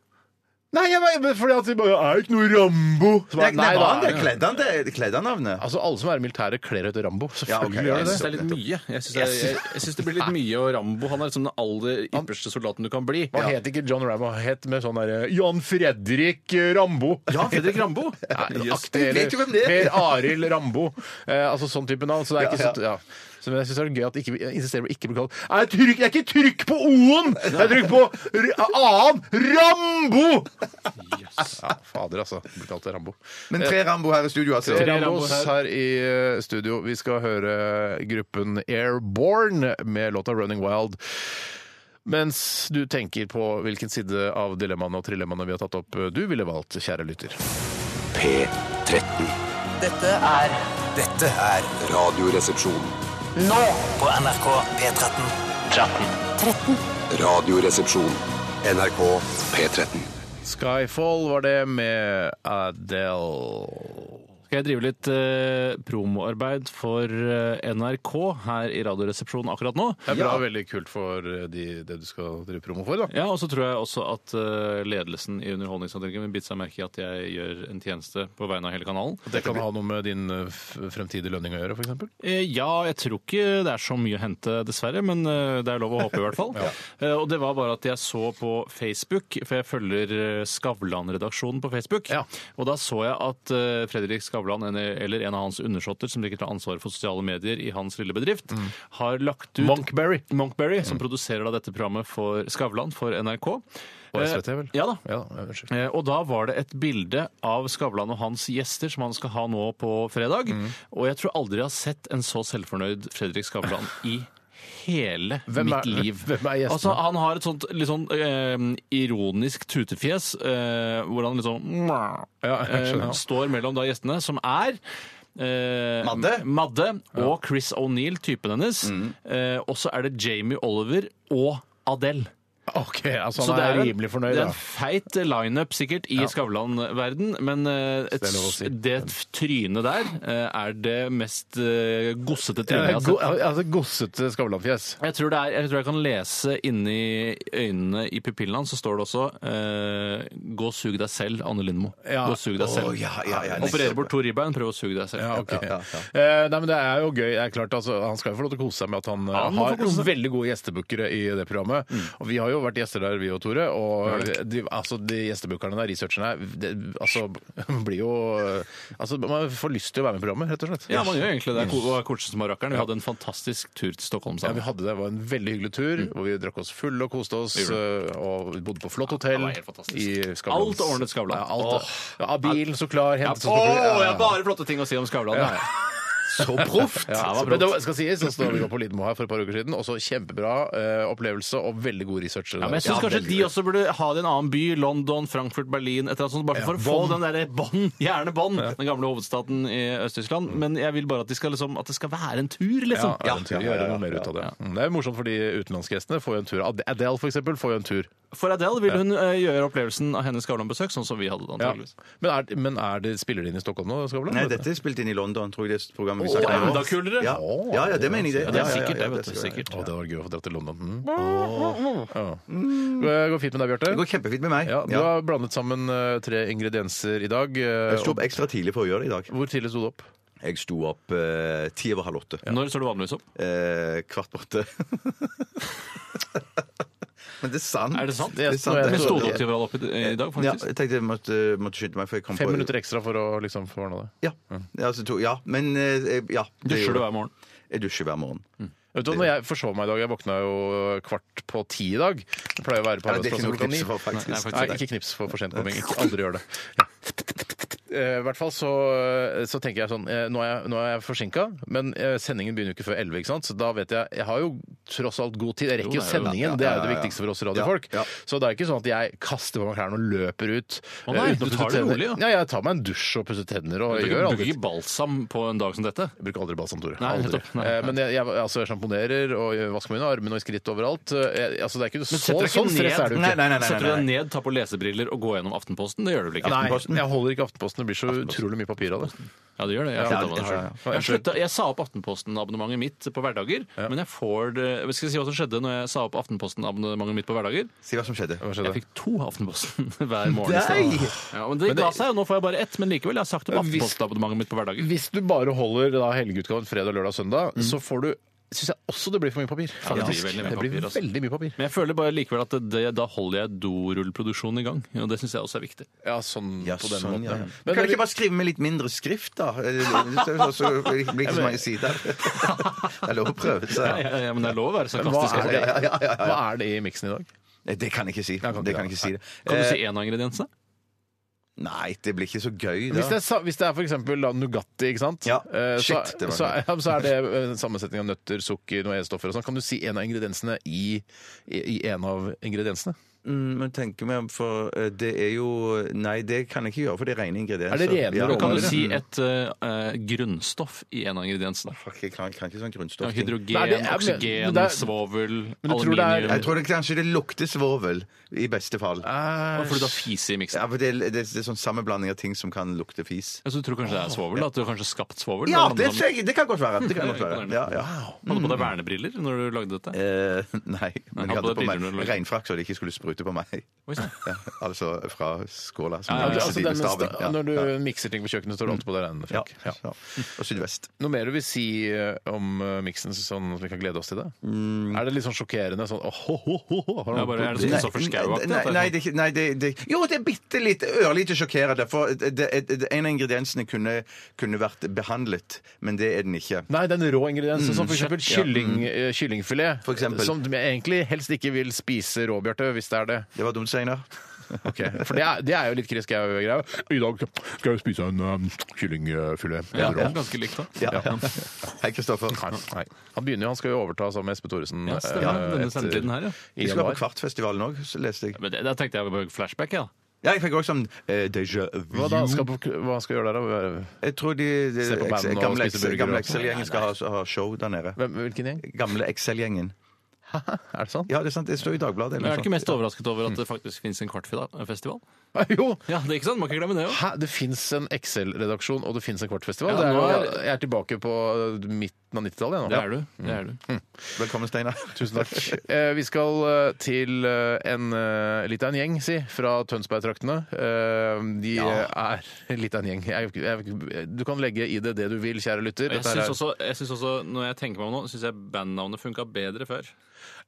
Speaker 7: Nei, jeg bare, men fordi at de bare Er det ikke noe Rambo? Så
Speaker 8: Nei,
Speaker 7: bare,
Speaker 8: nei, var han
Speaker 7: da-
Speaker 8: det? Kledde han det? Kledde han navnet?
Speaker 7: Altså, Alle som er i militæret, kler ut Rambo. Selvfølgelig
Speaker 8: Ja, ok,
Speaker 7: gjør
Speaker 9: Jeg
Speaker 7: de
Speaker 9: syns det
Speaker 7: det.
Speaker 9: er litt mye. Jeg syns det, jeg, jeg synes det blir litt mye, og Rambo han er liksom den aller ypperste soldaten du kan bli.
Speaker 7: Han het ikke John Rambo, han het med sånn derre Jan Fredrik eh, Rambo.
Speaker 9: Ja, Fredrik Rambo!
Speaker 7: Nei,
Speaker 9: Jøss.
Speaker 7: aktig,
Speaker 8: vet jo hvem det er.
Speaker 7: Per Arild Rambo. Eh, altså sånn type navn. Så det er ikke
Speaker 8: Ja,
Speaker 7: så, ja. Så men jeg syns det er gøy at ikke, vi- jeg insisterer på ikke å bli kalt er det, trykk, det er ikke trykk på O-en! Det er trykk på r annen Rambo! Ja, fader, altså. Blir kalt Rambo.
Speaker 8: Men tre Rambo her i studio, altså.
Speaker 7: Tre
Speaker 9: Rambo
Speaker 7: Rambos her i eh, studio. Vi skal høre gruppen Airborne med låta 'Running Wild'. Mens du tenker på hvilken side av dilemmaene og trilemmaene vi har tatt opp eh, du ville valgt, kjære lytter.
Speaker 6: P13.
Speaker 2: Dette er
Speaker 4: Dette er
Speaker 6: Radioresepsjon.
Speaker 2: nå på NRK P13.
Speaker 6: Radioresepsjon. NRK P13.
Speaker 7: Skyfall var det med Adele.
Speaker 9: Skal jeg drive litt eh, promoarbeid for eh, NRK her i Radioresepsjonen akkurat nå?
Speaker 7: Det er bra, veldig kult for eh, de, det du skal drive promo for, da.
Speaker 9: Ja, og så tror jeg også at eh, ledelsen i Underholdningsavdelingen vil bite seg merke i at jeg gjør en tjeneste på vegne av hele kanalen.
Speaker 7: At det kan ha noe med din eh, f- fremtidige lønning å gjøre, f.eks.?
Speaker 9: Eh, Ja, jeg tror ikke det er så mye å hente, dessverre, men eh, det er lov å håpe i hvert fall. Eh, Og det var bare at jeg så på Facebook, for jeg følger eh, Skavlan-redaksjonen på Facebook,
Speaker 7: Ja.
Speaker 9: og da så jeg at eh, Fredrik Skavlan, en- eller en av hans undersåtter, som sikkert har ansvaret for sosiale medier i hans lille bedrift, har lagt ut
Speaker 7: Mm. Monkberry. Mm.
Speaker 9: Monkberry, som produserer da dette programmet for Skavlan for NRK.
Speaker 7: På
Speaker 9: Eh,
Speaker 7: SVT, vel?
Speaker 9: Ja da.
Speaker 7: Ja, unnskyld.
Speaker 9: Eh, Og da var det et bilde av Skavlan og hans gjester som han skal ha nå på fredag.
Speaker 7: Mm.
Speaker 9: Og jeg tror aldri jeg har sett en så selvfornøyd Fredrik Skavlan i hele
Speaker 7: Hvem er-
Speaker 9: mitt liv.
Speaker 7: hvem er gjestene?
Speaker 9: Altså, han har et sånt litt sånn eh, ironisk tutefjes, eh, hvor han liksom
Speaker 7: Ja, jeg skjønner.
Speaker 9: eh, står mellom da gjestene, som er eh,
Speaker 8: Madde?
Speaker 9: Madde og Chris O'Neill, typen hennes.
Speaker 7: Mm.
Speaker 9: Eh, og så er det Jamie Oliver og Adele.
Speaker 7: OK, altså
Speaker 9: Så
Speaker 7: han er,
Speaker 9: en-
Speaker 7: rimelig fornøyd,
Speaker 9: Det er
Speaker 7: da.
Speaker 9: en feit lineup sikkert i Skavlan-verden, men eh, et,
Speaker 7: det er lov å si.
Speaker 9: det trynet der eh, er det mest eh, gossete trynet jeg har
Speaker 7: Go,
Speaker 9: sett.
Speaker 7: altså, gossete Skavlan-fjes.
Speaker 9: Jeg tror, det er, jeg tror jeg kan lese inni øynene i pupillene hans, så står det også eh, 'Gå og sug deg selv', Anne Lindmo.
Speaker 7: Ja.
Speaker 9: Gå og sug deg selv.
Speaker 8: Å, ja, ja, ja,
Speaker 9: Opererer
Speaker 8: nettopp.
Speaker 9: bort to ribbein, prøv å suge deg selv.
Speaker 7: Ja, ok. Eh, nei, men Det er jo gøy. Det er klart, altså, han skal jo få lov til å kose seg med at han, eh,
Speaker 9: han må
Speaker 7: har
Speaker 9: få kose seg. Mm.
Speaker 7: veldig gode gjestebukkere i det programmet. Og Vi har jo vært gjester der, vi og Tore. Og de, altså, de gjestebukkerne der, researcherne her, det, altså, blir jo altså, Man får lyst til å være med i programmet, rett og slett.
Speaker 9: Ja, man gjør egentlig det. Det var Kortsen som var rakkeren. Vi hadde en fantastisk tur til Stockholm
Speaker 7: Ja, vi
Speaker 9: sammen.
Speaker 7: hadde det. det var en veldig hyggelig tur,
Speaker 9: Mm.
Speaker 7: hvor vi drakk oss fulle og koste oss. eh, Og vi bodde på flott hotell.
Speaker 9: Ja, det var helt fantastisk.
Speaker 7: i Skavlan.
Speaker 9: Alt ordnet Skavlan.
Speaker 7: Ja, alt,
Speaker 9: Åh.
Speaker 7: ja, bilen så klar, hentet oss
Speaker 9: Å,
Speaker 7: på fly-
Speaker 9: jeg har bare flotte ting å si om Skavlan. Ja.
Speaker 8: Så proft!
Speaker 7: Ja,
Speaker 9: det var
Speaker 7: men
Speaker 9: proft.
Speaker 7: det skal sies, så står vi på Lidmo her for et par uker siden. Også kjempebra eh, opplevelse og veldig god research.
Speaker 9: Ja, men jeg synes kanskje de også burde ha det i en annen by. London, Frankfurt, Berlin. Et eller annet sånt, bare for å få den der bånd, gjerne bånd, den gamle hovedstaten i Øst-Tyskland. Men jeg vil bare at, de skal, liksom, at det skal være en tur,
Speaker 7: ja,
Speaker 9: liksom.
Speaker 7: ja, ja, gjøre noe mer ut av det. Mm, Det er morsomt for de utenlandsgjestene. Får jo en tur. Ad- Adele, for eksempel, får jo en tur.
Speaker 9: For Adele vil hun eh, gjøre opplevelsen av hennes Skavlan-besøk sånn som vi hadde det,
Speaker 7: Ja.
Speaker 9: antakeligvis.
Speaker 7: Men, er, men er det, spiller de inn i Stockholm nå, Skavlan?
Speaker 8: Nei, dette er spilt inn i London, tror jeg. det programmet vi
Speaker 9: Å,
Speaker 8: snakket om.
Speaker 9: enda kulere!
Speaker 8: Ja. ja, ja, det mener jeg.
Speaker 9: Ja, det
Speaker 8: Ja,
Speaker 9: er
Speaker 8: ja, ja,
Speaker 9: sikkert det,
Speaker 8: ja,
Speaker 9: vet du.
Speaker 8: skal jeg.
Speaker 9: Sikkert.
Speaker 7: Å, det hadra vært gøy å få dratt til London. Mm. Ja. Går- Går fint med deg,
Speaker 8: Det
Speaker 7: Bjarte?
Speaker 8: går kjempefint med meg.
Speaker 7: Ja, du har blandet sammen eh, tre ingredienser i dag. eh,
Speaker 8: Jeg sto opp ekstra tidlig for å gjøre det i dag.
Speaker 7: og- Hvor tidlig sto du opp?
Speaker 8: Jeg sto opp eh, ti over halv åtte.
Speaker 9: Når står det vanligvis opp?
Speaker 8: Eh, kvart på åtte. Men det er sant.
Speaker 9: Er det sant?
Speaker 8: Det er sant.
Speaker 7: Jeg
Speaker 9: Vi
Speaker 7: tror
Speaker 9: sto
Speaker 7: det.
Speaker 9: opp til hverandre opp i, i dag,
Speaker 8: Ja,
Speaker 9: faktisk.
Speaker 8: jeg tenkte jeg måtte, måtte skynde meg, for jeg kom
Speaker 7: Fem
Speaker 8: på
Speaker 7: minutter ekstra for å liksom få ordna det.
Speaker 8: Ja. Ja, altså to, ja, men eh, ja. det
Speaker 9: Dusjer
Speaker 8: gjorde
Speaker 9: du hver morgen?
Speaker 8: jeg. Jeg dusjer hver morgen.
Speaker 7: Vet du, hva, når jeg forsov meg i dag, jeg våkna jo kvart på ti i dag. Jeg pleier å være på
Speaker 8: Ja, det er
Speaker 7: arbeidsplassen
Speaker 8: ikke noe
Speaker 7: klokka ni.
Speaker 8: knips for, faktisk.
Speaker 9: Nei, nei, faktisk.
Speaker 7: Nei, ikke knips for for sent komming. Ikke aldri gjør det. Eh, I hvert fall så, så tenker jeg sånn eh, Nå er jeg, nå er jeg forsinka, men eh, sendingen begynner jo ikke før 11, ikke sant? Så da vet jeg Jeg har jo tross alt god tid. Jeg rekker
Speaker 9: Jo,
Speaker 7: jo
Speaker 9: det er jo det.
Speaker 7: sendingen, det er jo det viktigste for oss radiofolk.
Speaker 8: Ja, ja.
Speaker 7: Så det er ikke sånn at jeg kaster på meg klærne og løper ut.
Speaker 9: Å
Speaker 7: eh, uten
Speaker 9: nei,
Speaker 7: å
Speaker 9: du
Speaker 7: pusse
Speaker 9: tar det
Speaker 7: tenner.
Speaker 9: rolig, ja.
Speaker 7: Ja, jeg tar meg en dusj og pusser tenner og
Speaker 9: Du
Speaker 7: gjør
Speaker 9: bruker
Speaker 7: aldri
Speaker 9: ikke balsam på en dag som dette?
Speaker 7: jeg bruker aldri balsam, Tore.
Speaker 9: Nei,
Speaker 7: Aldri.
Speaker 9: nettopp. Nei,
Speaker 7: Eh,
Speaker 9: nei.
Speaker 7: Men jeg, jeg, altså, jeg sjamponerer og jeg vasker mine armene og skritt overalt. Eh, Jeg, altså, det er ikke så,
Speaker 9: setter deg ikke
Speaker 7: sånn stress
Speaker 9: ned-
Speaker 7: er det jo
Speaker 8: Nei,
Speaker 7: ikke.
Speaker 8: nei, nei, nei,
Speaker 9: Setter du
Speaker 8: nei,
Speaker 9: deg
Speaker 8: nei.
Speaker 9: ned, tar på lesebriller og går gjennom Aftenposten? Det gjør du vel ikke?
Speaker 7: Nei,
Speaker 8: Aftenposten?
Speaker 7: jeg holder ikke Aftenposten. Det blir så utrolig mye papir av det.
Speaker 9: Ja, det gjør det. Jeg,
Speaker 7: Ja,
Speaker 9: slutta med det
Speaker 7: ja,
Speaker 9: selv.
Speaker 7: ja, ja.
Speaker 9: jeg, slutta- jeg sa opp Aftenposten-abonnementet mitt på hverdager, men jeg får det Skal jeg si hva som skjedde når jeg sa opp Aftenposten-abonnementet mitt på hverdager?
Speaker 8: Si hva som skjedde.
Speaker 7: Hva
Speaker 9: Jeg
Speaker 7: skjedde?
Speaker 9: fikk to Aftenposten hver morgen.
Speaker 8: Nei!
Speaker 9: Ja, men det
Speaker 7: det-
Speaker 9: ga seg, og nå får jeg bare ett. Men likevel, jeg har sagt opp
Speaker 7: Men hvis-
Speaker 9: Aftenposten-abonnementet mitt på hverdager.
Speaker 7: Hvis du bare holder da, helgeutgaven fredag, lørdag og søndag, så får du Syns jeg også det blir for mye papir.
Speaker 9: Ja, det blir
Speaker 7: faktisk.
Speaker 9: veldig mye
Speaker 7: det blir
Speaker 9: papir, altså.
Speaker 7: veldig mye papir.
Speaker 9: Men jeg føler bare likevel at det, det, da holder jeg dorullproduksjonen i gang, og det syns jeg også er viktig.
Speaker 7: Ja, sånn
Speaker 8: Ja,
Speaker 7: på den
Speaker 8: sånn,
Speaker 7: måten.
Speaker 8: ja.
Speaker 7: ja.
Speaker 8: Men kan du
Speaker 7: Men,
Speaker 8: ikke bare skrive med litt mindre skrift, da? Eller- Så, så, så blir det ikke så mange sider. Det er lov å prøve
Speaker 9: Ja,
Speaker 8: seg.
Speaker 9: ja, ja, men det er lov å være
Speaker 7: hva,
Speaker 9: sarkastisk.
Speaker 7: er
Speaker 9: altså.
Speaker 7: det,
Speaker 8: Ja, ja, ja, ja.
Speaker 7: hva er det i miksen i dag?
Speaker 8: Nei, Det kan jeg ikke si.
Speaker 7: kan ikke
Speaker 8: Det kan
Speaker 7: det.
Speaker 8: jeg ikke si det.
Speaker 9: Kan du
Speaker 8: Eh,
Speaker 9: si én av ingrediensene?
Speaker 8: Nei, det blir ikke så gøy
Speaker 7: Hvis det
Speaker 8: da.
Speaker 7: er, sa- hvis det er for eksempel da, Nugatti, ikke sant?
Speaker 8: Ja.
Speaker 7: Eh, så,
Speaker 8: Shit, det var
Speaker 7: så, ja, så er det eh, en sammensetning av nøtter, sukker, noe E-stoffer og sånn. Kan du si en av ingrediensene i, i, i en av ingrediensene?
Speaker 8: Mm, Men tenker meg om, for eh, det er jo Nei, det kan jeg ikke gjøre, for det er rene ingredienser.
Speaker 7: Er det rene
Speaker 8: Ja.
Speaker 7: råvarer?
Speaker 9: Kan du si et eh, eh, grunnstoff i en av ingrediensene?
Speaker 8: Fuck, jeg kan, kan ikke sånn
Speaker 9: Ja,
Speaker 8: grunnstoff.
Speaker 9: hydrogen,
Speaker 7: Nei, det er- men- men
Speaker 9: oksygen,
Speaker 7: det er-
Speaker 9: svovel,
Speaker 7: Men du tror det er-
Speaker 9: aluminium
Speaker 8: Jeg tror det kanskje det lukter svovel, i beste fall.
Speaker 9: Hvorfor du da fiser i miksen?
Speaker 8: Ja, for det, det, det er sånn sammenblanding av ting som kan lukte fis.
Speaker 9: Altså, du tror kanskje det er svovel? da? At du har kanskje skapt svovel?
Speaker 8: Ja,
Speaker 9: men
Speaker 8: det,
Speaker 9: han-
Speaker 8: det kan godt være. Det kan godt være.
Speaker 9: Imponerende.
Speaker 8: Ja, ja.
Speaker 9: Hadde du på deg vernebriller når du lagde dette?
Speaker 8: Eh, nei, men jeg
Speaker 9: han
Speaker 8: hadde
Speaker 9: hadde
Speaker 8: på meg
Speaker 9: briller når du-
Speaker 8: regnfrakk så det ikke skulle sprute på meg.
Speaker 9: Oi, sånn. sann.
Speaker 8: Ja, altså fra skåla. Som
Speaker 9: Ja,
Speaker 8: ja, ja,
Speaker 9: ja, ja.
Speaker 7: Altså, den, sta-
Speaker 8: ja.
Speaker 7: når du
Speaker 8: ja. Mm.
Speaker 7: mikser ting på kjøkkenet, står det alltid på det regnet.
Speaker 8: Ja,
Speaker 7: Frank. Ja.
Speaker 8: så. Og sydvest.
Speaker 7: Noe mer du vil si eh, om eh, miksen, sånn at vi kan glede oss til det?
Speaker 8: Mm.
Speaker 7: Er det litt sånn sjokkerende? Sånn, åh, ho, ho, ho, ho, har
Speaker 9: Ja,
Speaker 7: du-
Speaker 9: bare, er det sånn Kristoffer Schou-aktig?
Speaker 8: nei,
Speaker 9: at det er
Speaker 8: nei,
Speaker 9: sånn-
Speaker 8: det, er ikke- nei det, det, Jo, det er bitte litt ørlite sjokkerende. For det, det, det, en av ingrediensene kunne, kunne vært behandlet, men det er den ikke.
Speaker 7: Nei, den rå ingrediensen som f.eks. eksempel
Speaker 8: Mm, ja. Mm.
Speaker 7: Kylling, eh, kyllingfilet.
Speaker 8: For eksempel.
Speaker 7: Som jeg egentlig helst ikke vil spise rå, Bjarte, hvis det er det.
Speaker 8: Det var dumt, Steinar.
Speaker 7: For det er, det er jo litt Chris Gau-greia. I dag skal jeg spise en um, kyllingfilet.
Speaker 9: Ja, det
Speaker 7: rå.
Speaker 9: er ganske likt, da.
Speaker 8: Ja. Hei, Kristoffer.
Speaker 7: Nei, nei. Han begynner jo, han skal jo overta sammen med Espe Thoresen. eh,
Speaker 9: Ja, stemmer. Denne sendetiden her, ja.
Speaker 8: Vi
Speaker 7: I
Speaker 8: skal
Speaker 7: januar.
Speaker 8: på Kvartfestivalen òg, leste jeg.
Speaker 9: Men det, der tenkte jeg på flashback, ja.
Speaker 8: Ja, jeg fikk også sånn eh, déjà vu.
Speaker 7: Hva da? Skal, på, hva skal jeg gjøre der, da?
Speaker 8: Jeg tror de, de
Speaker 7: Se på banden
Speaker 8: Excel-
Speaker 7: og
Speaker 8: gamle,
Speaker 7: spise burger
Speaker 8: gamle
Speaker 7: og-
Speaker 8: Excel-gjengen skal ha, ha show der nede.
Speaker 7: Hvem, hvilken gjeng?
Speaker 8: Gamle Excel-gjengen.
Speaker 7: Er det sant?
Speaker 8: Ja, det er sant. Det står i Dagbladet.
Speaker 9: Men
Speaker 8: Eller
Speaker 9: jeg er du ikke
Speaker 8: noe sånt.
Speaker 9: mest overrasket over at det faktisk fins en kvartfestival?
Speaker 7: Jo!
Speaker 9: Ja, det er ikke sant? Man kan ikke glemme det jo.
Speaker 7: Hæ? Det fins en Excel-redaksjon, og det fins en kvartfestival.
Speaker 9: Ja,
Speaker 7: det er,
Speaker 9: nå
Speaker 7: jo-
Speaker 9: er-
Speaker 7: jeg er tilbake på eh, midten av 90-tallet. jeg nå.
Speaker 9: Det er du. Det er du.
Speaker 8: Velkommen, Steinar.
Speaker 7: Tusen takk. Eh, vi skal eh, til eh, en eh, litt av en gjeng, si, fra Tønsberg-traktene. Eh, de eh, er litt av en gjeng. Jeg, jeg, du kan legge i det det du vil, kjære lytter.
Speaker 9: Jeg
Speaker 7: Dette her
Speaker 9: syns
Speaker 7: er-
Speaker 9: også, jeg synes også, når jeg tenker meg om nå, syns jeg bandnavnet funka bedre før.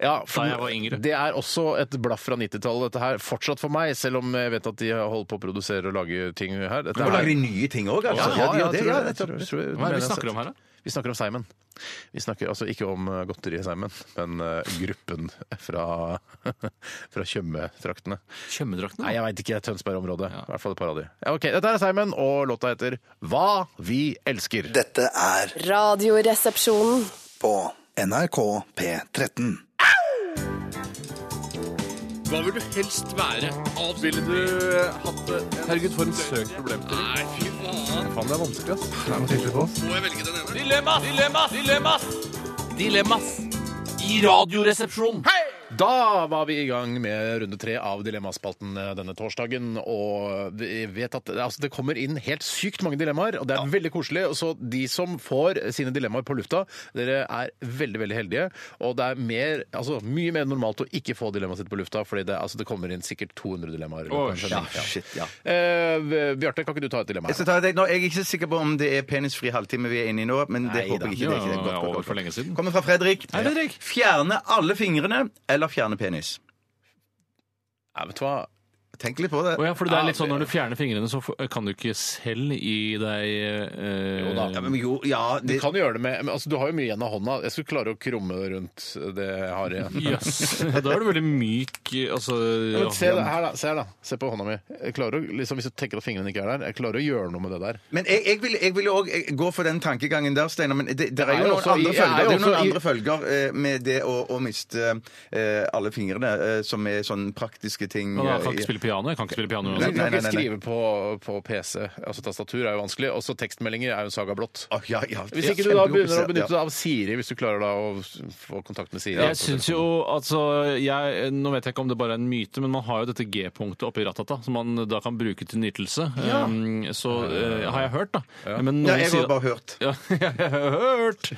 Speaker 7: Ja, for
Speaker 9: Da jeg var yngre.
Speaker 7: Det er også et blaff fra 90-tallet, dette her. Fortsatt for meg, selv om jeg vet at de holder på å produsere og lage ting her. Dette
Speaker 8: Og
Speaker 7: er-
Speaker 8: lager de nye ting òg, altså?
Speaker 7: Ja,
Speaker 8: de
Speaker 7: ja,
Speaker 8: gjør det,
Speaker 7: tror jeg-
Speaker 8: nettopp.
Speaker 7: tror- tror jeg-
Speaker 9: Hva er
Speaker 7: mener
Speaker 9: det
Speaker 7: jeg
Speaker 9: vi
Speaker 7: har
Speaker 9: snakker om
Speaker 7: sett.
Speaker 9: her, da?
Speaker 7: Vi snakker om Simon. Vi snakker altså ikke om eh, godteriet Simon, men eh, gruppen fra, fra Tjøme-traktene. Nei,
Speaker 9: Tjømmedraktene?
Speaker 7: jeg veit ikke. Tønsberg-området. I hvert fall et par av de. Ja, ok, Dette er Simon, og låta heter Hva vi elsker.
Speaker 4: Dette er
Speaker 3: Radioresepsjonen.
Speaker 4: på NRK P13.
Speaker 9: Hva vil du helst være? Ville du eh, hatt det? Herregud, for en søk problemstilling. Nei, fy faen.
Speaker 7: Faen, det er vanskelig, ass.
Speaker 9: Må jeg velge den ene? Dilemmas! Dilemmas! Dilemmas! Dilemmas! I Radioresepsjonen!
Speaker 7: Da var vi i gang med runde tre av Dilemmaspalten eh, denne torsdagen. Og vi vet at altså, det kommer inn helt sykt mange dilemmaer, og det er veldig koselig. Og så de som får sine dilemmaer på lufta, dere er veldig veldig heldige. Og det er mer, altså, mye mer normalt å ikke få dilemmaet sitt på lufta, fordi det, altså, det kommer inn sikkert 200 dilemmaer. i løpet av en
Speaker 9: Å,
Speaker 7: sending.
Speaker 8: ja, shit, ja.
Speaker 7: Eh, Bjarte, kan ikke du ta et dilemma? her?
Speaker 8: Jeg, skal ta det. Nå, jeg er ikke sikker på om det er penisfri halvtime vi er inne i nå, men det
Speaker 7: Nei da.
Speaker 8: håper jeg ikke. Det er ikke det.
Speaker 9: Jo, jo, jo, over for lenge siden.
Speaker 8: Kommer fra Fredrik.
Speaker 9: Hei, Fredrik.
Speaker 8: Fjerne alle fingrene eller fjerne penis?
Speaker 7: Ja, vet du hva?
Speaker 8: Tenk litt på det.
Speaker 9: Å ja, for det er litt
Speaker 7: Ja,
Speaker 9: sånn Når du fjerner fingrene, så f- kan du ikke selv gi deg eh,
Speaker 7: Jo da.
Speaker 8: Ja, men jo, ja
Speaker 7: Du
Speaker 8: det,
Speaker 7: kan jo gjøre det med men, altså, Du har jo mye igjen av hånda. Jeg skulle klare å krumme rundt det jeg har igjen.
Speaker 9: Jøss. Da er du veldig myk altså,
Speaker 7: Ja, Men se
Speaker 9: ja.
Speaker 7: det her, da. Se her da. Se på hånda mi. Jeg klarer å, liksom, hvis du tenker at fingrene ikke er der, jeg klarer å gjøre noe med det der.
Speaker 8: Men jeg, jeg vil- jeg vil òg gå for den tankegangen der, Steinar. Men det, det er
Speaker 7: Jeg er
Speaker 8: jo noen
Speaker 7: også i-
Speaker 8: andre
Speaker 7: jeg er
Speaker 8: følger, det er jo
Speaker 7: også
Speaker 8: noen
Speaker 7: i-
Speaker 8: andre følger eh, med det å, å miste eh, alle fingrene, eh, som er sånne praktiske ting.
Speaker 9: Men da kan
Speaker 8: eh,
Speaker 9: jeg ikke spille piano. Jeg kan ikke spille piano
Speaker 7: Du
Speaker 8: Nei,
Speaker 7: kan
Speaker 9: uansett.
Speaker 8: nei,
Speaker 7: ikke
Speaker 8: nei, nei.
Speaker 7: skrive på, på PC. Altså Tastatur er jo vanskelig. Også tekstmeldinger er jo en saga blått.
Speaker 8: Å, ja, ja,
Speaker 7: Hvis ikke du da begynner å benytte deg av Siri, hvis du klarer da å få kontakt med Siri.
Speaker 9: Jeg syns jo, altså jeg, Nå vet jeg ikke om det bare er en myte, men man har jo dette G-punktet oppi rattata, som man da kan bruke til nytelse. Um, så eh, har jeg hørt, da. Men
Speaker 8: Ja,
Speaker 9: noen
Speaker 8: jeg
Speaker 9: sier-
Speaker 8: har bare hørt.
Speaker 9: Ja, jeg har hørt!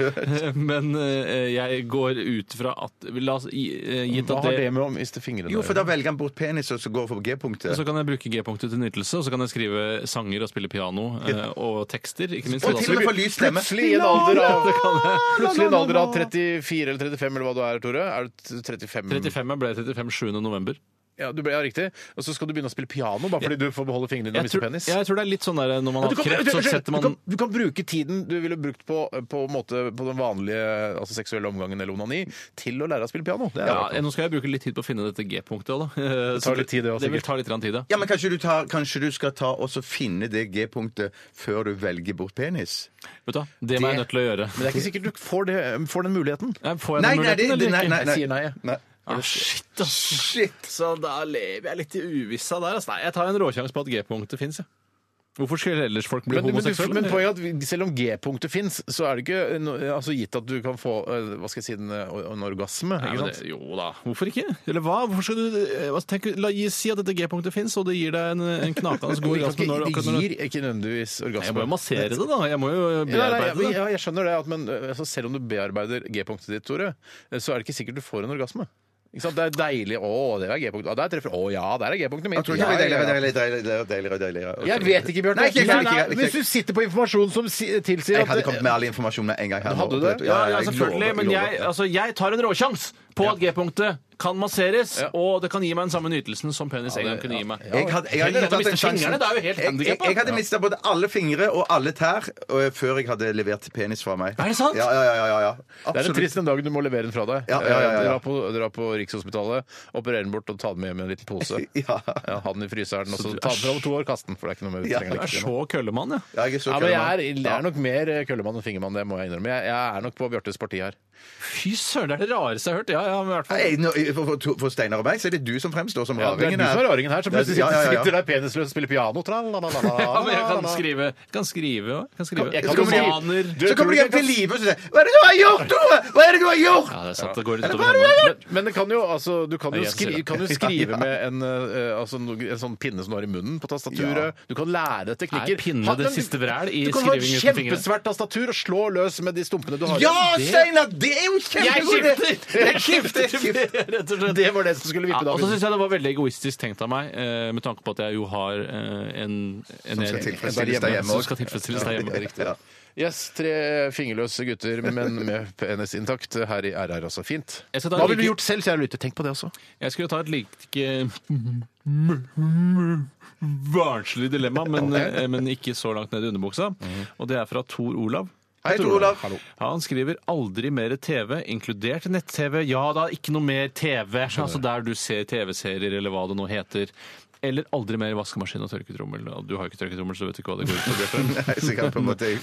Speaker 9: Men eh, jeg går ut fra at La oss gi- eh, gitt
Speaker 7: Hva
Speaker 9: at
Speaker 7: har det
Speaker 9: det
Speaker 7: med å miste fingrene
Speaker 8: Jo,
Speaker 7: å
Speaker 8: for
Speaker 7: gjøre?
Speaker 8: da velger han bort penis, og så går for G-punktet.
Speaker 7: Altså-
Speaker 9: så kan jeg bruke G-punktet til nytelse, og så kan jeg skrive sanger og spille piano eh, og tekster. ikke minst. Sånn
Speaker 8: Og til og med for lys stemme.
Speaker 7: Plutselig i en alder av,
Speaker 9: Det kan jeg.
Speaker 7: plutselig i en alder av 34 eller 35 eller hva du er, Tore. Er du t- 35?
Speaker 9: 35 jeg ble 35 7. november.
Speaker 7: Ja, du ble, ja, riktig. Og så skal du begynne å spille piano bare fordi du får beholde fingrene dine og mister
Speaker 9: Jeg tror,
Speaker 7: penis.
Speaker 9: jeg tror det er litt sånn der når man
Speaker 7: Du
Speaker 9: har
Speaker 7: kan,
Speaker 9: kreft, så setter
Speaker 7: du,
Speaker 9: man
Speaker 7: kan, du kan bruke tiden du ville brukt på, på, en måte, på den vanlige altså seksuelle omgangen eller onani, til å lære å spille piano. Det er
Speaker 9: ja,
Speaker 7: rart.
Speaker 9: eh, Nå skal jeg bruke litt tid på å finne dette G-punktet òg, da. Eh,
Speaker 7: Det tar litt tid, det også,
Speaker 9: Det vil
Speaker 7: sikkert.
Speaker 9: ta litt grann tid, ja.
Speaker 8: Ja, men kanskje du, tar, kanskje du skal ta og så finne det G-punktet før du velger bort penis?
Speaker 9: Vet du, hva? det må jeg nødt til å gjøre.
Speaker 7: Men det er ikke sikkert du får, det, får den muligheten.
Speaker 9: Nei, Får jeg den
Speaker 8: det-
Speaker 9: muligheten, eller
Speaker 8: nei,
Speaker 9: ikke?
Speaker 8: nei, nei.
Speaker 7: Jeg sier nei, jeg.
Speaker 8: nei.
Speaker 9: Ah, shit, ass.
Speaker 8: Shit!
Speaker 9: Så da lever jeg litt i uvissa der. ass. Nei, jeg tar en råsjanse på at G-punktet fins. Hvorfor skulle ellers folk bli
Speaker 7: Men, men, du,
Speaker 9: homoseksuelle?
Speaker 7: men poenget er at vi- selv om G-punktet fins, så er det ikke no- altså, gitt at du kan få eh, hva skal jeg si, en, eh, en orgasme.
Speaker 9: Nei,
Speaker 7: Ikke
Speaker 9: men
Speaker 7: sant?
Speaker 9: det, jo da, hvorfor ikke? Eller hva? Hvorfor skal du, eh, altså, tenk, la gi, Si at dette G-punktet fins, og det gir deg en, en knakende
Speaker 7: Men
Speaker 9: god
Speaker 7: vi kan
Speaker 9: orgasme. Når,
Speaker 7: ikke- det
Speaker 9: akkurat når, du-
Speaker 7: gir ikke nødvendigvis orgasme.
Speaker 9: jeg må jo massere det, da. Jeg må jo
Speaker 7: Ja, nei, ja,
Speaker 9: bearbeide
Speaker 7: men-
Speaker 9: det.
Speaker 7: ja, jeg skjønner det, at, men eh, altså, selv om du bearbeider G-punktet ditt, Tore, eh, så er det ikke sikkert du får en orgasme. Ikke sant? Det er deilig. Å, det er G-punktet. Ja, der treffer Å ja, der er G-punktet mitt.
Speaker 8: Jeg tror
Speaker 7: Ja,
Speaker 8: ikke det blir
Speaker 7: ja, ja.
Speaker 8: deiligere, deiligere, deiligere, deiligere, deiligere.
Speaker 7: Jeg vet ikke, Bjørn.
Speaker 8: Nei, ikke jeg heller, ikke jeg heller, ikke jeg.
Speaker 7: Hvis du sitter på informasjon som si- tilsier
Speaker 8: Jeg
Speaker 7: at
Speaker 8: hadde kommet med all informasjon med en gang. her nå.
Speaker 7: Hadde du det?
Speaker 9: Ja, ja,
Speaker 8: jeg
Speaker 9: selvfølgelig.
Speaker 8: lover,
Speaker 9: Men
Speaker 8: lover.
Speaker 9: jeg, altså, jeg tar en råsjans på at G-punktet kan masseres, og det kan gi meg den samme nytelsen som penis en gang kunne gi meg.
Speaker 8: Jeg hadde, jeg hadde
Speaker 9: Heller at du
Speaker 8: tatt en
Speaker 9: mister
Speaker 8: sjanse.
Speaker 9: fingrene, det er jo
Speaker 8: Jeg-
Speaker 9: helt
Speaker 8: jeg,
Speaker 9: handicap, da.
Speaker 8: jeg hadde mista både alle fingre og alle tær øh, før jeg hadde levert penis fra meg.
Speaker 9: Er det sant?
Speaker 8: Ja, ja, ja. ja, ja.
Speaker 7: Det er en
Speaker 8: Absolutt.
Speaker 7: trist den dagen du må levere den fra deg.
Speaker 8: Ja, ja, ja, ja.
Speaker 7: Eh, Dra, på, dra på Rikshospitalet, operere den bort og ta den med hjem i en liten pose.
Speaker 8: Ja.
Speaker 7: Ja, ha den i fryseren, og så ta den fra om to år, kaste den, for det er ikke noe mer vi
Speaker 8: Ja.
Speaker 7: trenger
Speaker 9: Jeg
Speaker 7: det
Speaker 9: er
Speaker 7: ikke.
Speaker 9: så køllemann, ja.
Speaker 8: Ja, jeg er så
Speaker 7: Ja, men jeg er,
Speaker 8: køddemann.
Speaker 7: jeg er nok mer eh, køllemann enn fingermann, det må jeg innrømme. Jeg, jeg er nok på Bjartes parti her.
Speaker 9: Fy søren, det er det rareste jeg har hørt. Ja, ja, men i hvert fall.
Speaker 8: Nei, nå- for, for, for Steinar og meg så er det du som fremstår som
Speaker 7: Ja, det er
Speaker 8: raringen
Speaker 7: du som
Speaker 8: her.
Speaker 7: er raringen her, som
Speaker 8: Det er-
Speaker 7: plutselig
Speaker 8: ja, ja, ja, ja.
Speaker 7: sitter der penisløs og spiller piano. Tralalalala.
Speaker 9: Ja, men jeg kan skrive. Kan skrive, ja. kan skrive.
Speaker 7: Jeg
Speaker 8: Så
Speaker 7: kan
Speaker 8: kommer de-
Speaker 9: romaner.
Speaker 8: Så kommer de hjem til live og så sier Hva er det du har gjort, Tore? Hva er det du har gjort?
Speaker 9: Ja, det er sant. Det går litt
Speaker 7: Men,
Speaker 9: utover hånden.
Speaker 7: men det kan jo, altså, du kan jo,
Speaker 9: Ja, jeg sier
Speaker 7: skri,
Speaker 9: det.
Speaker 7: kan jo skrive med en, eh, altså, no- en sånn pinne som du har i munnen på tastaturet. Du kan lære deg teknikker.
Speaker 9: Er pinne
Speaker 7: Ha-
Speaker 9: det
Speaker 7: men du-
Speaker 9: siste vræl i
Speaker 7: Du kan ha et
Speaker 9: skriving uten fingre?
Speaker 7: kjempesvært tastatur og slå løs med de stumpene du har.
Speaker 8: Ja,
Speaker 7: Det-
Speaker 8: Steinar! Det er jo kjempegod idé!
Speaker 9: Jeg skifter! Jeg skifter, rett og slett.
Speaker 7: Det var det som skulle vippe
Speaker 9: Ja,
Speaker 7: deg av
Speaker 9: og så
Speaker 7: pinnen.
Speaker 9: syns jeg det var veldig egoistisk tenkt av meg, eh, med tanke på at jeg jo har eh, en, en
Speaker 8: skal
Speaker 9: en-
Speaker 8: tilfredsstilles
Speaker 9: en-
Speaker 8: der hjemme
Speaker 9: Som
Speaker 8: også.
Speaker 9: skal tilfredsstilles der hjemme. det er riktig.
Speaker 8: Ja.
Speaker 7: Yes, tre fingerløse gutter, men med penis intakt. Her i RR, altså. Fint.
Speaker 9: Jeg skal ta
Speaker 7: Hva
Speaker 9: en
Speaker 7: ville du
Speaker 9: like-
Speaker 7: gjort selv, kjære lytter? Tenk på det også.
Speaker 9: Jeg skulle ta et like Barnslig dilemma, men, eh, men ikke så langt ned i underbuksa. Og det er fra Tor Olav.
Speaker 8: Hei, Tor Olav.
Speaker 9: Han skriver 'aldri mer TV', inkludert nett-TV. Ja da, ikke noe mer TV, altså der du ser TV-serier eller hva det nå heter. Eller aldri mer vaskemaskin og tørketrommel. Og Du har jo ikke tørketrommel, så du vet ikke hva det går ut på. Bjarte.
Speaker 8: Nei, så kan jeg på en måte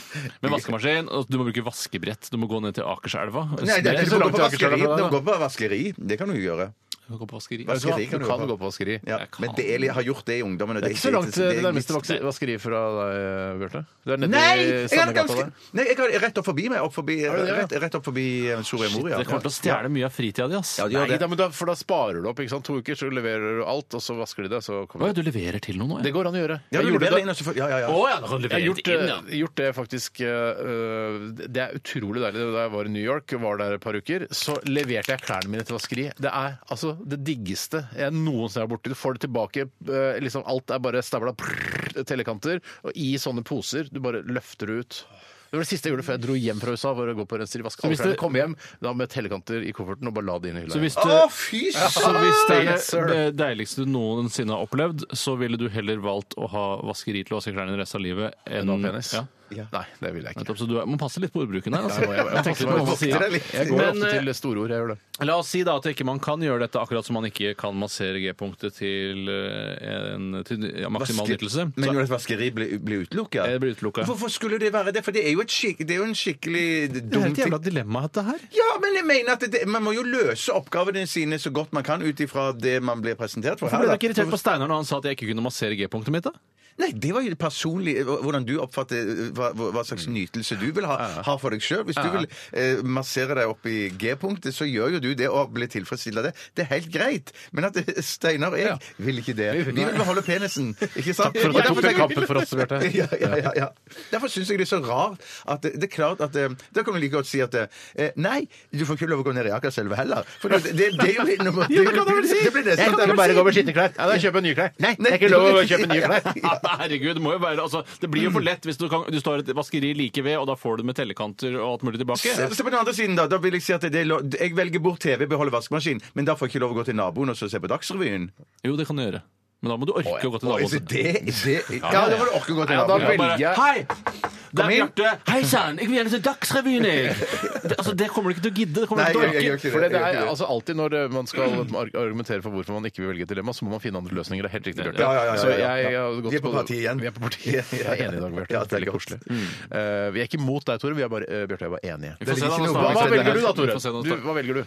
Speaker 9: Men vaskemaskin, og du må bruke vaskebrett. Du må gå ned til Akerselva.
Speaker 8: Nei, det er
Speaker 7: så langt
Speaker 8: ikke noe på
Speaker 7: tilbake skal det
Speaker 8: vaskeri.
Speaker 7: være, da.
Speaker 8: Det går på vaskeri. Det kan du jo gjøre.
Speaker 9: Du går på vaskeri.
Speaker 7: Vet du hva?
Speaker 8: Vaskeri kan
Speaker 7: Du
Speaker 8: du
Speaker 7: kan
Speaker 8: gå
Speaker 7: gå
Speaker 8: på.
Speaker 7: på vaskeri.
Speaker 8: Ja,
Speaker 9: Jeg kan.
Speaker 8: men det, jeg har gjort det i ungdommen. og
Speaker 7: Det er ikke så langt
Speaker 8: det-
Speaker 7: eh, det nærmeste vaks- vaskeriet fra deg, eh, Bjarte. Du er nede i
Speaker 8: jeg hadde
Speaker 7: Sandegata der.
Speaker 8: ganske- Nei, jeg har rett opp forbi meg. Opp forbi,
Speaker 7: det det, ja?
Speaker 8: rett, rett opp forbi eh, Soria Moria.
Speaker 9: Det kommer til å stjele mye av fritida di, ass.
Speaker 8: Ja, de gjør
Speaker 7: Nei,
Speaker 8: det.
Speaker 7: da, men da, for da sparer du opp. ikke sant? To uker, så leverer du alt, og så vasker de det. så
Speaker 9: Hva
Speaker 7: kommer
Speaker 9: er
Speaker 7: det.
Speaker 9: det du leverer til noen nå?
Speaker 7: Det går an å gjøre.
Speaker 8: Ja, du
Speaker 7: Jeg gjorde
Speaker 8: leverer
Speaker 7: det-
Speaker 8: inn, og så får- ja, ja, ja.
Speaker 9: ja, da kan du
Speaker 7: Jeg har
Speaker 9: levere
Speaker 7: gjort,
Speaker 9: det inn, ja.
Speaker 7: eh, gjort det faktisk eh, eh, Det er utrolig deilig. Da jeg var i New York og var der et par uker, så leverte jeg klærne mine til vaskeri. Det er altså det diggeste jeg noensinne har vært borti. Du får det tilbake. eh, liksom Alt er bare stabla prrr, telekanter. Og i sånne poser. Du bare løfter det ut. Det var det siste jeg gjorde før jeg dro hjem fra USA for å gå på rensevask.
Speaker 9: Så hvis
Speaker 7: Alfred
Speaker 9: det-
Speaker 7: kom hjem da med tellekanter i kofferten og bare la det inn i hylla.
Speaker 9: Så hvis
Speaker 7: igjen.
Speaker 9: det,
Speaker 8: Å, fy
Speaker 9: så hvis det er
Speaker 7: Yes, sir.
Speaker 9: det deiligste du noensinne har opplevd, så ville du heller valgt å ha vaskeri til å vaske klærne resten av livet enn
Speaker 7: å ha penis?
Speaker 9: Ja.
Speaker 7: Nei, det vil jeg ikke.
Speaker 9: Nettopp, så du er, må passe litt på ordbruken her.
Speaker 7: Jeg, må- jeg, jeg,
Speaker 9: Passe
Speaker 7: tenker
Speaker 9: litt på
Speaker 7: meg
Speaker 9: hva man
Speaker 7: ofte-
Speaker 9: sier.
Speaker 7: jeg går
Speaker 9: Men,
Speaker 7: ofte
Speaker 9: eh,
Speaker 7: til storord, jeg gjør det.
Speaker 9: La oss si da at ikke man kan gjøre dette akkurat som man ikke kan massere G-punktet til, eh, en- til ja, maksimal
Speaker 8: Vaske-
Speaker 9: nyttelse.
Speaker 8: Men
Speaker 9: Så-
Speaker 8: gjorde at vaskeri ble, ble utelukka?
Speaker 9: Eh, det ble utelukket.
Speaker 8: Hvorfor skulle det være det? For det er jo, et skik det er jo en skikkelig
Speaker 9: Det er
Speaker 8: dum
Speaker 9: et
Speaker 8: ting.
Speaker 9: jævla dilemma, dette her.
Speaker 8: Ja, men jeg mener at det, man må jo løse oppgavene sine så godt man kan ut ifra det man blir presentert for.
Speaker 9: Hvorfor ble
Speaker 8: her,
Speaker 9: du ikke
Speaker 8: da.
Speaker 9: irritert på Steinar når han sa at jeg ikke kunne massere G-punktet mitt? da?
Speaker 8: Nei, det var jo personlig eh, hvordan du oppfatter eh, hva, hva hva slags nytelse du vil ha, ha for deg sjøl. Hvis du vil eh, massere deg opp i G-punktet, så gjør jo du det og blir tilfredsstilt av det. Det er helt greit. Men at eh, Steinar og jeg vil ikke det. Vi vil beholde penisen. Ikke sant?
Speaker 7: Takk for at du
Speaker 8: Ja,
Speaker 7: tok
Speaker 8: derfor
Speaker 7: den
Speaker 8: tenker-
Speaker 7: kampen for oss, Bjarte.
Speaker 8: ja, ja, ja, ja. Derfor syns jeg det er så rart at det, det er klart at eh, Da kan du like godt si at eh, nei, du får ikke lov å gå ned i Akerselva heller. For det, det, det er jo litt nummer
Speaker 7: Ja, det kan du vel si!
Speaker 8: Det blir nesten at det-
Speaker 7: gå med skitne klær. Ja, da kjøper jeg nye klær. Nei,
Speaker 8: det er ikke lov å kjøpe nye klær.
Speaker 9: Ja, herregud, det må jo være altså, Det blir jo for lett hvis du, kan, du står i et vaskeri like ved, og da får du med tellekanter og alt mulig tilbake.
Speaker 8: Se, se på den andre siden, da. Da vil jeg si at det er lov, jeg velger bort TV, beholder vaskemaskin, men da får jeg ikke lov å gå til naboen og så se på Dagsrevyen.
Speaker 9: Jo, det kan du gjøre. Men da må du orke å gå til
Speaker 8: Oi, så
Speaker 9: naboen.
Speaker 8: det, det, ja, da må du orke å gå til
Speaker 7: Ja, da
Speaker 8: naboen.
Speaker 7: velger jeg
Speaker 9: Hei! Det er
Speaker 8: inn.
Speaker 9: Bjarte. Hei sann, jeg vil gjerne se Dagsrevyen, jeg! Det, altså, det kommer du ikke til å gidde. Det kommer
Speaker 8: Nei,
Speaker 9: du ikke
Speaker 8: jeg, jeg
Speaker 9: til å
Speaker 8: gjør
Speaker 9: orke.
Speaker 8: ikke
Speaker 7: For
Speaker 8: det.
Speaker 7: det, det
Speaker 8: jeg
Speaker 7: er
Speaker 8: gjør ikke det.
Speaker 7: altså alltid når eh, man skal ar- argumentere for hvorfor man ikke vil velge et dilemma, så må man finne andre løsninger. Det er helt riktig, Bjarte.
Speaker 8: Ja, ja, ja, ja,
Speaker 7: Så
Speaker 8: ja.
Speaker 7: jeg har gått
Speaker 8: Vi er på partiet igjen.
Speaker 7: Vi er på partiet. Jeg er enig i dag, Bjarte.
Speaker 8: Ja, det er
Speaker 7: veldig
Speaker 8: godt.
Speaker 7: koselig. Eh, vi er ikke mot deg, Tore. Vi er bare, eh, Bjarte og jeg er bare enige.
Speaker 9: Vi får se da,
Speaker 8: ikke
Speaker 9: nå
Speaker 8: noe
Speaker 9: snakker
Speaker 7: Hva,
Speaker 8: bak
Speaker 9: vi
Speaker 7: hva
Speaker 8: det
Speaker 9: senere.
Speaker 7: velger du da,
Speaker 9: Vi
Speaker 7: Tore?
Speaker 9: får se nå
Speaker 7: Du,
Speaker 9: snart.
Speaker 7: hva velger du?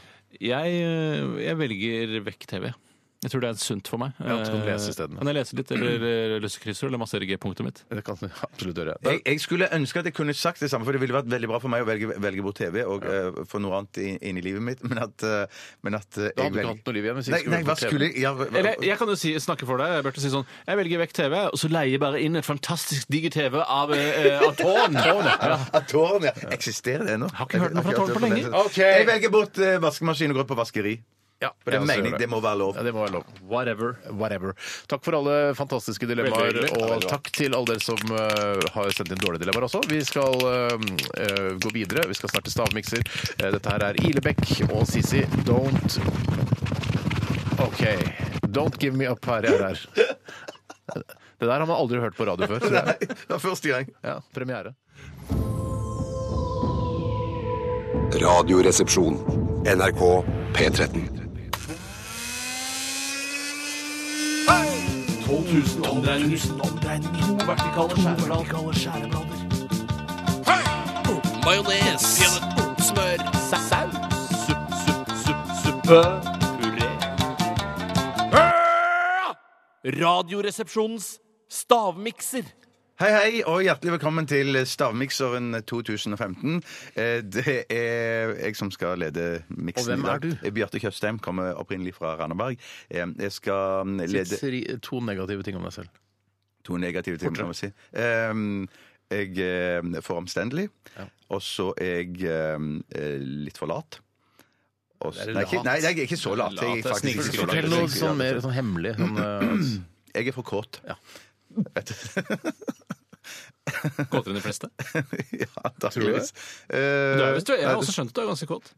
Speaker 9: Jeg, øh, jeg velger vekk TV. Jeg tror det er sunt for meg.
Speaker 7: Ja, så kan du lese isteden.
Speaker 9: Eh, Kan jeg lese litt, eller eh, løse kryssord, eller massere G-punktet mitt?
Speaker 7: Det kan du absolutt gjøre.
Speaker 8: Jeg, jeg skulle ønske at jeg kunne sagt det samme, for det ville vært veldig bra for meg å velge, velge bort TV og eh, få noe annet inn, inn i livet mitt, men at, eh, men at eh,
Speaker 7: Da hadde
Speaker 8: jeg
Speaker 7: du ikke
Speaker 8: velger-
Speaker 7: hatt noe liv igjen hvis du
Speaker 8: Nei,
Speaker 7: skulle
Speaker 8: nei,
Speaker 7: velge
Speaker 8: hva
Speaker 7: TV.
Speaker 8: skulle jeg ja, hva-
Speaker 9: Eller jeg kan jo si, snakke for deg, Bjarte, og si sånn Jeg velger vekk TV, og så leier jeg bare inn et fantastisk digg TV av, eh, av Tårn. Ja.
Speaker 8: At tårn, ja. Eksisterer det ennå?
Speaker 9: Har ikke hørt noe fra
Speaker 8: Har ikke
Speaker 9: tårn på
Speaker 8: hørt noe
Speaker 9: lenge.
Speaker 8: fra det.
Speaker 7: Ok.
Speaker 8: Jeg velger bort eh, vaskemaskin og går på vaskeri.
Speaker 7: Ja,
Speaker 8: For det
Speaker 7: ja, så
Speaker 8: mener
Speaker 7: gjør
Speaker 8: jeg det må være lov.
Speaker 7: Ja, det må være lov.
Speaker 9: Whatever.
Speaker 7: Whatever. Takk for alle fantastiske dilemmaer,
Speaker 9: Veldig hyggelig.
Speaker 7: og takk til alle dere som eh, har sendt inn dårlige dilemmaer også. Vi skal eh, eh, gå videre. Vi skal snart til stavmikser. Eh, dette her er Ilebekk og Sisi. Don't OK. Don't give me up her jeg er her. Det der har man aldri hørt på radio før. tror jeg.
Speaker 8: Det var første gang.
Speaker 7: Ja, premiere.
Speaker 6: Radioresepsjon. NRK P13.
Speaker 9: 12 000 omdreininger. To vertikale skjæreblader. Majones. Smør. Saus. Supp, supp, supp, suppe. Puré. Radioresepsjonens stavmikser.
Speaker 8: Hei, hei, og hjertelig velkommen til Stavmikseren 2015. Eh, Det er jeg som skal lede miksen
Speaker 7: Og hvem
Speaker 8: i dag.
Speaker 7: er du?
Speaker 8: Eh, Bjarte Tjøstheim kommer opprinnelig fra Randaberg. Eh, Jeg skal lede
Speaker 7: Siri, To negative ting om deg selv.
Speaker 8: to negative ting, kan man si. Eh, Jeg eh, er for omstendelig, og så er jeg eh, litt for lat. Og så-
Speaker 7: Er det
Speaker 8: nei, ikke-
Speaker 7: lat?
Speaker 8: nei, jeg er ikke så lat. Jeg er
Speaker 9: Lat er
Speaker 8: faktisk ikke så lat.
Speaker 7: Fortell noe sånn mer sånn hemmelig. Sånn, eh,
Speaker 8: Jeg er for kåt.
Speaker 9: Kåtere enn de fleste.
Speaker 8: Ja,
Speaker 7: du
Speaker 8: antakeligvis. Eh,
Speaker 9: Du er, visst- jeg har også skjønt at du er ganske kåt.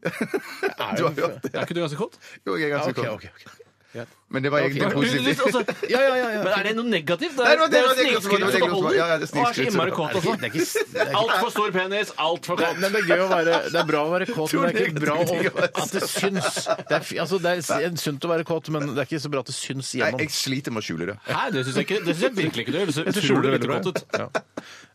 Speaker 8: Du har hørt det?
Speaker 9: Er ikke du ganske kåt?
Speaker 8: Jo, jeg er
Speaker 7: ja,
Speaker 8: ganske
Speaker 7: ok,
Speaker 8: kåt.
Speaker 7: ok, ok.
Speaker 8: Men det var egentlig
Speaker 9: Du- du-
Speaker 8: positivt.
Speaker 9: du- altså-
Speaker 7: Ja, ja, ja, ja.
Speaker 9: Men er det noe negativt?
Speaker 8: Nei, det var- det var- det var-
Speaker 9: snikskryt
Speaker 8: det var- det
Speaker 9: som
Speaker 8: var-
Speaker 9: holder.
Speaker 8: ja, ja, det er
Speaker 9: Og er så
Speaker 8: snikskryt som-
Speaker 9: innmari kåt
Speaker 7: Det er
Speaker 9: også.
Speaker 7: ikke, det er ikke
Speaker 9: Altfor stor penis, altfor kåt.
Speaker 7: Men det er gøy å være Det er bra å være kåt, men det er ikke bra å, at det syns. Det er, fi- altså, det er sunt å være kåt, men det er ikke så bra at det syns
Speaker 8: Nei,
Speaker 7: gjennom.
Speaker 8: jeg sliter med å skjule det.
Speaker 9: Hæ, det syns jeg, ikke- det synes jeg virkelig ikke du gjør. Du ser
Speaker 7: Jeg skjuler
Speaker 9: utrolig
Speaker 7: det
Speaker 9: lite
Speaker 7: veldig
Speaker 9: kåt ut.
Speaker 7: bra. Ja.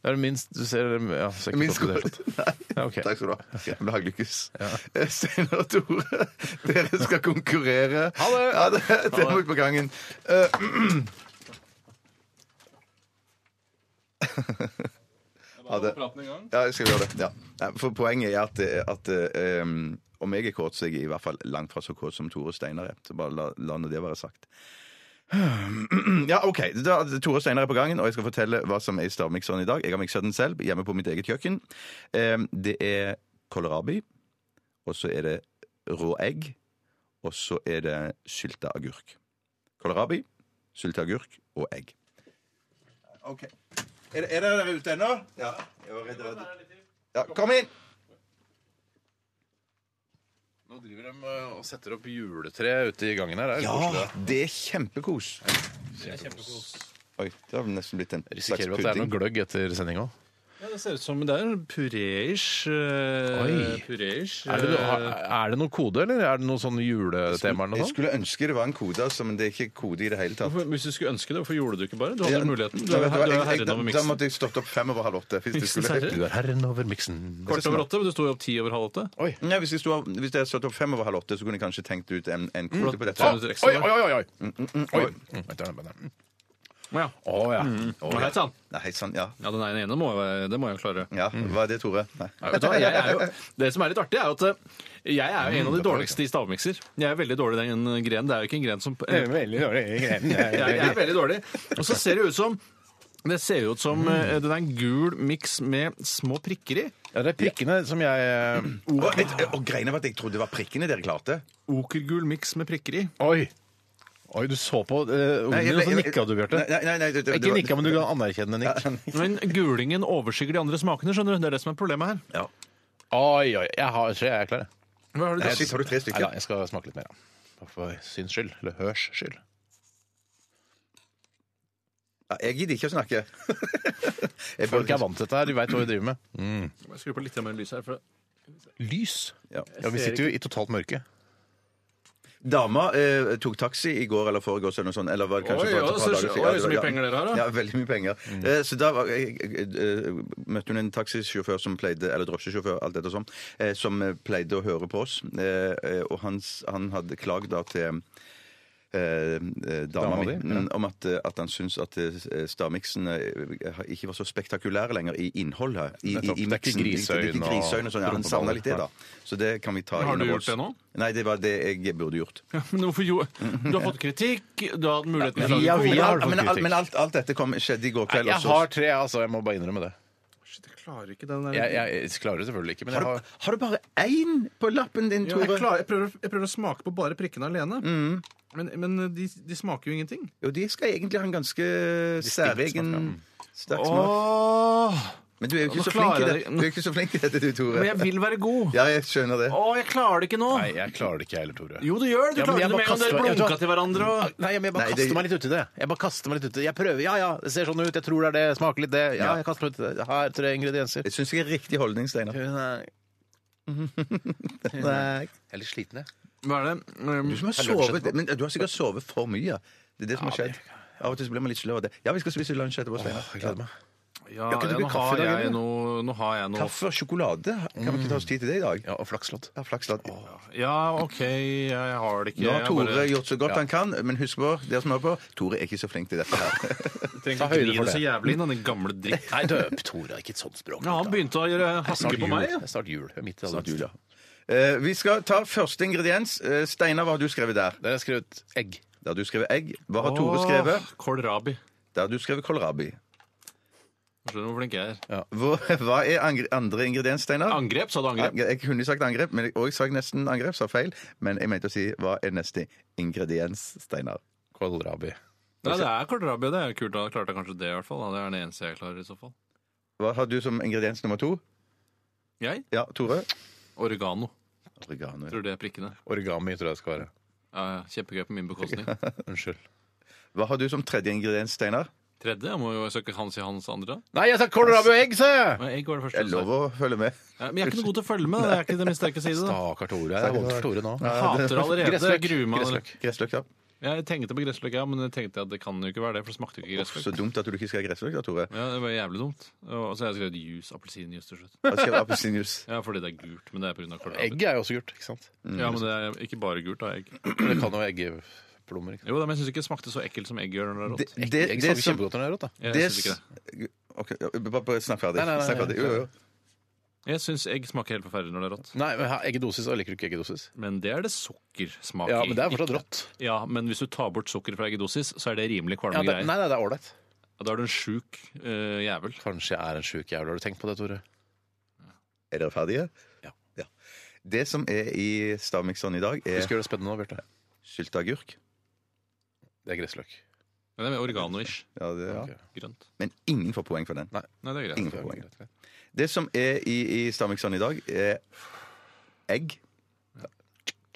Speaker 7: Det er det minst du ser ja, ser ikke
Speaker 8: Min
Speaker 7: kåt ut i det hele
Speaker 8: skole.
Speaker 7: tatt.
Speaker 8: Nei.
Speaker 7: Ja, ok.
Speaker 8: Takk skal du ha. Jeg ble haglykkes. Eh, Steinar og Tore, dere skal konkurrere. Ha det! Ja, det, det må ut på gangen. Eh, Ha det. Ja, jeg skal gjøre det. Ja. Nei, For poenget er at, at eh, um, om jeg er kåt, så er jeg i hvert fall langt fra så kåt som Tore Steinar er. Så bare la, la nå det være sagt. Ja, OK. Da, Tore Steinar er på gangen, og jeg skal fortelle hva som er i stavmikseren i dag. Jeg har miksa den selv hjemme på mitt eget kjøkken. Eh, Det er kålrabi, og så er det rå egg, og så er det sylta agurk. Kålrabi, sylta agurk og egg. OK. Er, dere ute ennå? Ja. Jeg var redd. Ja, kom inn!
Speaker 7: Nå driver de eh, og setter opp juletre ute i gangen her. Det er litt koselig,
Speaker 8: Ja,
Speaker 7: da.
Speaker 8: det er kjempekos. Oi, det har nesten blitt en slags
Speaker 7: Risikerer at det er noe
Speaker 8: pudding.
Speaker 7: gløgg etter sending òg.
Speaker 9: Ja, det ser ut som det er en eh, puré-ish.
Speaker 7: Oi.
Speaker 9: Puré-ish.
Speaker 7: Er, det noe- er det noe kode, eller er det noe sånn juletema eller noe sånt?
Speaker 8: Jeg skulle ønske det var en kode, altså, men det er ikke kode i det hele tatt.
Speaker 9: Hvorfor- Hvis du skulle ønske det, hvorfor gjorde du ikke bare? Du hadde
Speaker 8: Ja,
Speaker 9: muligheten. Du
Speaker 8: da
Speaker 9: er
Speaker 8: vet
Speaker 9: her-
Speaker 8: hva,
Speaker 9: du er
Speaker 8: jeg- jeg-
Speaker 9: herren over
Speaker 8: Da
Speaker 9: miksen.
Speaker 8: måtte jeg stått opp fem over halv åtte. Hvis det
Speaker 9: Miksens
Speaker 8: skulle...
Speaker 9: herre?
Speaker 7: Du er herren over miksen.
Speaker 9: Kvart over åtte, men du sto jo opp ti over halv åtte.
Speaker 8: Nei, hvis, jeg sto, hvis jeg hadde stått opp fem over halv åtte, så kunne jeg kanskje tenkt ut en, en kode på dette.
Speaker 9: Ta Mm. minutter
Speaker 7: Oi,
Speaker 9: ekstra
Speaker 7: oi,
Speaker 9: der.
Speaker 7: oi! oi. oi. Mm, vent, vent, vent, vent.
Speaker 9: Ja.
Speaker 7: Å ja.
Speaker 8: Mm.
Speaker 7: Å,
Speaker 9: Hei
Speaker 7: ja.
Speaker 9: sann.
Speaker 8: Nei, hei sann, ja.
Speaker 9: Ja, den ene ene må jeg, det må jeg jo klare.
Speaker 8: ja. Hva er det, Tore? Nei.
Speaker 9: Mm. Nei, vet du hva? Jeg er jo, det som er litt artig, er jo at eh, jeg er jo en av de dårligste i stavmikser. Jeg er veldig dårlig i den grenen. Det er jo ikke en gren som eh,
Speaker 7: Veldig
Speaker 9: jeg, jeg er
Speaker 7: dårlig.
Speaker 9: veldig dårlig. Og så ser det ut som det ser jo ut som eh, den er en gul miks med små prikker i.
Speaker 7: Ja, det er prikkene som jeg eh,
Speaker 8: Og, et, og greiene var at jeg trodde det var prikkene dere klarte.
Speaker 9: Okergul miks med prikker i.
Speaker 7: Oi! Oi, du så på eh, ungene,
Speaker 8: jeg-
Speaker 7: og så
Speaker 8: jeg-
Speaker 7: nikka du, Bjarte.
Speaker 8: Nei, nei, nei, det- det- det
Speaker 7: Ikke
Speaker 8: var-
Speaker 7: nikka, men du ga anerkjennende nikk.
Speaker 9: Men gulingen overskygger de andre smakene, skjønner du. Det er det som er problemet her.
Speaker 8: Ja.
Speaker 7: Oi, oi. Jeg har tre, jeg er klar. jeg.
Speaker 9: Hva har du
Speaker 8: Nei,
Speaker 9: tatt?
Speaker 8: Sist har du tre
Speaker 7: Nei da,
Speaker 8: stykker.
Speaker 7: jeg skal smake litt mer. da. Bare For syns skyld. Eller hørs skyld.
Speaker 8: Ja, jeg gidder ikke å snakke. Jeg
Speaker 7: Folk er
Speaker 8: bare-
Speaker 7: vant til dette her, de veit hva de driver med.
Speaker 9: Jeg skrur på litt mer lys her. For...
Speaker 7: Lys?
Speaker 8: Ja.
Speaker 7: Ja, vi sitter jo i totalt mørke.
Speaker 8: Dama eh, tok taxi i går eller foregårs eller noe sånt. Eller var det kanskje
Speaker 9: Oi,
Speaker 8: bare
Speaker 9: ja,
Speaker 8: et
Speaker 9: så-
Speaker 8: par dager siden.
Speaker 9: oi,
Speaker 8: Ja, det
Speaker 9: så
Speaker 8: var-
Speaker 9: mye penger dere har, da. Mm.
Speaker 8: Ja, veldig mye penger. Eh, så da var, jeg, jeg, eh, møtte hun en taxisjåfør som pleide, eller drosjesjåfør, alt dette sånn, eh, som eh, pleide å høre på oss. Eh, eh, og hans, han hadde klagd da til Eh, eh, dama
Speaker 7: Dama
Speaker 8: mi,
Speaker 7: di,
Speaker 8: mm, om at, eh, at han syns at eh, stavmiksen eh, ikke var så spektakulær lenger i innholdet. I, i,
Speaker 7: Nettopp.
Speaker 8: i
Speaker 7: Det er ikke
Speaker 8: miksen.
Speaker 7: griseøyne
Speaker 8: Det er ikke
Speaker 7: og
Speaker 8: griseøyne og sånn, ja, han
Speaker 7: rumpeballer.
Speaker 8: savna litt det, da. Så det kan vi ta
Speaker 9: Har du
Speaker 8: innover
Speaker 9: gjort det
Speaker 8: oss.
Speaker 9: nå?
Speaker 8: Nei, det var det jeg burde gjort.
Speaker 9: Men hvorfor jo? Du har fått kritikk, du har hatt muligheten til å
Speaker 7: Via,
Speaker 9: lage
Speaker 7: via
Speaker 8: Ja,
Speaker 7: har fått
Speaker 8: men, alt,
Speaker 7: kritikk.
Speaker 8: men alt, alt dette kom, skjedde i går kveld.
Speaker 7: Jeg
Speaker 8: også.
Speaker 7: har tre, altså. Jeg må bare innrømme det.
Speaker 9: Shit, jeg klarer ikke den der
Speaker 7: Jeg, jeg, jeg klarer det selvfølgelig ikke, men
Speaker 8: Har
Speaker 7: jeg
Speaker 8: du,
Speaker 7: har
Speaker 8: har du bare én på lappen din,
Speaker 9: Jo,
Speaker 8: Tore?
Speaker 9: jeg, klarer, jeg, prøver, jeg prøver å smake på bare prikkene alene. Men, men de, de smaker jo ingenting.
Speaker 8: Jo, de skal egentlig ha en ganske særegen sterk smak.
Speaker 9: Åh,
Speaker 8: Men du er jo ikke
Speaker 9: Nå
Speaker 8: så flink i
Speaker 9: klarer jeg
Speaker 8: det.
Speaker 9: det.
Speaker 8: Du er ikke så flink i dette, du, Tore.
Speaker 9: men jeg vil være god.
Speaker 8: Ja, jeg skjønner det.
Speaker 9: Åh, jeg klarer det ikke nå.
Speaker 7: Nei, jeg klarer det ikke, jeg heller, Tore.
Speaker 9: Jo, du gjør det. Du
Speaker 7: Ja, men
Speaker 9: klarer
Speaker 7: jeg bare
Speaker 9: det med en gang
Speaker 7: kaster
Speaker 9: dere
Speaker 7: meg-
Speaker 9: blunka til hverandre. Og...
Speaker 7: Nei, men jeg bare
Speaker 8: Nei, det-
Speaker 7: kaster meg litt uti det. Jeg bare kaster meg litt uti det. Jeg prøver. Ja, ja, det ser sånn ut. Jeg tror det er det. Smaker litt det. Ja, jeg kaster meg uti det. Her, tre ingredienser.
Speaker 8: Jeg syns jeg er riktig holdning, Steinar.
Speaker 7: Jeg er litt sliten, jeg.
Speaker 9: Hva er det? Um,
Speaker 8: Du, som har sovet, men du har sikkert sovet for mye. Det er det som har skjedd. Av og til så blir man litt sløv av det. Ja, vi skal spise lunsj etterpå, Steinar.
Speaker 7: Jeg gleder meg.
Speaker 9: ja,
Speaker 8: kan du
Speaker 9: Ehm, ja,
Speaker 8: bli
Speaker 9: nå,
Speaker 8: kaffe i
Speaker 9: har
Speaker 8: dag,
Speaker 9: jeg
Speaker 8: eller?
Speaker 9: noe, nå har jeg noe
Speaker 8: Kaffe og sjokolade. Kan vi ikke ta oss tid til det i dag?
Speaker 7: Ja, og flakslodd.
Speaker 8: Ja, flaks da.
Speaker 9: Ja, OK, jeg har det ikke.
Speaker 8: Nå har
Speaker 9: Jeg
Speaker 8: Tore
Speaker 9: bare-
Speaker 8: gjort så godt han kan, men husk på, dere som hører på, Tore er ikke så flink til dette her.
Speaker 9: trenger
Speaker 7: Ta høyde
Speaker 9: ikke gni
Speaker 7: for
Speaker 9: det så
Speaker 7: det.
Speaker 9: jævlig inn, den gamle dritt.
Speaker 7: Nei, døp, Tore. Ikke et sånt språk.
Speaker 9: Ja, han begynte å gjøre haske
Speaker 7: Snart
Speaker 9: på
Speaker 7: jul.
Speaker 9: meg. ja.
Speaker 7: Det er Snart jul. Midt i advent.
Speaker 8: Julia. Eh, vi skal ta første ingrediens. Eh, Steinar, hva har du skrevet der?
Speaker 7: Der har jeg skrevet egg.
Speaker 8: Der har du skrevet egg. Hva har Tore skrevet?
Speaker 9: Åh, Kålrabi.
Speaker 8: Der har du skrevet kålrabi.
Speaker 9: Skjønner du hvor flink jeg er?
Speaker 8: Hvor, hva er angre, andre ingrediens, Steinar?
Speaker 9: Angrep, sa du
Speaker 8: Ja,
Speaker 9: angrep?
Speaker 8: Jeg kunne sagt angrep, men jeg, og jeg sa nesten angrep, sa feil. Men jeg mente å si hva er neste ingrediens, Steinar?
Speaker 7: Kålrabi.
Speaker 9: Nei, det er kålrabi. Det er jo kult. Da klarte jeg kanskje det, i hvert fall. da. Det er den eneste jeg klarer, i så fall.
Speaker 8: Hva har du som ingrediens nummer to?
Speaker 9: Jeg?
Speaker 8: Ja, Tore?
Speaker 9: Oregano.
Speaker 8: Oregano.
Speaker 9: Tror du det er prikkene?
Speaker 7: Origami tror jeg det skal være.
Speaker 9: Ja, ja, Kjempegøy på min bekostning.
Speaker 7: Unnskyld.
Speaker 8: Hva har du som tredje ingrediens, Steinar?
Speaker 9: Tredje? Jeg må jo søke Hans i hans andre.
Speaker 7: Nei, jeg sa kålrabi og egg, sa jeg!
Speaker 9: Men egg var det første.
Speaker 8: Jeg
Speaker 9: du sa.
Speaker 8: lover å følge med.
Speaker 9: Ja, men jeg er ikke noe god til å følge med. da. Det er ikke det min sterke side. da.
Speaker 7: Stakkar Tore. Det er vondt for Tore nå.
Speaker 9: Jeg hater allerede. Jeg
Speaker 7: Gressløk.
Speaker 9: gruer meg. allerede.
Speaker 7: Gressløk.
Speaker 8: Gressløk, da.
Speaker 9: Jeg tenkte på gressløk, ja, men jeg tenkte at det kan jo ikke være det, for det smakte jo ikke
Speaker 8: Så
Speaker 9: gressløk.
Speaker 8: dumt at du ikke skal ha gressløk, da, Tore.
Speaker 9: Ja, Det var jævlig dumt. Og så har jeg skrevet juice, appelsinjuice til slutt.
Speaker 8: Jeg skrev appelsinjuice.
Speaker 9: Ja, fordi det er gult, men det er pga. kålrabi.
Speaker 7: Egg er jo også gult, ikke sant?
Speaker 9: Ja, men det er ikke bare gult, da. Egg.
Speaker 7: Men det kan jo være eggeplommer. ikke sant?
Speaker 9: Jo da, men jeg syns ikke det smakte så ekkelt som egg gjør når det er rått.
Speaker 8: Det,
Speaker 7: Egg,
Speaker 8: det,
Speaker 7: egg
Speaker 8: det
Speaker 7: smaker
Speaker 8: som
Speaker 7: kjempegodt når det er rått, da.
Speaker 9: Jeg
Speaker 8: det,
Speaker 9: synes ikke det.
Speaker 8: Ok, ja, bare, bare snakk ferdig.
Speaker 7: Nei, nei, nei,
Speaker 8: Snakk ferdig. Jo, jo, jo.
Speaker 9: Jeg syns egg smaker helt forferdelig når det er rått.
Speaker 7: Nei, men her- eggedosis, og liker du ikke eggedosis?
Speaker 9: Men det er det sukkersmak
Speaker 7: Ja,
Speaker 9: i.
Speaker 7: men det er fortsatt rått.
Speaker 9: Ja, men hvis du tar bort sukker fra eggedosis, så er det rimelig
Speaker 7: Ja, det,
Speaker 9: kvalme
Speaker 7: nei,
Speaker 9: greier.
Speaker 7: nei, det er ålreit.
Speaker 9: Da er du en sjuk eh, jævel.
Speaker 7: Kanskje jeg er en sjuk jævel. Har du tenkt på det, Tore?
Speaker 8: Er dere ferdige?
Speaker 7: Ja.
Speaker 8: Det som er i stavmikseren i dag,
Speaker 7: Du
Speaker 8: er
Speaker 7: skal gjøre det spennende nå, Bjarte.
Speaker 8: sylteagurk.
Speaker 7: Det er gressløk.
Speaker 9: Men det er mer organoish.
Speaker 8: Ja, det, ja.
Speaker 9: Grønt.
Speaker 8: Men ingen får poeng for den.
Speaker 9: Nei, det er
Speaker 8: Ingen
Speaker 9: greit.
Speaker 8: får poeng. Det som er i, i Stamikson i dag, er egg.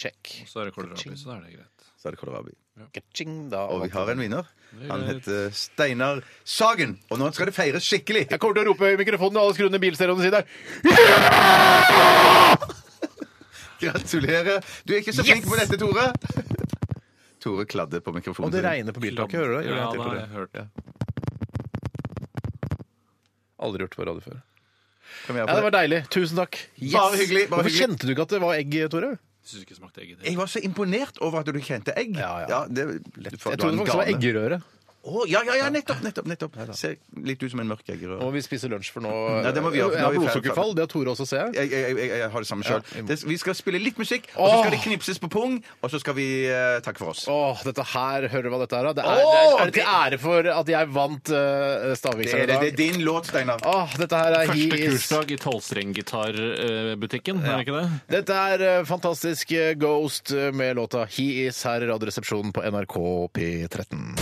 Speaker 7: Check.
Speaker 9: Så er det kålrabi, så da er det greit.
Speaker 8: Så er det kålrabi.
Speaker 7: Ka-ching, da.
Speaker 8: Og vi har en vinner. Han heter Steinar Sagen. Og nå skal det feires skikkelig.
Speaker 7: Jeg kommer til å rope i mikrofonen og alle skruene i bilstereoen sin der.
Speaker 8: Gratulerer. Du er ikke så flink på dette, Tore. Tore kladder på mikrofonen.
Speaker 7: Og det regner på biltaket, hører du det? Gjør det
Speaker 9: Ja,
Speaker 7: en til
Speaker 9: da
Speaker 7: på
Speaker 9: har
Speaker 7: det?
Speaker 9: jeg hørt det.
Speaker 7: Aldri gjort på radio før.
Speaker 8: Kan vi
Speaker 7: Ja,
Speaker 8: gjøre på
Speaker 7: det var deilig. Tusen takk. Yes.
Speaker 8: Bare hyggelig, bare
Speaker 7: Hvorfor
Speaker 8: hyggelig.
Speaker 7: kjente du ikke at det var egg, Tore?
Speaker 9: Syns ikke det smakte egg i det.
Speaker 8: Jeg var så imponert over at du kjente egg.
Speaker 7: Ja, ja.
Speaker 8: det, du får-
Speaker 7: Jeg
Speaker 8: du har
Speaker 7: trodde
Speaker 8: en
Speaker 7: faktisk det var
Speaker 8: gane.
Speaker 7: eggerøre.
Speaker 8: Å, ja, ja, ja, nettopp, nettopp, nettopp. Ser litt ut som en mørk eggerøre.
Speaker 7: Og vi spiser lunsj for nå.
Speaker 8: Ja, det må vi gjøre, for
Speaker 7: Jeg har
Speaker 8: nå er vi ferdig.
Speaker 7: blodsukkerfall. Det har Tore også, ser jeg.
Speaker 8: Jeg, jeg, jeg, jeg har det samme sjøl.
Speaker 7: Ja.
Speaker 8: Vi skal spille litt musikk, og så
Speaker 7: Åh.
Speaker 8: skal det knipses på pung, og så skal vi eh, takke for oss.
Speaker 7: Åh, dette her, hører du hva dette er? da? Det er,
Speaker 8: Åh,
Speaker 7: det er, er det til
Speaker 8: det-
Speaker 7: ære for at jeg vant uh,
Speaker 8: Det er,
Speaker 7: Stavmikseren i
Speaker 8: det, det
Speaker 7: dag?
Speaker 8: er din låt, Steinar.
Speaker 7: Åh, dette her er
Speaker 9: Første
Speaker 7: he is-
Speaker 9: kursdag i eh, tolvstrenggitarbutikken, er det ikke det?
Speaker 7: Dette er eh, fantastisk eh, Ghost eh, med låta He Is her i Radioresepsjonen på NRK P13.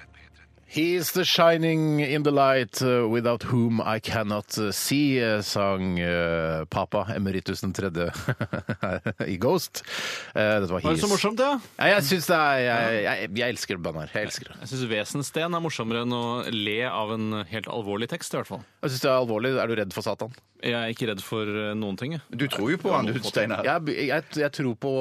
Speaker 7: He is the shining in the light eh, without whom I cannot eh, see, eh, sang eh, papa emeritus den tredje i Ghost. Eh, dette var
Speaker 9: Var
Speaker 7: He
Speaker 9: det så
Speaker 7: Is.
Speaker 9: morsomt, det?
Speaker 7: Ja, jeg syns det er Jeg, jeg, jeg elsker bandet her. Jeg elsker det.
Speaker 9: Jeg syns Vesensten er morsommere enn å le av en helt alvorlig tekst, i hvert fall.
Speaker 7: Jeg syns det er alvorlig. Er du redd for Satan?
Speaker 9: Jeg er ikke redd for eh, noen ting, jeg.
Speaker 8: Du tror jo på han, du, Steinar.
Speaker 7: Jeg, jeg, jeg tror på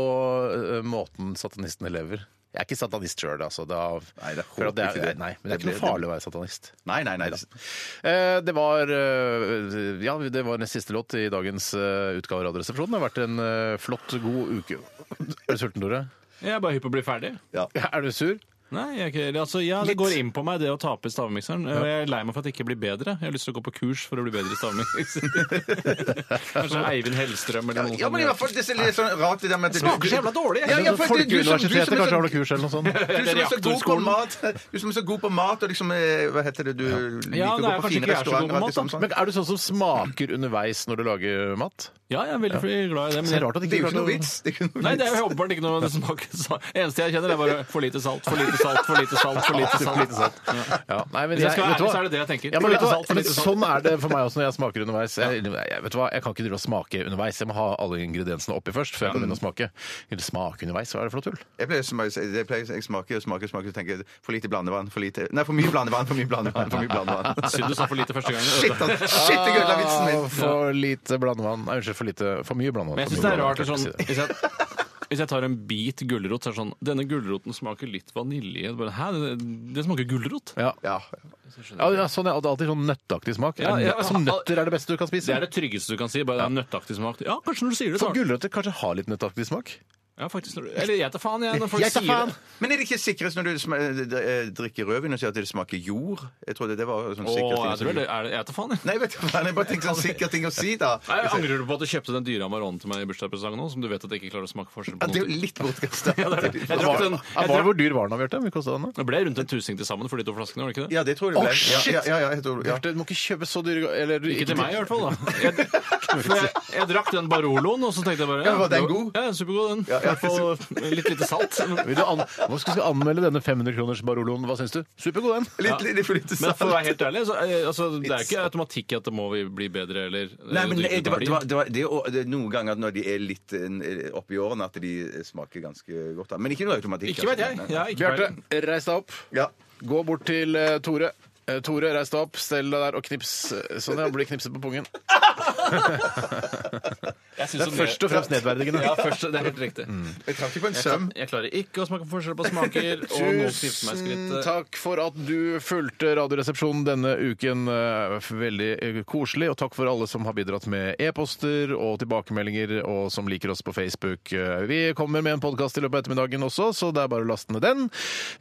Speaker 7: ø, måten satanistene lever. Jeg er ikke satanist sjøl, altså. Det er,
Speaker 8: Nei, det er
Speaker 7: for at det er-
Speaker 8: ikke det.
Speaker 7: Nei, men det er
Speaker 8: Det
Speaker 7: ikke noe
Speaker 8: blir-
Speaker 7: farlig å være satanist.
Speaker 8: Nei, nei, nei.
Speaker 7: Eh, Det var eh, Ja, det var nest siste låt i dagens eh, utgave av Radioresepsjonen. Det har vært en eh, flott, god uke. Er du sulten, Tore?
Speaker 9: Jeg er bare hypp på å bli ferdig.
Speaker 7: Er du sur?
Speaker 9: Nei, jeg er ikke, eller, altså, ja, Det går inn på meg, det å tape i stavmikseren. Og Jeg er lei meg for at jeg ikke blir bedre. Jeg har lyst til å gå på kurs for å bli bedre i stavmikseren. Kanskje Eivind Hellstrøm eller noe
Speaker 8: Ja, men i hvert fall, det er litt sånn rart det der med at
Speaker 9: Smaker så jævla dårlig, jeg.
Speaker 8: Ja, ja, for at du- du som- du som er
Speaker 7: Folkeuniversitetet
Speaker 8: så-
Speaker 7: kanskje har noe kurs eller noe sånt?
Speaker 8: Du som er så god på mat, du som
Speaker 9: Reaktorskolen.
Speaker 8: er så god på mat og liksom eh, Hva heter det du liker
Speaker 9: Ja,
Speaker 8: å
Speaker 9: nei,
Speaker 8: gå på
Speaker 9: kanskje
Speaker 8: fine
Speaker 9: ikke jeg er så god
Speaker 8: restauranter?
Speaker 9: på
Speaker 8: og alt
Speaker 9: mat,
Speaker 8: det sånn, sånn.
Speaker 7: Men Er du sånn som smaker underveis når du lager mat?
Speaker 9: Ja, jeg er veldig glad i det. Men
Speaker 7: Det er
Speaker 9: jeg,
Speaker 7: rart at
Speaker 8: Det er
Speaker 7: ikke du
Speaker 8: jo ikke
Speaker 7: klarte
Speaker 8: noe
Speaker 7: å-
Speaker 8: vits. Det er ikke noe
Speaker 9: nei, det er
Speaker 8: vits.
Speaker 9: jo åpenbart ikke noe det smaker salt. Eneste jeg kjenner, er bare for lite salt, for lite salt, for lite salt. for lite salt.
Speaker 7: Ja, nei, men
Speaker 9: Hvis jeg skal være
Speaker 7: vet du
Speaker 9: ærlig,
Speaker 7: hva?
Speaker 9: så er det det jeg tenker.
Speaker 7: Ja, men
Speaker 9: For
Speaker 7: vet du
Speaker 9: lite
Speaker 7: hva?
Speaker 9: salt, for
Speaker 7: Men
Speaker 9: lite salt.
Speaker 7: Sånn er det for meg også når jeg smaker underveis. Jeg, jeg, vet du hva? jeg kan ikke drive og smake underveis. Jeg må ha alle ingrediensene oppi først før jeg kan begynne å smake. Eller smake underveis, hva er det for noe tull?
Speaker 8: Jeg, pleier, som jeg, sier, jeg, pleier, jeg smaker og smaker og smaker og tenker for lite blandevann, for lite Nei, for mye blandevann, for mye blandevann. for mye blandevann.
Speaker 9: Synd du sa for lite første gang. altså.
Speaker 8: Shit, han, shit, jeg ødela vitsen
Speaker 7: Ah,
Speaker 8: min!
Speaker 7: For lite blandevann. Nei, unnskyld, for lite For mye blandevann.
Speaker 9: Men
Speaker 7: For
Speaker 9: jeg
Speaker 7: mye
Speaker 9: syns det er
Speaker 7: blandevann,
Speaker 9: rart det er sånn,
Speaker 7: kan jeg ikke si det.
Speaker 9: hvis, jeg, hvis jeg tar en bit gulrot, så er det sånn Denne gulroten smaker litt vanilje. Bare, Hæ, det, det smaker gulrot?
Speaker 7: Ja.
Speaker 8: Ja.
Speaker 7: Ja, ja, sånn, ja, det er alltid sånn nøtteaktig smak.
Speaker 9: Ja,
Speaker 7: Er
Speaker 9: ja,
Speaker 7: nøtt- Som
Speaker 9: ja.
Speaker 7: nøtter er det beste du kan
Speaker 9: Det
Speaker 7: spise.
Speaker 9: er det tryggeste du kan si. Bare det er nøtteaktig smak. Ja, kanskje når du sier det,
Speaker 7: For
Speaker 9: så.
Speaker 7: gulrøtter kanskje har litt nøtteaktig smak.
Speaker 9: Ja, faktisk, når du, eller jeg tar faen, jeg. Når folk
Speaker 7: Jeg tar
Speaker 9: sier
Speaker 7: faen.
Speaker 9: det.
Speaker 8: Men er det ikke sikrest når du sma- eh, drikker rødvin og sier at det smaker jord? Jeg trodde det var sånn
Speaker 9: Å, jeg
Speaker 8: sikkert
Speaker 9: tror
Speaker 8: ting.
Speaker 9: det er det- Jeg tar faen, jeg.
Speaker 8: Nei, vet du hva, jeg bare tenker sånn sikker ting å si, da.
Speaker 9: Nei, jeg angrer du på at du kjøpte den dyre Amaronen til meg i bursdagspresang nå, som du vet at jeg ikke klarer å smake forskjell
Speaker 8: Ja,
Speaker 9: på?
Speaker 8: det er jo
Speaker 9: Noe.
Speaker 8: litt bortkasta.
Speaker 9: Ja, det er det. Jeg drakk den- sånn- jeg
Speaker 7: Ja,
Speaker 9: drakk-
Speaker 7: Hvor dyr var den, da, Bjarte? Hvor mye kostet den? da?
Speaker 9: Det ble rundt en tusing til sammen for de to flaskene, var det ikke det?
Speaker 8: Ja, det tror jeg det ble. Ja,
Speaker 7: shit!
Speaker 8: ja, ja, ja, jeg tror, ja.
Speaker 7: Bjarte, du må ikke kjøpe så dyre ga- eller,
Speaker 9: Ikke til meg i hvert fall, da. Jeg, for jeg, jeg drakk den Baroloen, og så tenkte jeg bare
Speaker 8: Ja, var den god?
Speaker 9: Ja, supergod, den.
Speaker 8: ja.
Speaker 9: I hvert fall litt lite salt.
Speaker 7: Vil du an Hva skal vi anmelde denne 500-kroners Baroloen? Hva syns du? Supergod, den.
Speaker 8: Litt, litt, litt for lite
Speaker 9: Men
Speaker 8: salt.
Speaker 9: for å være helt ærlig, så, eh, altså, det er ikke automatikk i at det må vi bli bedre eller eh,
Speaker 8: Nei, men eh,
Speaker 9: drikke
Speaker 8: det, det, var,
Speaker 9: mer.
Speaker 8: det, var, det, var, det, er jo- det er noen ganger når de er litt eh, oppi årene, at de smaker ganske godt. da. Men ikke noe automatikk.
Speaker 9: Ikke vet jeg.
Speaker 8: altså. Nei,
Speaker 9: Ja, ikke
Speaker 7: Bjarte,
Speaker 9: peiling.
Speaker 7: reis deg opp.
Speaker 8: nei. Ja.
Speaker 7: Gå bort til eh, Tore. Eh, Tore, reis deg opp, stell deg der og knips. Sånn, ja. Blir knipset på pungen.
Speaker 9: Det er
Speaker 7: Først og fremst nedverdigende.
Speaker 9: Ja, først, det er helt riktig.
Speaker 8: Jeg traff ikke på en søm.
Speaker 9: Jeg klarer ikke å smake forskjell på smaker. Og noen knipser meg i
Speaker 7: Tusen
Speaker 9: skrittet.
Speaker 7: takk for at du fulgte Radioresepsjonen denne uken. Eh, Veldig eh, koselig. Og takk for alle som har bidratt med e-poster og tilbakemeldinger, og som liker oss på Facebook. Eh, Vi kommer med en podkast i løpet av ettermiddagen også, så det er bare å laste ned den.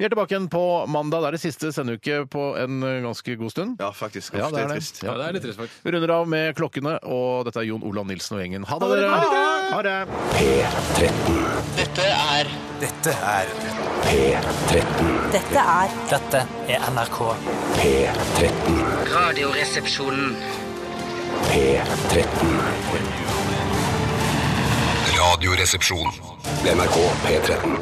Speaker 7: Vi er tilbake igjen på mandag. Det er det siste sendeuke på en eh, ganske god stund.
Speaker 8: Ja, faktisk.
Speaker 7: Ja,
Speaker 8: Uff,
Speaker 7: det er det.
Speaker 8: trist.
Speaker 9: Ja, det er litt trist, faktisk.
Speaker 7: Vi runder av med klokkene, og dette er Jon Olav Nilsen og gjengen. Ha det! dere. Ha det.
Speaker 2: Dette er Dette er
Speaker 5: Dette er
Speaker 2: Dette er NRK.
Speaker 5: Radioresepsjonen.
Speaker 6: Radioresepsjon. NRK P13.